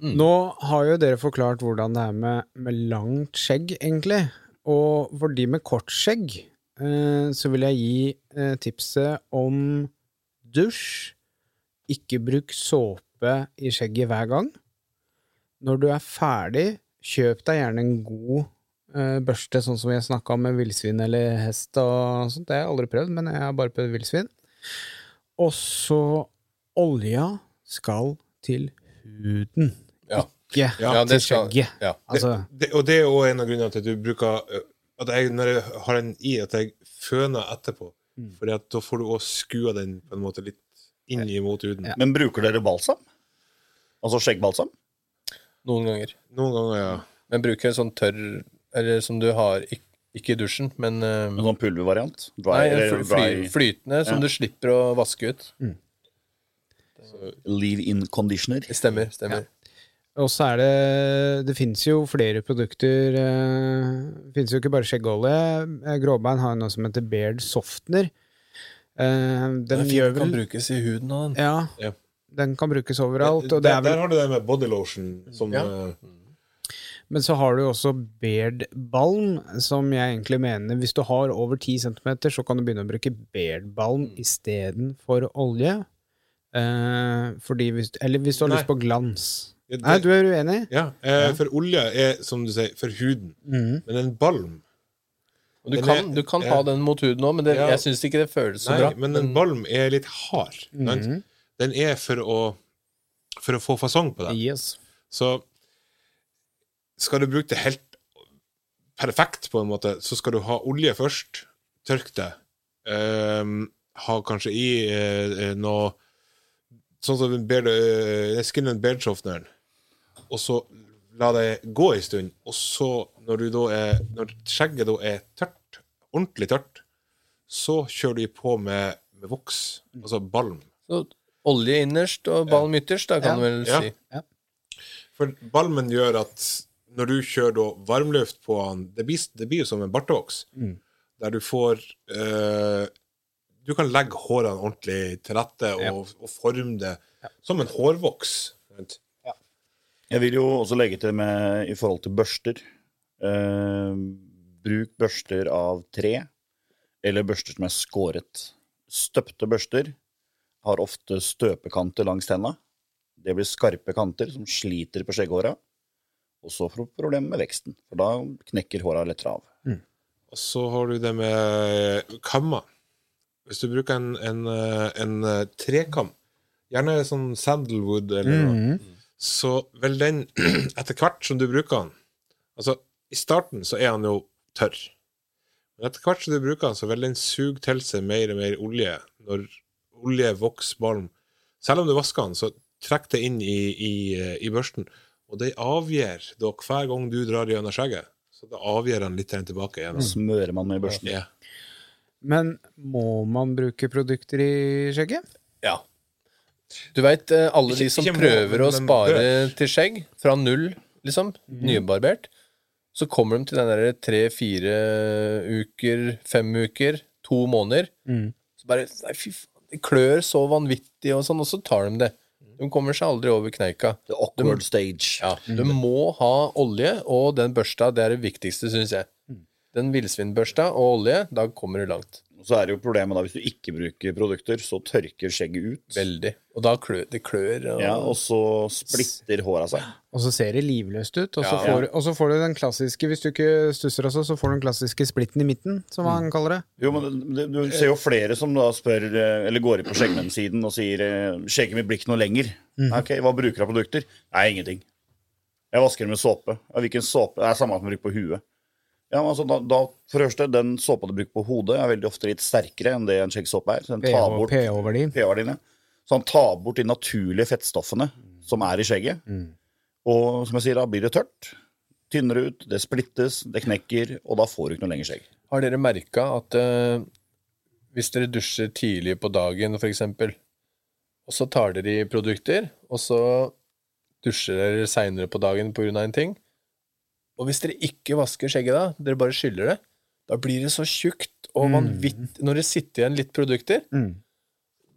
B: Nå har jo dere forklart hvordan det er med, med langt skjegg, egentlig. Og for de med kort skjegg, eh, så vil jeg gi eh, tipset om dusj. Ikke bruk såpe i skjegget hver gang. Når du er ferdig, kjøp deg gjerne en god eh, børste, sånn som vi snakka om med villsvin eller hest og sånt. Det har jeg aldri prøvd, men jeg har bare prøvd villsvin. Og så olja skal til huden.
C: Ja.
B: Ikke
C: Ja,
B: til
C: det skal
B: skjegget.
C: ja.
B: Altså,
D: det, og det er òg en av grunnene til at du bruker ø, At jeg, når jeg har en i, at jeg føner etterpå.
C: Mm.
D: Fordi at da får du òg skua den på en måte litt inn imot huden.
E: Men bruker dere balsam? Altså skjeggbalsam?
C: Noen ganger.
D: Noen ganger, ja.
C: Men bruker en sånn tørr Eller som du har ik- Ikke i dusjen, men eh,
E: En sånn pulvervariant? Dry,
C: nei, en
E: eller
C: fly, fly,
E: dry
C: flytende som
E: Ja.
C: du slipper å vaske ut.
E: leave-in conditioner?
C: Stemmer. stemmer
B: Og så er det Det fins jo flere produkter. eh, Det fins jo ikke bare skjeggolje. Eh, Gråbein har jo noe som heter Beard Softener. Eh, Den,
C: Den
B: gjør
C: kan
B: vel
C: brukes i huden av den.
B: Ja.
D: Ja.
B: Den kan brukes overalt. Og det
D: der,
B: er vel,
D: der har du det med body lotion. Som,
C: Mm. Ja.
D: eh,
B: men så har du jo også Beard Balm, som jeg egentlig mener Hvis du har over 10 cm, så kan du begynne å bruke Beard Balm istedenfor olje. Eh, fordi hvis, eller hvis du har
D: Nei.
B: lyst på glans.
D: Ja, det-
B: Nei, du er uenig?
D: ja, eh, For olje er, som du sier, for huden. Men en balm
C: Mm. Og du
D: Den
C: kan,
D: er-
C: du kan
D: ja.
C: ha den mot huden òg, men det,
D: Ja.
C: jeg syns ikke det føles så
D: Nei,
C: bra. Mm.
D: men en balm er litt hard. sant? Den er for å For å få fasong på deg.
B: Yes.
D: Så skal du bruke det helt perfekt, på en måte, så skal du ha olje først. Tørk det. Ehm, ha kanskje i eh, eh, noe Sånn som en beard, eh, skin and beard softeneren. Og så la det gå en stund. Og så, når, du da er, når skjegget da er tørt, ordentlig tørt, så kjører de på med, med voks, altså balm.
C: Så olje innerst og balm ytterst, da kan du vel
D: Ja.
C: si.
D: For balmen gjør at når du kjører da varmluft på han, det blir, det blir jo som en bartevoks, der du får eh, Du kan legge hårene ordentlig til rette og, og forme det som en hårvoks. sant?
E: Jeg vil jo også legge til med i forhold til børster. Eh, bruk børster av tre, eller børster som er skåret. Støpte børster har ofte støpekanter langs tenna. Det blir skarpe kanter som sliter på skjegghåra. Og så får du problemer med veksten, for da knekker håra lettere av.
D: Og så har du det med kammer. Hvis du bruker en, en, eh, en eh, trekam, gjerne sånn sandalwood
B: Mm.
D: eller noe, så vil den etter hvert som du bruker den Altså, i starten så er den jo tørr. Men etter hvert som du bruker den, så vil den suge til seg mer og mer olje. Når olje, voks, balm Selv om du vasker den, så trekk det inn i, i, eh, i børsten. Og det avgir da hver gang du drar gjennom skjegget. Så da avgir den litt
C: Mm.
D: tilbake igjen.
E: Smører man med børsten.
D: Ja.
B: Men må man bruke produkter i skjegget?
C: Ja. Du veit alle de
D: Ikke-
C: som
D: ikke må,
C: prøver å
D: men Mhm.
C: spare
D: bør.
C: til skjegg, fra null, liksom, nybarbert, så kommer de til den derre tre-fire uker, fem uker, to måneder.
D: Mm.
C: Så bare Nei, fy faen, det klør så vanvittig, og sånn, og så tar de det. De kommer seg aldri over kneika.
E: The awkward stage.
C: Ja,
D: Mm.
C: du må ha olje, og den børsta, det er det viktigste, syns jeg.
D: Mm.
C: Den villsvinbørsta og olje, da kommer du langt.
E: Og Så er det jo problemet da, hvis du ikke bruker produkter, så tørker skjegget ut.
C: Veldig. Og da klør det klør. Og...
E: Ja, og så splitter håra seg.
B: Og så ser det livløst ut, og så,
C: Ja.
B: får, og så får du den klassiske Hvis du ikke stusser også, så får du den klassiske splitten i midten, som han kaller det.
E: Jo, men det, det, Du ser jo flere som da spør, eh, eller går inn på skjeggmennsiden og sier eh, 'Skjegget mitt blir ikke noe lenger'. Nei, Ok, Hva bruker du av produkter? Nei, ingenting. Jeg vasker det med såpe. Ja, hvilken såpe? Det er samme som jeg bruker på huet. Ja, men altså, da, da, for det første, Den såpa du bruker på hodet, er veldig ofte litt sterkere enn det en skjeggsåpe er. Så den
B: ph
E: tar bort
B: pH-verdi.
E: pH-verdiene. Så han tar bort de naturlige fettstoffene som er i skjegget. Og som jeg sier, da blir det tørt. Tynnere ut, det splittes, det knekker, og da får du ikke noe lenger skjegg.
C: Har dere merka at eh, hvis dere dusjer tidlig på dagen, for eksempel, og så tar dere i produkter, og så dusjer dere seinere på dagen på grunn av en ting, og hvis dere ikke vasker skjegget da, dere bare skyller det, da blir det så tjukt og vanvittig Når det sitter igjen litt produkter,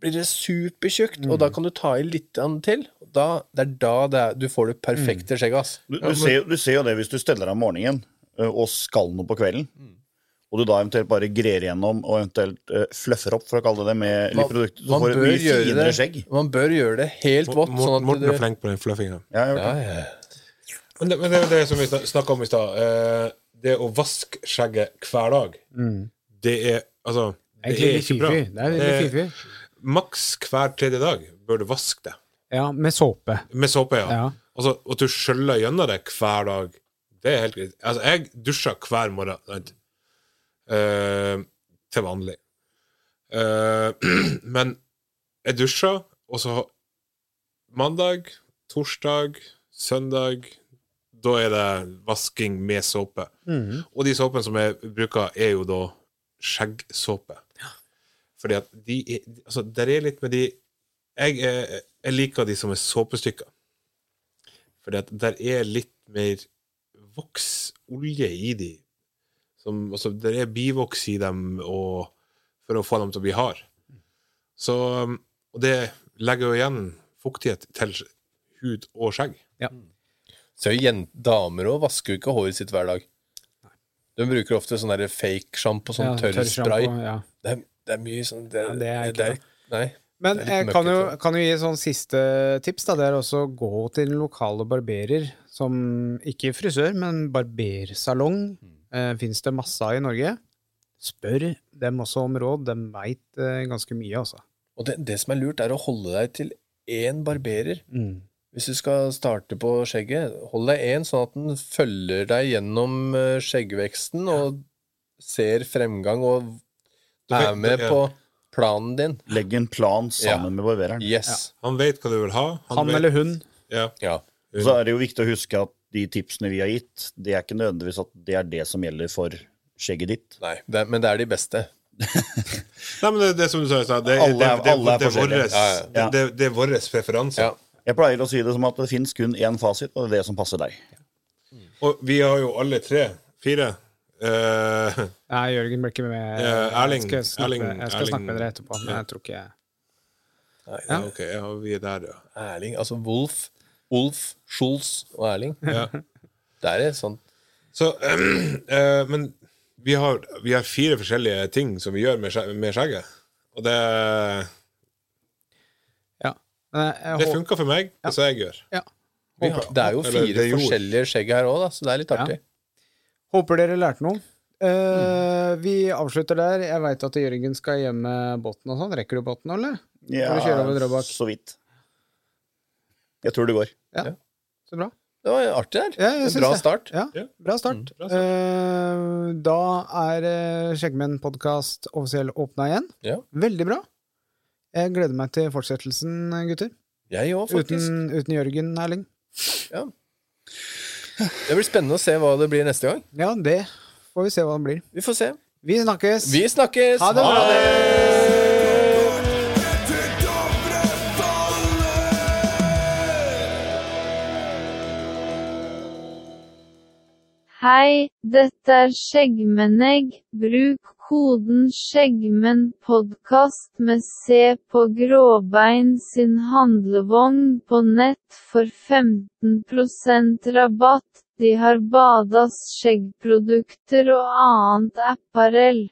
C: blir det supertjukt, og da kan du ta i litt grann til. og Da, det er da det er, du får det perfekte skjegget, ass.
E: Du, du, ser, jo- du ser jo det hvis du steller deg om morgenen ø, og skal noe på kvelden,
C: Mm.
E: og du da eventuelt bare grer gjennom og eventuelt ø, fluffer opp, for å kalle det det, med litt produkter, så får du et mye finere skjegg.
C: det, man bør gjøre det helt vått, sånn
D: Morten
C: at
D: Morten
C: du
D: er flink på den fluffinga.
E: Ja, jeg har
C: ja,
E: hørt det.
C: ja.
D: Men det, men det er jo det som vi snak- snakket om i stad. Eh, det å vaske skjegget hver dag, det er altså Det
B: Mm. Egentlig
D: er
B: litt
D: ikke bra. Eh,
B: fiffig. Det er
D: Det
B: veldig
D: er-
B: fiffig.
D: Maks hver tredje dag bør du vaske det.
B: Ja, med såpe.
D: Med såpe, ja.
B: Ja.
D: Altså, at du skyller gjennom det hver dag, det er helt greit. Altså, jeg dusjer hver morgen. Sant? Eh, til vanlig. Eh, men jeg dusjer, og så mandag, torsdag, søndag Da er det vasking med såpe. Og de såpene som jeg bruker, er jo da skjeggsåpe. Fordi at de er Altså, der er litt med de Jeg, er, jeg liker de som er såpestykker. For der er litt mer voksolje i de. Som, altså, der er bivoks i dem og, for å få dem til å bli hard. Så, um, og det legger jo igjen fuktighet til hud og skjegg.
C: Så jen- damer òg vasker jo ikke håret sitt hver dag. De bruker ofte sånn der fake sjampo, sånn tørr spray.
B: shampoo, Ja.
C: Det er, det er mye sånn Det,
B: Ja, det er ikke
C: Nei.
B: Men
C: Det er litt
B: jeg kan jo,
C: møkkete.
B: kan jo gi sånn siste tips, da. Det er også å gå til den lokale barberer, som ikke frisør, men barbersalong.
D: Mm.
B: Eh, Fins det masse av i Norge? Spør dem også om råd. De veit eh, ganske mye, altså.
C: Og det, det som er lurt, er å holde deg til én barberer.
B: Mm.
C: Hvis du skal starte på skjegget, hold deg én, sånn at den følger deg gjennom eh, skjeggveksten og ser fremgang og er
D: vet-
C: med
D: ja.
C: på planen din.
E: Legg en plan
C: Ja.
E: sammen med barbereren.
C: Yes.
D: Han vet hva du vil ha.
B: Han
D: vet-
B: eller hun.
D: ja.
C: Ja.
E: Så er det jo viktig å huske at de tipsene vi har gitt, det er ikke nødvendigvis at det er det som gjelder for skjegget ditt.
C: Nei, det, er- men det er de beste.
D: Nei, men det, det er som du sa i stad, det,
E: Alle er-
D: det, det,
E: alle er
D: det,
E: forskjellige.
D: våres-
C: Ja, ja.
D: det, det, det er vår preferanse.
C: Ja.
E: Jeg pleier å si det som at det fins kun én fasit, og det er det som passer deg.
D: Og vi har jo alle tre, fire eh,
B: Nei, Jørgen blir ikke med.
D: Ja, Erling,
B: jeg skal snakke,
D: Erling,
B: med, jeg skal
D: Erling.
B: snakke med dere etterpå, men jeg tror ikke jeg
C: Nei,
D: ja, Ok, ja, vi er der, ja.
C: Erling, altså Wolf, Wolf, Schulz og Erling.
D: Ja.
C: Det er et sånt
D: Så, eh, men vi har, vi har fire forskjellige ting som vi gjør med, skje- med skjegget. Og det,
B: ja. Men jeg-
D: det
B: jeg håper-
D: funka for meg, det så jeg gjør.
B: ja.
C: vi har, Det er jo
D: Eller
C: fire
D: det gjorde.
C: forskjellige skjegg her òg, så det er litt artig.
B: Håper dere lærte noe. Eh, Vi avslutter der. Jeg veit at Jørgen skal hjem med båten og sånn. Rekker du båten, eller? Skal du kjøre over Drøbak?
E: så vidt. Jeg tror det går.
B: Så bra.
C: Det var artig der.
B: Ja, jeg
C: En
B: syns
C: bra
B: det.
C: start.
B: Ja, Mm,
D: Ja.
B: bra start.
D: bra
B: Eh, da er eh, Skjeggmenn podkast offisiell åpna igjen.
C: Ja.
B: Veldig bra. Jeg gleder meg til fortsettelsen, gutter.
C: Jeg òg, faktisk.
B: Uten, uten Jørgen Erling.
C: Det blir spennende å se hva det blir neste gang.
B: Ja, det får vi se hva det blir.
C: Vi får se.
B: Vi snakkes!
C: Vi snakkes!
B: Ha det bra!
F: Hei, dette er Skjeggmennegg. Bruk koden skjeggmennpodkast med C på Gråbein sin handlevogn på nett for 15 rabatt. De har Badas skjeggprodukter og annet apparell.